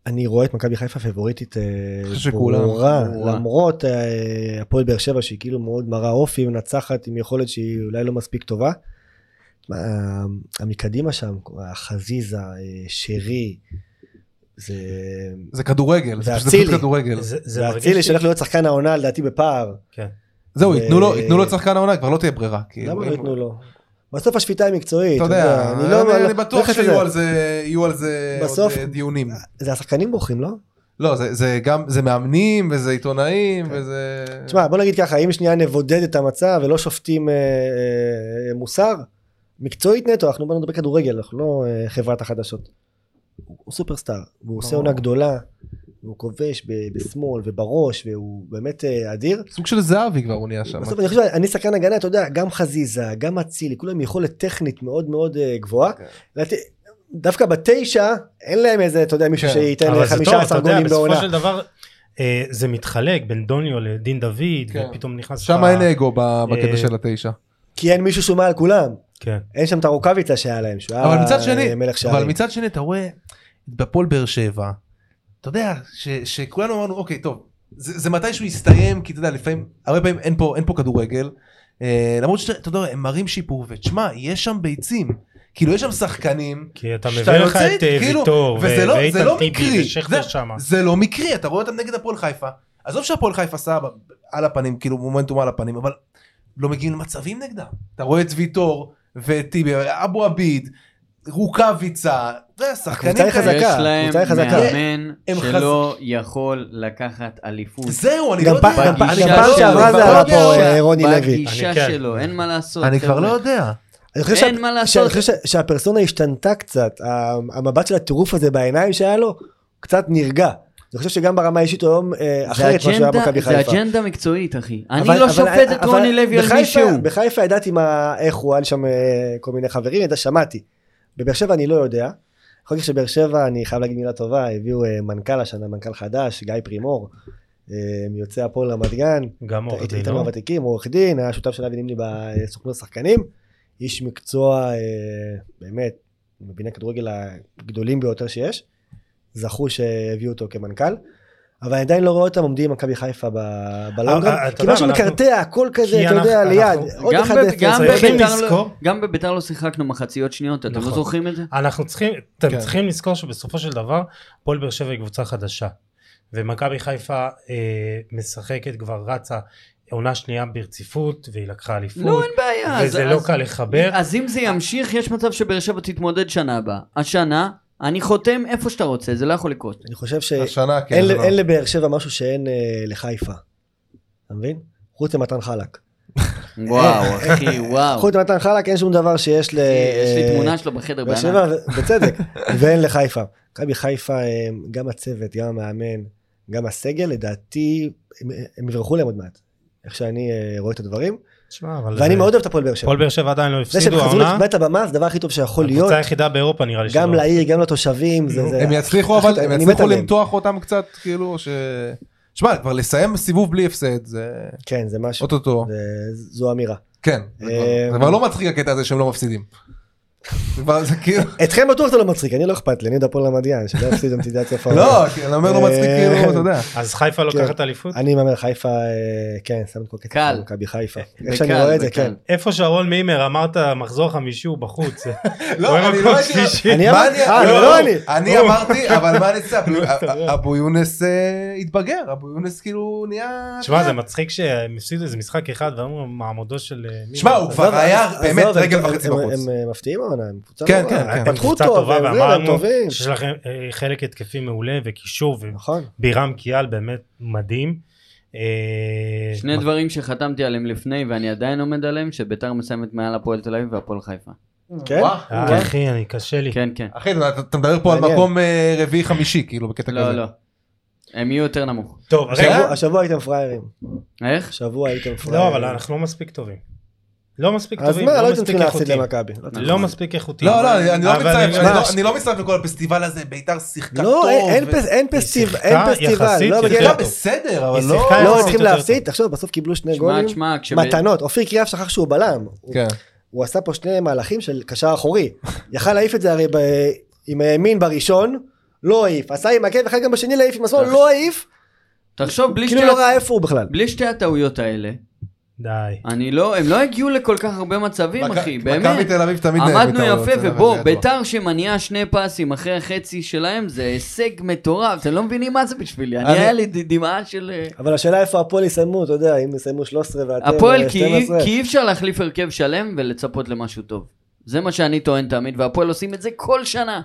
אני רואה את מכבי חיפה פבוריטית אה,
חושב שכולם,
ברורה,
ברורה.
למרות אה, הפועל באר שבע שהיא כאילו מאוד מראה אופי, מנצחת עם יכולת שהיא אולי לא מספיק טובה. ה- המקדימה שם, חזיזה, אה, שרי, זה...
זה כדורגל, זה
זה
פשוט זה פשוט
אצילי.
כדורגל.
זה- זה
זה
מרגיש
אצילי
לי-
שהולך להיות שחקן העונה לדעתי בפער.
כן.
זהו,
זה-
ייתנו לו- ייתנו לו את שחקן העונה, כבר לא תהיה ברירה. כאילו,
אה, למה לא
אין-
ייתנו לו? בסוף השפיטה היא מקצועית.
אתה יודע,
אני לא-
אני- אני
לא- לא
בטוח
נכנס
שיהיו
לזה.
על זה- יהיו על זה עוד
בסוף-
אה, דיונים.
זה השחקנים בוחרים, לא?
לא, זה- זה גם, זה מאמנים, וזה עיתונאים, וזה...
כן. תשמע, בוא נגיד ככה, אם שנייה נבודד את המצב ולא שופטים אה, אה, מוסר, מקצועית נטו, אנחנו באנו לדבר כדורגל, אנחנו לא אה, חברת החדשות. הוא הוא סופרסטאר, והוא עושה
ברור.
עונה גדולה, והוא כובש ב- בשמאל ובראש, והוא באמת אה, אדיר.
סוג של זהבי כבר הוא נהיה שם.
בסוף אני חושב, אני שחקן הגנה, אתה יודע, גם חזיזה, גם אצילי, כולם עם יכולת טכנית מאוד מאוד אה, גבוהה.
כן.
לדעתי, דווקא בתשע, אין להם איזה, אתה יודע, מישהו
כן.
שייתן
אבל זה טוב,
15
אתה יודע,
גולים בעונה.
בסופו של דבר אה, זה מתחלק בין דוניו לדין דוד,
כן.
ופתאום נכנס...
שם
לך-
אין אגו ב- בקטע
אה,
של התשע.
כי אין מישהו שהוא מעל כולם.
כן.
אין שם את הרוקאביצה שהיה להם, שהוא
אבל
היה
מצד שני,
אה, מלך
אבל
שערים.
מצד שני אתה רואה בפועל באר שבע, אתה יודע ש- שכולנו אמרנו אוקיי טוב זה זה מתישהו יסתיים כי אתה יודע לפעמים הרבה פעמים אין פה אין פה כדורגל אה, למרות שאתה יודע הם מראים שיפור ותשמע יש שם ביצים כאילו יש שם שחקנים.
כי אתה
שאתה
מביא לך
יוצא,
את אה,
כאילו,
ויטור,
וזה לא- זה לא
ואיתן
מקרי,
טיבי,
זה-
ושכטר שמה.
זה לא מקרי אתה רואה אותם נגד הפועל חיפה עזוב שהפועל חיפה סבבה על הפנים כאילו מומנטום על הפנים אבל לא מגיעים למצבים נגדם אתה רואה את ויטור ואת טיבי אבו עביד רוקאביצה אתה יודע, שחקנים
הקבוצה היא
כאלה.
חזקה.
יש להם
קבוצה היא חזקה.
מאמן
הם חז-
שלא יכול לקחת אליפות.
זהו אני לא
גם
יודע
פ- גם פ-
בגישה
גם פעם
שלו,
שעברה זה עלה פה
לא
בגישה-
אה, רוני לוי.
בגישה
אני כן.
שלו, אין מה לעשות.
אני כבר
חבר'ה.
לא יודע.
אני חושב
אין
שה-
מה לעשות.
שאני חושב שה- שהפרסונה השתנתה קצת, ה- המבט של הטירוף הזה בעיניים שהיה לו, קצת נרגע. אני חושב שגם ברמה האישית הוא היום אה,
זה
אחרת מה שהיה
אג'נדה-
במכבי
זה
חיפה.
אג'נדה מקצועית, אחי. אני
אבל-
לא
אבל-
שופט את
אבל
רוני לוי על
בחיפה-
מישהו.
בחיפה ידעתי מה- איך הוא, היה לי שם אה, כל מיני חברים, ידע, שמעתי. בבאר שבע אני לא יודע. אחר כך שבאר שבע, אני חייב להגיד מילה טובה, הביאו אה, מנכ"ל השנה, מנכ"ל חדש, גיא פרימור, אה, מיוצא הפועל רמת גן.
גם עורך
הייתי
דין,
איתנו
לא?
מהוותיקים, עורך דין, היה שותף של אבי נימני בסוכנות השחקנים, איש מקצוע אה, באמת, מביני הכדורגל הגדולים ביותר שיש, זכו שהביאו אותו כמנכ"ל, אבל אני עדיין לא רואה אותם עומדים עם מכבי חיפה ב-
אה, אה,
בלונגרם,
אתה
כי
יודע,
משהו
אבל אנחנו-
מקרטע, הכל כזה,
כי
אתה יודע,
אנחנו-
ליד,
אנחנו-
עוד
גם
אחד
ב-
אפס.
גם
צריכים
בביתר לא-
לזכור.
גם בביתר לא שיחקנו מחציות שניות, אתם לא
נכון.
זוכרים את זה?
אנחנו צריכים, אתם
כן.
צריכים לזכור שבסופו של דבר הפועל באר שבע היא קבוצה חדשה ומכבי חיפה אה, משחקת כבר רצה עונה שנייה ברציפות והיא לקחה אליפות
לא, אין בעיה. אז-
נכון. וזה לא
אז-
קל לחבר
אז אם זה ימשיך, יש מצב שבאר שבע תתמודד שנה הבאה. השנה, אני חותם איפה שאתה רוצה, זה לא יכול לקרות.
אני
אה,
חושב ש...
השנה כן.
אין
זה
ל-
לא-
אין לבאר שבע משהו שאין אה, לחיפה, אתה מבין? חוץ למתן חלק.
וואו, אחי, וואו.
חוץ למתן חלק אין שום דבר שיש ל...
אחי, אה, יש לי תמונה שלו בחדר
אה, באר
בענק.
שבע, בצדק, ואין לחיפה. מכבי חיפה, הם, גם הצוות, גם המאמן, גם הסגל, לדעתי, הם- הם יברחו להם עוד מעט. איך שאני אה, רואה את הדברים.
תשמע, אבל
ואני
זה-
מאוד אוהב את הפועל באר שבע.
הפועל באר שבע עדיין לא
זה
הפסידו
שהם חזרו
העונה
לקבל את הבמה זה הדבר הכי טוב שיכול להיות.
הקבוצה היחידה באירופה נראה לי
גם
שלא.
לעיר, גם לתושבים. זה- זה-
הם יצליחו
הכי
אבל
טוב,
הם
אני
יצליחו
מת עליהם.
למתוח אותם קצת כאילו ש... שמע כבר לסיים סיבוב בלי הפסד זה
כן, זה משהו.
אוטוטו
זה- זו אמירה.
כן זה כבר-
אה,
זה כבר לא מצחיק הקטע הזה שהם לא מפסידים. זה כבר- זה כאילו
אתכם בטוח זה לא מצחיק, אני לא אכפת לי, אני דפול למדיין, שלא יפסיד במדידת יפה.
לא כי אני אומר לא מצחיק
אה,
כאילו אתה יודע.
אז חיפה לוקחת
כן.
אליפות?
אני מהמר חיפה, אה, כן, שם את כל כסף
קל.
על מכבי חיפה.
בקל,
איך שאני רואה את זה,
בקל.
כן.
איפה שרון מימר אמרת מחזור חמישי הוא בחוץ. הוא
לא
היה
אני
מקום
לא הייתי
שלישי.
אני
מה
אמרתי, אה,
לא,
לא,
לא,
אני.
אני אמרתי אבל מה נעשה
הוא הסתדר.
אבו יונס אה, התבגר אבו יונס כאילו נהיה.
תשמע זה מצחיק שהם הפסידו איזה משחק אחד ואמרו מעמדו של... אה, מימר".
שמע, הוא כבר
עזוב,
היה
עזוב,
באמת
הם-
רגל
הם-
וחצי
הם-
בחוץ.
הם אה, מפתיעים העונה, הם קבוצה
כן,
טובה.
כן,
הם
כן.
פתחו
קבוצה
טוב,
טובה
הם זה, הם
ואמרנו
טובים.
שיש לכם אה, חלק התקפי מעולה וקישור
נכון.
ובירם קיאל באמת מדהים.
כן.
אה,
שני דברים שחתמתי עליהם לפני ואני עדיין עומד עליהם, שביתר מסיימת מעל הפועל תל אביב והפועל חיפה.
כן?
וואו.
אה, אחי אני קשה לי.
כן,
אה,
כן.
אחי אתה- אתה מדבר פה על
מעניין.
מקום אה, רביעי חמישי כאילו בקטע כזה.
לא, לא. הם יהיו יותר נמוך.
טוב
רגע.
השבוע- השבוע הייתם פראיירים.
איך?
השבוע הייתם פראיירים.
לא אבל אנחנו לא מספיק טובים. לא מספיק
אז
טובים.
מה, לא הייתם
מספיק
צריכים להפסיד
איכותיים.
למכבי. לא צריכים.
לא מספיק איכותי.
לא, לא, אני לא
אבל
מצטרף,
אני-
אני לא- אני לא מצטרף לכל הפסטיבל הזה, ביתר שיחקה טוב.
לא, אין- אין
ו-
פס- אין פסטיבל, אין
שיחקה
פסטיבל.
יחסית
לא,
היא
בגלל-
יותר
שיחקה
טוב.
בסדר, אבל
היא
לא...
שיחקה-
לא
יחסית
צריכים
יותר
להפסיד, תחשוב, בסוף קיבלו שני
שמע,
גולים.
שמע, כשב-
מתנות. אופיר קריאף שכח שהוא בלם. הוא-
כן.
הוא עשה פה שני מהלכים של קשר אחורי. יכל להעיף את זה הרי ב- עם הימין בראשון, לא העיף. עשה עם הכן, ואחר גם בשני להעיף עם השמאל, לא העיף.
תחשוב, בלי
כאילו
שתי-
לא ראה איפה הוא בכלל.
בלי שתי הטעויות האלה,
די.
אני לא, הם לא הגיעו לכל כך הרבה מצבים,
מכ-
לא, אחי, באמת.
מכבי תל אביב תמיד
אה,
נהנית
עמדנו
מהעולות,
יפה,
זה
ובוא,
ידוע.
ביתר שמניעה שני פסים אחרי החצי שלהם, זה הישג מטורף, אתם לא מבינים מה זה בשבילי. אני,
אני-
היה לי ד- דמעה של... אה,
אבל השאלה איפה הפועל יסיימו, אתה יודע, אם יסיימו 13 ואתם אה,
הפועל, כי
12.
כי אי אפשר להחליף הרכב שלם ולצפות למשהו טוב. זה מה שאני טוען תמיד, והפועל עושים את זה כל שנה.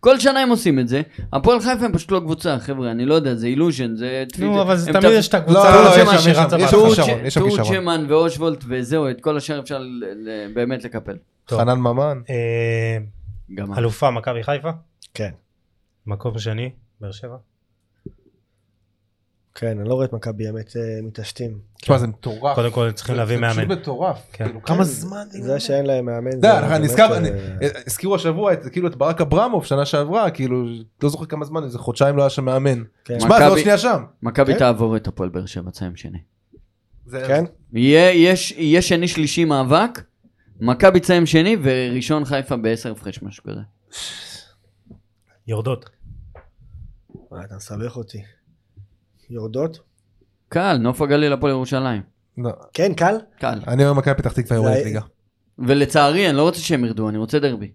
כל שנה הם עושים את זה. הפועל חיפה הם פשוט לא קבוצה, חבר'ה, אני לא יודע, זה אילוז'ן, זה...
נו, אבל זה
הם
תמיד
תפ-
יש את
לא,
הקבוצה
לא, יש
הזאת
שם,
שמה
יש שם,
שרצה
יש
בהתחלה.
שם. כישרון, יש שם כישרון.
טורג'מן ואושוולט וזהו, את כל השאר אפשר ל- ל- באמת לקפל.
טוב.
חנן ממן.
אה,
גם אז.
אלופה מכבי חיפה,
כן,
מקום שני, באר שבע.
כן, אני לא רואה את מכבי באמת אה, מתעשתים.
תשמע, זה מטורף.
קודם כל צריכים להביא
אה, זה
מאמן.
פשוט מטורף.
כן.
כאילו, כמה זמן זה
זה שאין להם מאמן.
אתה יודע,
זה
אני
באמת,
לא, נזכר,
אה,
אני- הזכירו השבוע את כאילו את ברק אברמוב שנה שעברה, כאילו, לא זוכר כמה זמן, איזה חודשיים לא היה שם מאמן.
כן.
שמע, זה עוד
מכבי-
שנייה שם.
מכבי
אה?
כן.
תעבור את הפועל באר שבע, תסיים שני.
זה-
כן?
יהיה יש- יהיה שני שלישי מאבק, מכבי תסיים שני וראשון חיפה בעשר הפרש משהו כזה.
יורדות.
וואי, אה, אתה מסבך אותי. יורדות?
קל, נוף הגליל הפועל ירושלים.
לא.
כן, קל?
קל.
אני אומר מכבי פתח תקווה
זה
יורדת
היה- לא-
ליגה.
ולצערי, אני לא רוצה שהם ירדו, אני רוצה דרבי.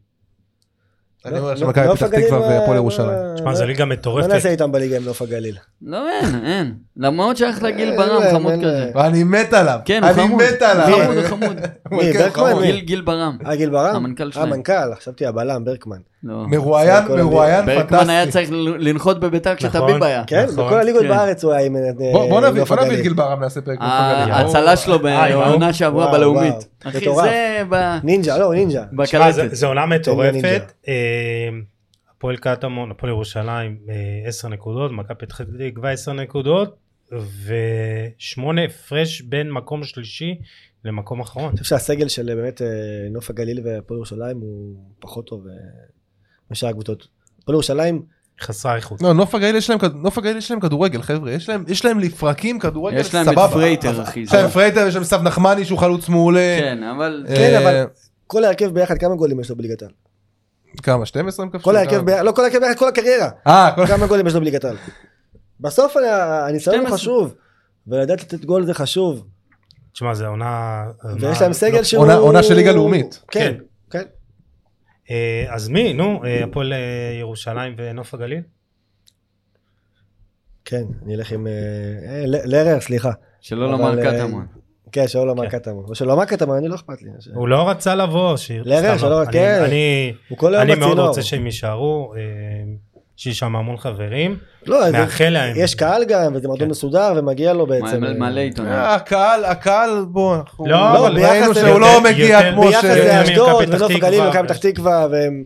אני אומר
לא-
שמכבי
נוף
פתח
הגליל,
תקווה
אה,
והפועל
לא-
ירושלים.
תשמע, זו ליגה
לא
מטורפת.
נעשה איתם בליגה עם נוף הגליל.
לא, אין, אין. למרות שייך לגיל
אין
ברם,
להם,
חמוד
אין
כזה.
להם.
אני מת עליו.
כן, הוא חמוד.
אני מת עליו.
חמוד, הוא חמוד. לא,
הוא
מי,
כן,
ברקמן?
חמוד.
גיל- גיל ברם.
אה, גיל ברם?
המנכ"ל
אה,
שלהם.
מנכ"ל, חשבתי הבלם, ברקמן.
לא.
מרואיין,
כל
מרואיין
ברקמן היה
פנטסטי.
צריך ל- לנחות בביתר כשתביב היה.
כן,
נכון,
בכל הליגות
כן.
בארץ הוא היה עם אה,
בוא בוא נביא,
נוף
בוא נביא את
הגליל.
גיל ברם, נעשה פרק. בפגליל.
ההצלה שלו
כן, אה, וואו.
בעונה שעברה
וואו,
בלאומית.
וואו.
אחי,
מטורף.
זה ב-
נינג'ה, לא, הוא נינג'ה.
תשמע,
בקלטת.
זה- זו עונה
נינג'ה.
מטורפת. אה, הפועל קטמון, הפועל ירושלים, אה, 10 נקודות, מכבי פתח תקווה 10 נקודות, ושמונה הפרש בין מקום שלישי למקום אחרון.
אני חושב שהסגל של אה, באמת אה, נוף הגליל והפועל ירושלים הוא פחות טוב אה, משאר הקבוצות. הפועל ירושלים,
חסרה איכות.
לא, נוף הגליל יש להם כד- נוף הגליל יש להם כדורגל, חבר'ה. יש להם- יש להם לפרקים כדורגל,
יש להם
סבבה.
את פרייטר, אחי.
יש
זה-
להם פרייטר, יש להם סב נחמני שהוא חלוץ מעולה.
כן, אבל...
אה,
כן, אבל- כל ההרכב ביחד, כמה גולים יש לו בליגת העל?
כמה? 12 הם כבשו?
כל ההרכב
כמה?
ביחד, לא כל ההרכב ביחד, כל הקריירה.
אה, כל...
כמה גולים יש לו בליגת העל. בסוף ה- הניסיון הוא
12.
חשוב, ולדעת לתת גול זה חשוב,
תשמע, זו עונה...
ויש
אה, לא, עונה-
להם סגל שהוא...
עונה- עונה של ליגה לאומית.
כן,
כן.
כן.
אה, אז מי? נו, אה, הפועל אה, ירושלים ונוף הגליל?
כן, אני אלך עם... אה, אה, ל- לרר, סליחה.
שלא לא לומר
אבל, אה,
קטמון.
כן, שלא
כן.
לומר קטמון. או שלא לומר קטמון, אני לא אכפת לי.
הוא לא רצה לבוא. ש-
לרר,
סתם,
שלא-
אני-
כן.
אני...
הוא כל היום
אני
בצינור.
מאוד רוצה שהם יישארו, אה, שיש שם המון חברים.
לא, זה-
מאחל להם.
יש קהל גם, וזה מועדון
כן.
מסודר, ומגיע לו בעצם.
מלא- מלא עיתונאים.
אה, הקהל, הקהל, בוא, אנחנו
לא, אבל
ראינו
ביחס ל-
שהוא לא
יותר-
מגיע
יותר-
כמו ש...
ביחס לאשדוד,
מכבי פתח
ונוף הגליל
תקווה.
ומכבי פתח תקווה, והם...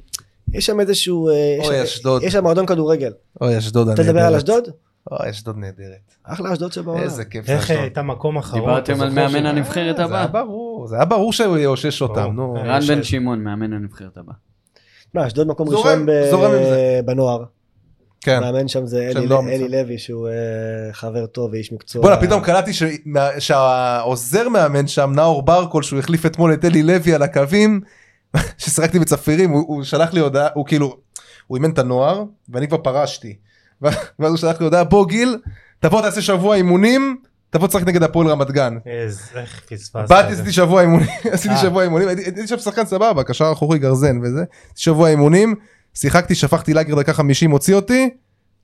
יש שם איזשהו... אה, יש-
אוי, אשדוד.
יש שם מועדון כדורגל.
אוי, אשדוד
אתה מדבר על אשדוד?
אוי, אשדוד נהדרת.
אחלה אשדוד שבעולם.
איזה כיף
איך
אשדוד.
אה, הייתה מקום אחרון?
דיברתם
אתה
על
זוכר
מאמן
ש-
הנבחרת
זה היה
הבא?
ברור, זה היה ברור שהוא יאושש אותם,
ברור.
נו.
אה,
רן
יושב.
בן שמעון, מאמן הנבחרת הבא.
מה, אשדוד מקום
זורם,
ראשון ב-
זורם עם זה.
בנוער.
כן.
מאמן שם זה
שם
אלי-
לא המצא.
אלי לוי, שהוא אה, חבר טוב ואיש מקצוע.
בואנה, פתאום קלטתי ש- מה- שהעוזר מאמן שם, נאור ברקול, שהוא החליף אתמול את אלי לוי על הקווים, ששיחקתי בצפירים, הוא- הוא שלח לי הודעה, הוא כאילו, הוא אימן את הנוער, ואני כבר פרשתי. ו- ואז הוא שלח לי הודעה, בוא גיל, תבוא תעשה שבוע אימונים, תבוא תשחק נגד הפועל רמת גן.
איזה- איך פספסת.
באתי
את זה.
עשיתי שבוע אימונים, עשיתי
אה.
שבוע אימונים, הייתי הייתי שם שחקן סבבה, קשר אחורי גרזן וזה, עשיתי שבוע אימונים, שיחקתי, שפכתי לאגר דקה 50, הוציא אותי,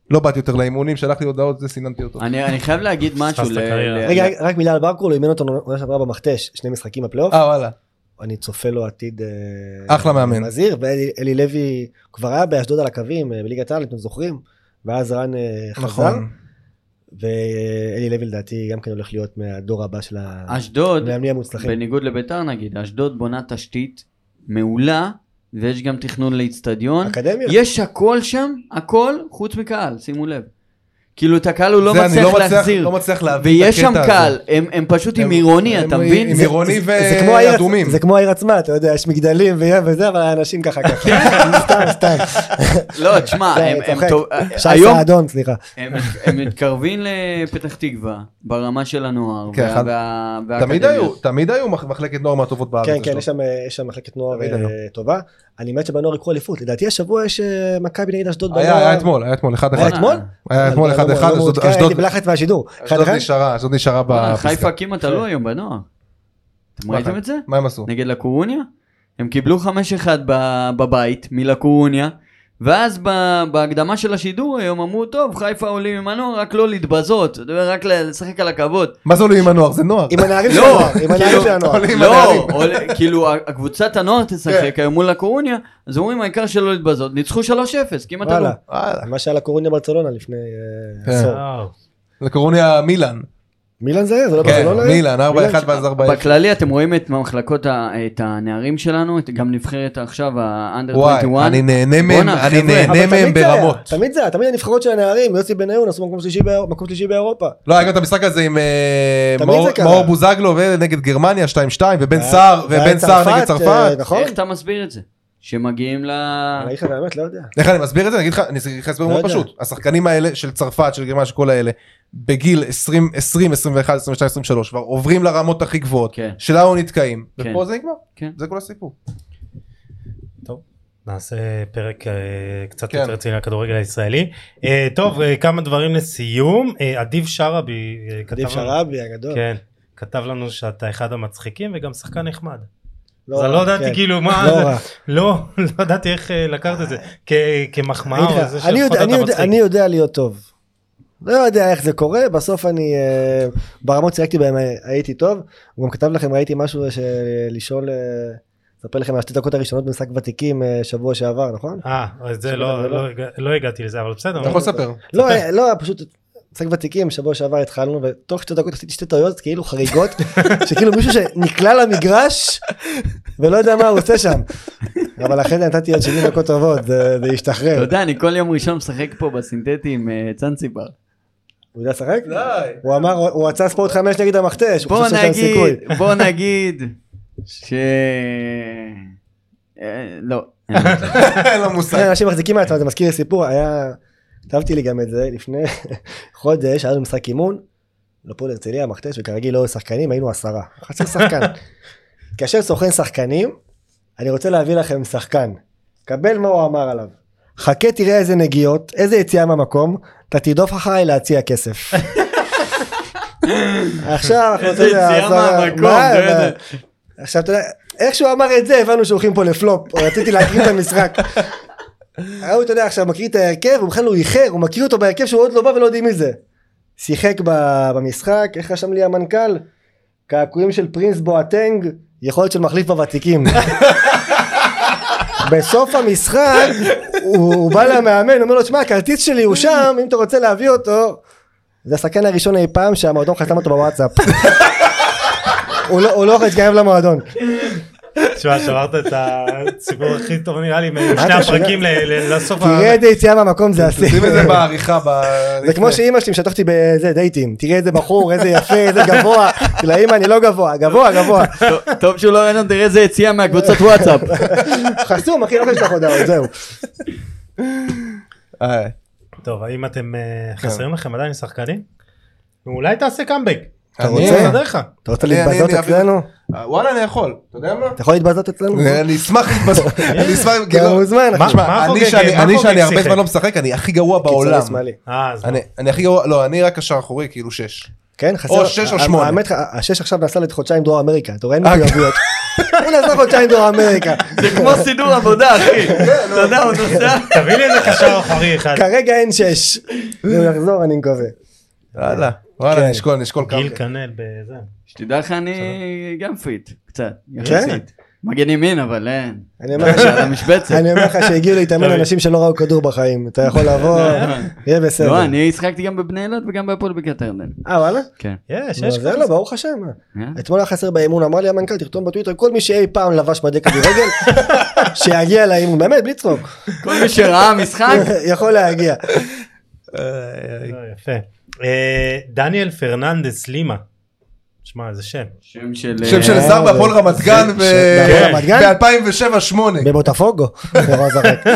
לא באתי יותר לאימונים, שלחתי הודעות, זה סיננתי אותו.
אני אני חייב להגיד משהו.
פספסת
ל-
קריירה.
ל-
רגע, רק- רק מילה על ברקול, הוא אימן אותנו עונה שעברה במכתש, שני משחקים בפלייאוף.
אה וואלה,
אני צופה לו עתיד... אה,
אחלה מאמן.
מזהיר, ואלי אלי לוי כבר היה באשדוד על הקווים, אה, בליגת העל, אתם זוכרים? ואז רן אה, חזר,
נכון.
ואלי לוי לדעתי גם כן הולך להיות מהדור הבא של
אשדוד,
המאמנים המוצלחים.
בניגוד לביתר נגיד, אשדוד בונה תשתית מעולה, ויש גם תכנון לאיצטדיון.
אקדמיה?
יש הכל שם, הכל, חוץ מקהל, שימו לב. כאילו את הקהל הוא לא
זה אני
מצליח
לא מצליח-
להחזיר.
לא מצליח להבין את
ויש שם
הקטע הזה.
קהל, הם הם פשוט עם
הם-
עירוני,
הם-
אתה
הם-
מבין?
עם
זה-
עירוני
זה- זה כמו העיר-
ואדומים.
זה כמו העיר עצמה, אתה יודע, יש מגדלים ו- וזה, אבל האנשים ככה ככה. סתם, סתם.
לא, תשמע,
זה,
כן, הם-
צוחק.
הם טוב-
שי
היום אה,
סעדון, סליחה.
הם הם מתקרבים לפתח תקווה ברמה של הנוער.
כן,
וה-
אחד-
וה-
תמיד
והאקדמיה. לא,
היו, תמיד היו מח- מחלקת נוער מהטובות בארץ. לא.
כן, כן,
אשדוד.
יש שם, אה, יש שם מחלקת נוער
תמיד
אה,
היום.
טובה. אני מת שבנוער יקחו אליפות. לדעתי השבוע יש אה, מכבי נגד אשדוד
היה
בנוער.
היה אתמול, היה אתמול, אחד
היה
אחד.
בואנה,
אתמול?
היה אתמול
אני לא-
אחד
לא
אחד,
מעודכן,
אשדוד-
הייתי בלחץ מהשידור. אחד
אשדוד
אחד?
נשארה, אשדוד נשארה
בואנה,
בפסקה.
חיפה כמעט עלו היום בנוער.
נכון.
אתם ראיתם את זה?
מה הם עשו?
נגד לקורוניה? הם קיבלו 5-1 ב- בבית מלקורוניה, ואז ב- בהקדמה של השידור היום אמרו, טוב, חיפה עולים עם הנוער, רק לא להתבזות, אתה יודע, רק לשחק על הכבוד.
מה זה עולים עם הנוער? זה נוער.
עם הנערים של
לא,
הנוער, עם הנערים
כאילו,
של הנוער.
עולים עם הנערים. כן.
לא, עול- כאילו, ה- הקבוצת הנוער תשחק היום מול לקורוניה, אז אומרים, העיקר שלא להתבזות, ניצחו 3-0, כמעט עלו.
וואלה,
וואלה.
מה שהיה לקורוניה ברצלונה לפני אה,
כן.
עשור.
וואו.
לקורוניה מילאן.
מילאן זה היה, זה לא
כן,
ברצלונה?
מילאן, 4-1 ואז 4-0.
בכללי אתם רואים את המחלקות, ה- את הנערים שלנו, את- גם נבחרת עכשיו, נכון. האנדר
וואי,
21.
אני נהנה מהם,
בואנה,
אני
חבר'ה.
נהנה
אבל
מהם
תמיד זה היה,
ברמות.
תמיד זה היה, תמיד הנבחרות של הנערים, יוסי בניון עשו מקום שלישי באיר- מקום שלישי באירופה.
לא, היה גם את המשחק הזה עם אה,
תמיד
מאור-
זה קרה. אה,
מאור בוזגלו ונגד גרמניה 2-2 ובן
והיה-
סער
והיה
ובן סער נגד
אה,
צרפת.
נכון?
איך אתה מסביר את זה? שמגיעים ל...
אני אגיד לך את האמת, לא יודע.
איך אני מסביר את זה? אני אגיד לך, אני אגיד לך הסבר
לא
מאוד
יודע.
פשוט. השחקנים האלה של צרפת, של גרמניה, של כל האלה, בגיל 20, 20, 21, 22, 23, כבר עוברים לרמות הכי גבוהות,
כן.
שלנו נתקעים,
כן.
ופה זה נגמר,
כן.
זה כל הסיפור.
נעשה פרק אה, קצת
כן.
יותר רציני על הכדורגל הישראלי. אה, טוב, אה, כמה דברים לסיום. אה, אדיב שרעבי אה, כתב
עדיף
לנו-
שרעבי הגדול.
כן, כתב לנו שאתה אחד המצחיקים וגם שחקן נחמד. אז
רע,
אני לא ידעתי
כן.
כאילו מה,
לא רע.
לא, לא ידעתי איך אה, לקחת את זה, כ-
אני
כמחמאה
אגיד
או
לך,
זה
אני
שלפחות
יודע- אני
אתה
יודע- אני
מצחיק.
יודע להיות טוב. לא יודע איך זה קורה, בסוף אני אה, ברמות שיחקתי בהם אה, הייתי טוב. הוא גם כתב לכם, ראיתי משהו של- לשאול, אה, אספר לכם על השתי דקות הראשונות במשחק ותיקים אה, שבוע שעבר, נכון?
אה, אז זה לא, לא, הגע- לא הגעתי לזה, אבל בסדר.
אתה יכול לספר.
לא, אה, לא, פשוט משחק ותיקים, שבוע שעבר התחלנו, ותוך שתי דקות עשיתי שתי טעויות כאילו חריגות, שכאילו מישהו שנקלע למגרש ולא יודע מה הוא עושה שם. אבל אחרי זה נתתי עוד 70 דקות טובות, זה זה
אתה
השתחרר.
יודע, אני כל יום ראשון משחק פה בסינתטי עם אה, צאנציבר.
הוא יודע לשחק?
לא,
הוא אמר, הוא רצה ספורט 5 נגד המכתש, הוא
בוא
חושב שיש להם סיכוי.
נגיד, בוא נגיד, ש... אה, לא.
אין לו מושג.
אנשים מחזיקים מעצמם, זה מזכיר לי סיפור, היה, כתבתי לי גם את זה לפני חודש, היה לנו משחק אימון, לפועל הרצליה, המכתש, וכרגיל לא היו שחקנים, היינו עשרה, חצי שחקן. כאשר סוכן שחקנים, אני רוצה להביא לכם שחקן. קבל מה הוא אמר עליו. חכה תראה איזה נגיעות, איזה יציאה מהמקום, אתה תרדוף אחריי להציע כסף. עכשיו אנחנו
איזה
רוצים
יציאה
לעזור-
מהמקום,
מה,
אתה יודע.
מה? עכשיו אתה יודע, איך שהוא אמר את זה הבנו שהולכים פה לפלופ, רציתי להקריא את המשחק. ההוא אתה יודע עכשיו מקריא את ההרכב, הוא בכלל לא איחר, הוא מכיר אותו בהרכב שהוא עוד לא בא ולא יודעים מי זה. שיחק ב- במשחק, איך רשם לי המנכ"ל? קעקועים של פרינס בואטנג, יכולת של מחליף בוותיקים. בסוף המשחק הוא, הוא בא למאמן, אומר לו, שמע, הכרטיס שלי הוא שם, אם אתה רוצה להביא אותו. זה השחקן הראשון אי פעם שהמועדון חתם אותו בוואטסאפ. הוא לא, הוא לא יכול להתקרב למועדון.
תשמע, שברת את הסיפור הכי טוב נראה לי, משני
אתה
הפרקים ל- ל- לסוף. ה-
תראה איזה יציאה מהמקום זה השיא.
תשים את זה בעריכה. ב-
זה כמו שאימא שלי משטחתי בזה דייטים, תראה איזה בחור, איזה יפה, איזה גבוה, כאילו האימא אני לא גבוה, גבוה, גבוה.
טוב- טוב שהוא לא רעיון, תראה איזה יציאה מהקבוצת וואטסאפ.
חסום, אחי, לא יכול לשלוח הודעות, זהו.
אה,
טוב, האם אתם אה, חסרים לכם עדיין שחקנים? אולי תעשה קאמבק.
אתה
אני-
רוצה?
נסדר לך.
אתה רוצה
אני- אני-
להתבזות
אני אעביר-
אצלנו?
אה, וואלה, אני יכול. אתה יודע מה?
אתה יכול להתבזות אצלנו?
אני אשמח להתבז- אני אשמח,
אתה
כאילו,
מוזמן,
מה-
אחי.
תשמע,
מה
אני
חוגג-
שאני-
מה
אני
חוגג
שאני הרבה
שיחק?
זמן לא משחק, אני הכי גרוע
קיצוני
בעולם.
שמאלי.
אה, אז
אני- אני הכי גרוע, לא, אני רק קשר אחורי, כאילו שש.
כן, חסר.
או שש או
ה-
שמונה.
האמת, ה- השש עכשיו נסע לחודשיים דרום אמריקה, אתה רואה, אין
אה,
מחויבויות. הוא נסע חודשיים דרום אמריקה.
זה כמו סידור עבודה, אחי. אתה יודע, הוא נוסע.
תביא לי איזה קשר אחורי אחד.
כרגע אין שש. הוא יחזור, אני מקווה.
יאללה, וואלה,
כן.
נשקול, נשקול כמה.
גיל קנל בזה.
שתדע לך, אני גם פיט, קצת,
כן.
יחסית. מגן ימין, אבל אין.
אני אומר לך ש-
על המשבצת.
אני אומר לך שהגיעו להתאמן
תמיד.
אנשים שלא ראו כדור בחיים, אתה יכול לבוא, יהיה בסדר.
לא, אני השחקתי גם בבני אילת וגם בהפועל בקעת הירדן.
אה וואלה?
כן.
יש, יש.
זה לא, ברוך השם.
אה?
אתמול היה חסר באימון, אמר לי המנכ"ל, תכתוב בטוויטר, כל מי שאי פעם לבש מדי כדורגל, שיגיע לאימון, באמת, בלי צחוק,
כל מי שראה משחק,
יכול להגיע.
לא, יפה. אה, דניאל פרננדס לימה. שמע, איזה שם.
שם של...
שם של
אה,
זר בהפועל רמת גן כן,
ש- בהפועל רמת גן?
ב-2007-2008.
בבוטפוגו. נורא זרק.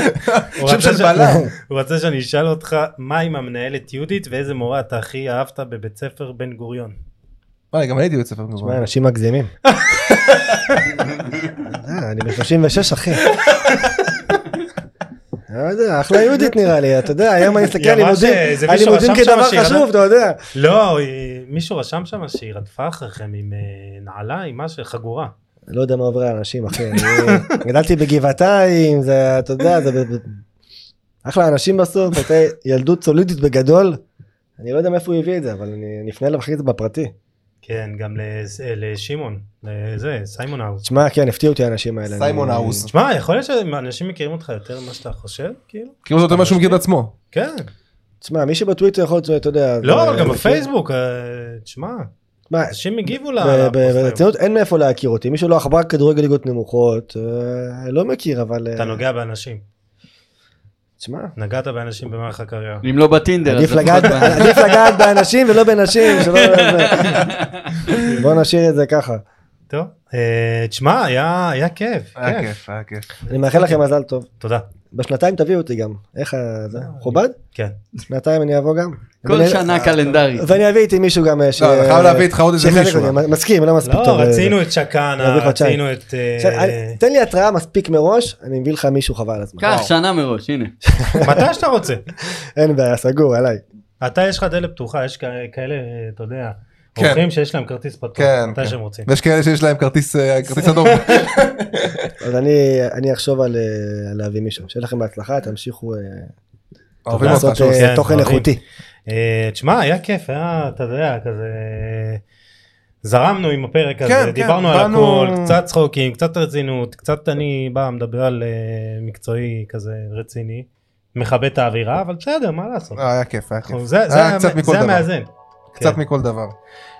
הוא
שם
רצה
של
ש-
בלם.
הוא רצה שאני אשאל אותך, מה עם המנהלת יהודית ואיזה מורה אתה הכי אהבת בבית ספר בן גוריון?
וואי, גם אני הייתי בבית ספר
שמע,
מזמן.
אנשים מגזימים. אה, אני ב-36 אחי. לא יודע, אחלה יהודית נראה לי, אתה יודע, היום אני מסתכל
היא
על
אמרה
לימודים,
שזה
על
אה, מישהו
לימודים
רשם שם
כדבר
שהיא
חשוב,
רדפה-
אתה יודע.
לא, היא- מישהו רשם שם שהיא רדפה אחריכם עם אה, נעליים, משהו, חגורה.
לא יודע מה עובר על אנשים, אחי. אני גדלתי בגבעתיים, זה, אתה יודע, זה... ב- ב- אחלה אנשים בסוף, הייתה ילדות סולידית בגדול. אני לא יודע מאיפה הוא הביא את זה, אבל אני אני אפנה אליו אחרי זה בפרטי.
כן, גם לס- אה, לשמעון, לזה, סיימון האוס.
תשמע, כן, הפתיעו אותי האנשים האלה.
סיימון
אני-
האוס.
תשמע, יכול להיות שאנשים מכירים אותך יותר ממה שאתה חושב, כאילו?
כאילו זה יותר ממה שהוא מכיר את עצמו.
כן.
תשמע, מי שבטוויטר יכול להיות, אתה יודע...
לא,
זה-
אבל גם בפייסבוק, אה, תשמע,
תשמע,
אנשים הגיבו ל...
לא,
ב-
לפוסט היום.
ב- ברצינות אין מאיפה להכיר אותי. מי שלא עברה כדורגל ליגות נמוכות, אה, לא מכיר, אבל... אה,
אתה נוגע באנשים.
תשמע,
נגעת באנשים במערך הקריירה.
אם לא בטינדר, אז
עדיף
לפחות
לגעת-
ב-
עדיף לגעת באנשים ולא בנשים. שלא- בוא נשאיר את זה ככה.
טוב, אה, תשמע, היה היה כיף,
היה
כיף.
כיף, היה כיף.
אני מאחל לכם מזל טוב.
תודה.
בשנתיים תביאו אותי גם. איך ה... זה? מכובד?
כן.
שנתיים אני אבוא גם.
כל
ואני-
שנה קלנדרית.
ואני אביא איתי מישהו גם אה, ש...
לא, אני חייב להביא איתך עוד איזה
שיחלק
מישהו.
אותי. מסכים, לא מספיק
לא,
טוב.
רצינו
אה,
את שקאנה,
נביא חודשיים.
רצינו את... אה,
עכשיו, אני- תן לי התראה מספיק מראש, אני מביא לך מישהו חבל על הזמן.
קח שנה מראש, הנה.
מתי שאתה רוצה.
אין בעיה, סגור עליי.
אתה יש לך דלת פתוחה, יש כ- כאלה, אה, אתה יודע,
כן.
אורחים שיש להם כרטיס פתוח,
כן,
מתי
כן.
שהם רוצים.
ויש כאלה שיש להם כרטיס אה, כרטיס אדום.
אז אני אני אחשוב על אה, על להביא מישהו. שיהיה לכם בהצלחה, תמשיכו אה,
אוהבים
תודה.
אותך.
לעשות
שוב.
אה,
כן,
תוכן
אוהבים.
איכותי.
אה, תשמע, היה כיף, היה, אתה יודע, כזה... זרמנו עם הפרק הזה,
כן, כן,
דיברנו על
באנו-
הכל, קצת צחוקים, קצת רצינות, קצת אני בא, מדבר על אה, מקצועי כזה רציני, מכבד את האווירה, אבל בסדר, מה לעשות?
אה, היה כיף, היה כיף.
אנחנו- זה- זה
היה
המ-
קצת מכל
זה
דבר.
המאזן.
קצת
כן.
מכל דבר.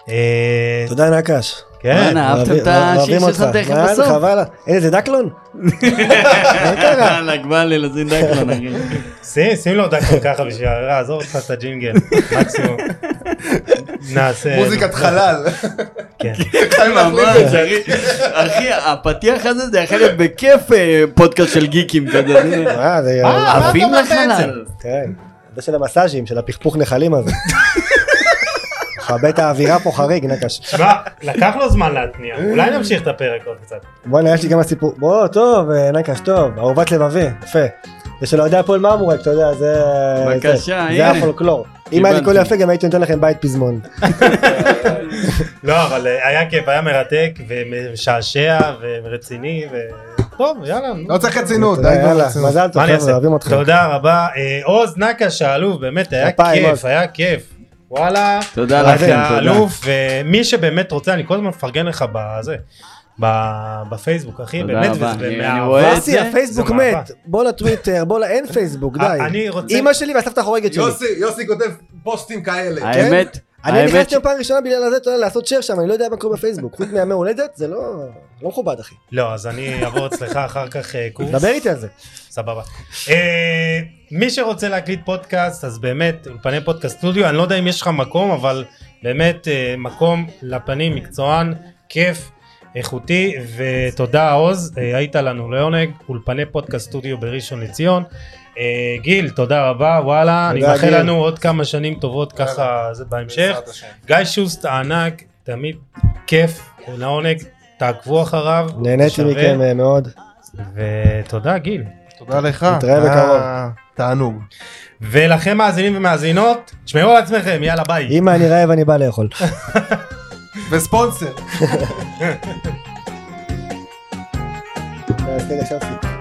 אה,
תודה נקש.
כן,
אנא, אהבתם את השיר ששמתי לכם
מה,
בסוף?
חבל. אין איזה דקלון?
יאללה, כבר ללזין דקלון, אחי.
שים, שים לו דקה ככה בשביל האווירה, עזוב אותך את הג'ינגל, מקסימום. נעשה...
מוזיקת חלל.
כן.
חייב להחליף את
ממש, אחי. אחי, הפתיח הזה זה יכול להיות בכיף אה, פודקאסט של גיקים, אתה יודע. זה-
אה, זה...
עפים לחלל.
כן, זה של המסאז'ים, של הפכפוך נחלים הזה. מכבה את האווירה פה חריג, נקש.
תשמע, לקח לו זמן להתניע, אולי נמשיך את הפרק עוד קצת.
בואנה, יש לי גם הסיפור. בוא, טוב, אה, נקש, טוב, אהובת לבבי, יפה. זה של אוהדי הפועל מאמורק, אתה יודע, זה...
בבקשה,
זה- זה
הנה.
הפולקלור. אם היה לי קול
קיבלתי.
יפה, גם הייתי נותן לכם בית פזמון.
אה,
לא, אבל אה, היה כיף, היה מרתק, ומשעשע, ורציני, ו... טוב, יאללה. נו.
לא צריך רצינות, די כבר
יאללה,
רצינות.
מזל טוב,
מה אני
חבר'ה,
אעשה?
אוהבים אותך.
תודה רבה. אה, עוז נקש האלוף, באמת, היה
כפיים,
כיף,
עוז.
היה כיף. וואלה.
תודה
אז
לכם,
אתה
תודה.
אלוף, ומי שבאמת רוצה, אני כל הזמן מפרגן לך בזה, ב- בפייסבוק, אחי,
תודה
באמת,
רבה,
וזה
אני-
באהבה.
אני רואה את
אסי,
זה.
הפייסבוק
זה מאבק.
מת, בוא לטוויטר, בוא ל... אין פייסבוק,
אה,
די.
אני רוצה-
אימא שלי והסבתא החורגת שלי. כן?
יוסי כותב פוסטים כאלה.
האמת,
אני
האמת,
נכנסתי פעם ראשונה בגלל הזה, אתה יודע, לעשות שייר שם, אני לא יודע מה קורה בפייסבוק. חוץ מהמי הולדת, זה לא... לא מכובד, אחי.
לא, אז אני אעבור אצלך אחר כך אה, קורס.
דבר איתי על זה.
סבבה. אה, מי שרוצה להקליט פודקאסט, אז באמת, אולפני פודקאסט סטודיו, אני לא יודע אם יש לך מקום, אבל באמת אה, מקום לפנים, מקצוען, כיף, איכותי, ותודה עוז, אה, היית לנו לעונג, אולפני פודקאסט סטודיו בראשון לציון. אה, גיל, תודה רבה, וואלה, אני
תודה,
מאחל
גיל.
לנו עוד כמה שנים טובות ככה, זה בהמשך. גיא שוסט הענק, תמיד כיף, לעונג, תעקבו אחריו.
נהניתי
שווה,
מכם אה, מאוד.
ותודה גיל.
תודה לך.
נתראה בקרוב.
אה, תענוג.
ולכם מאזינים ומאזינות, תשמעו על עצמכם, יאללה ביי.
אם אני רעב, אני בא לאכול.
וספונסר.
אה, סליחה, שרפי.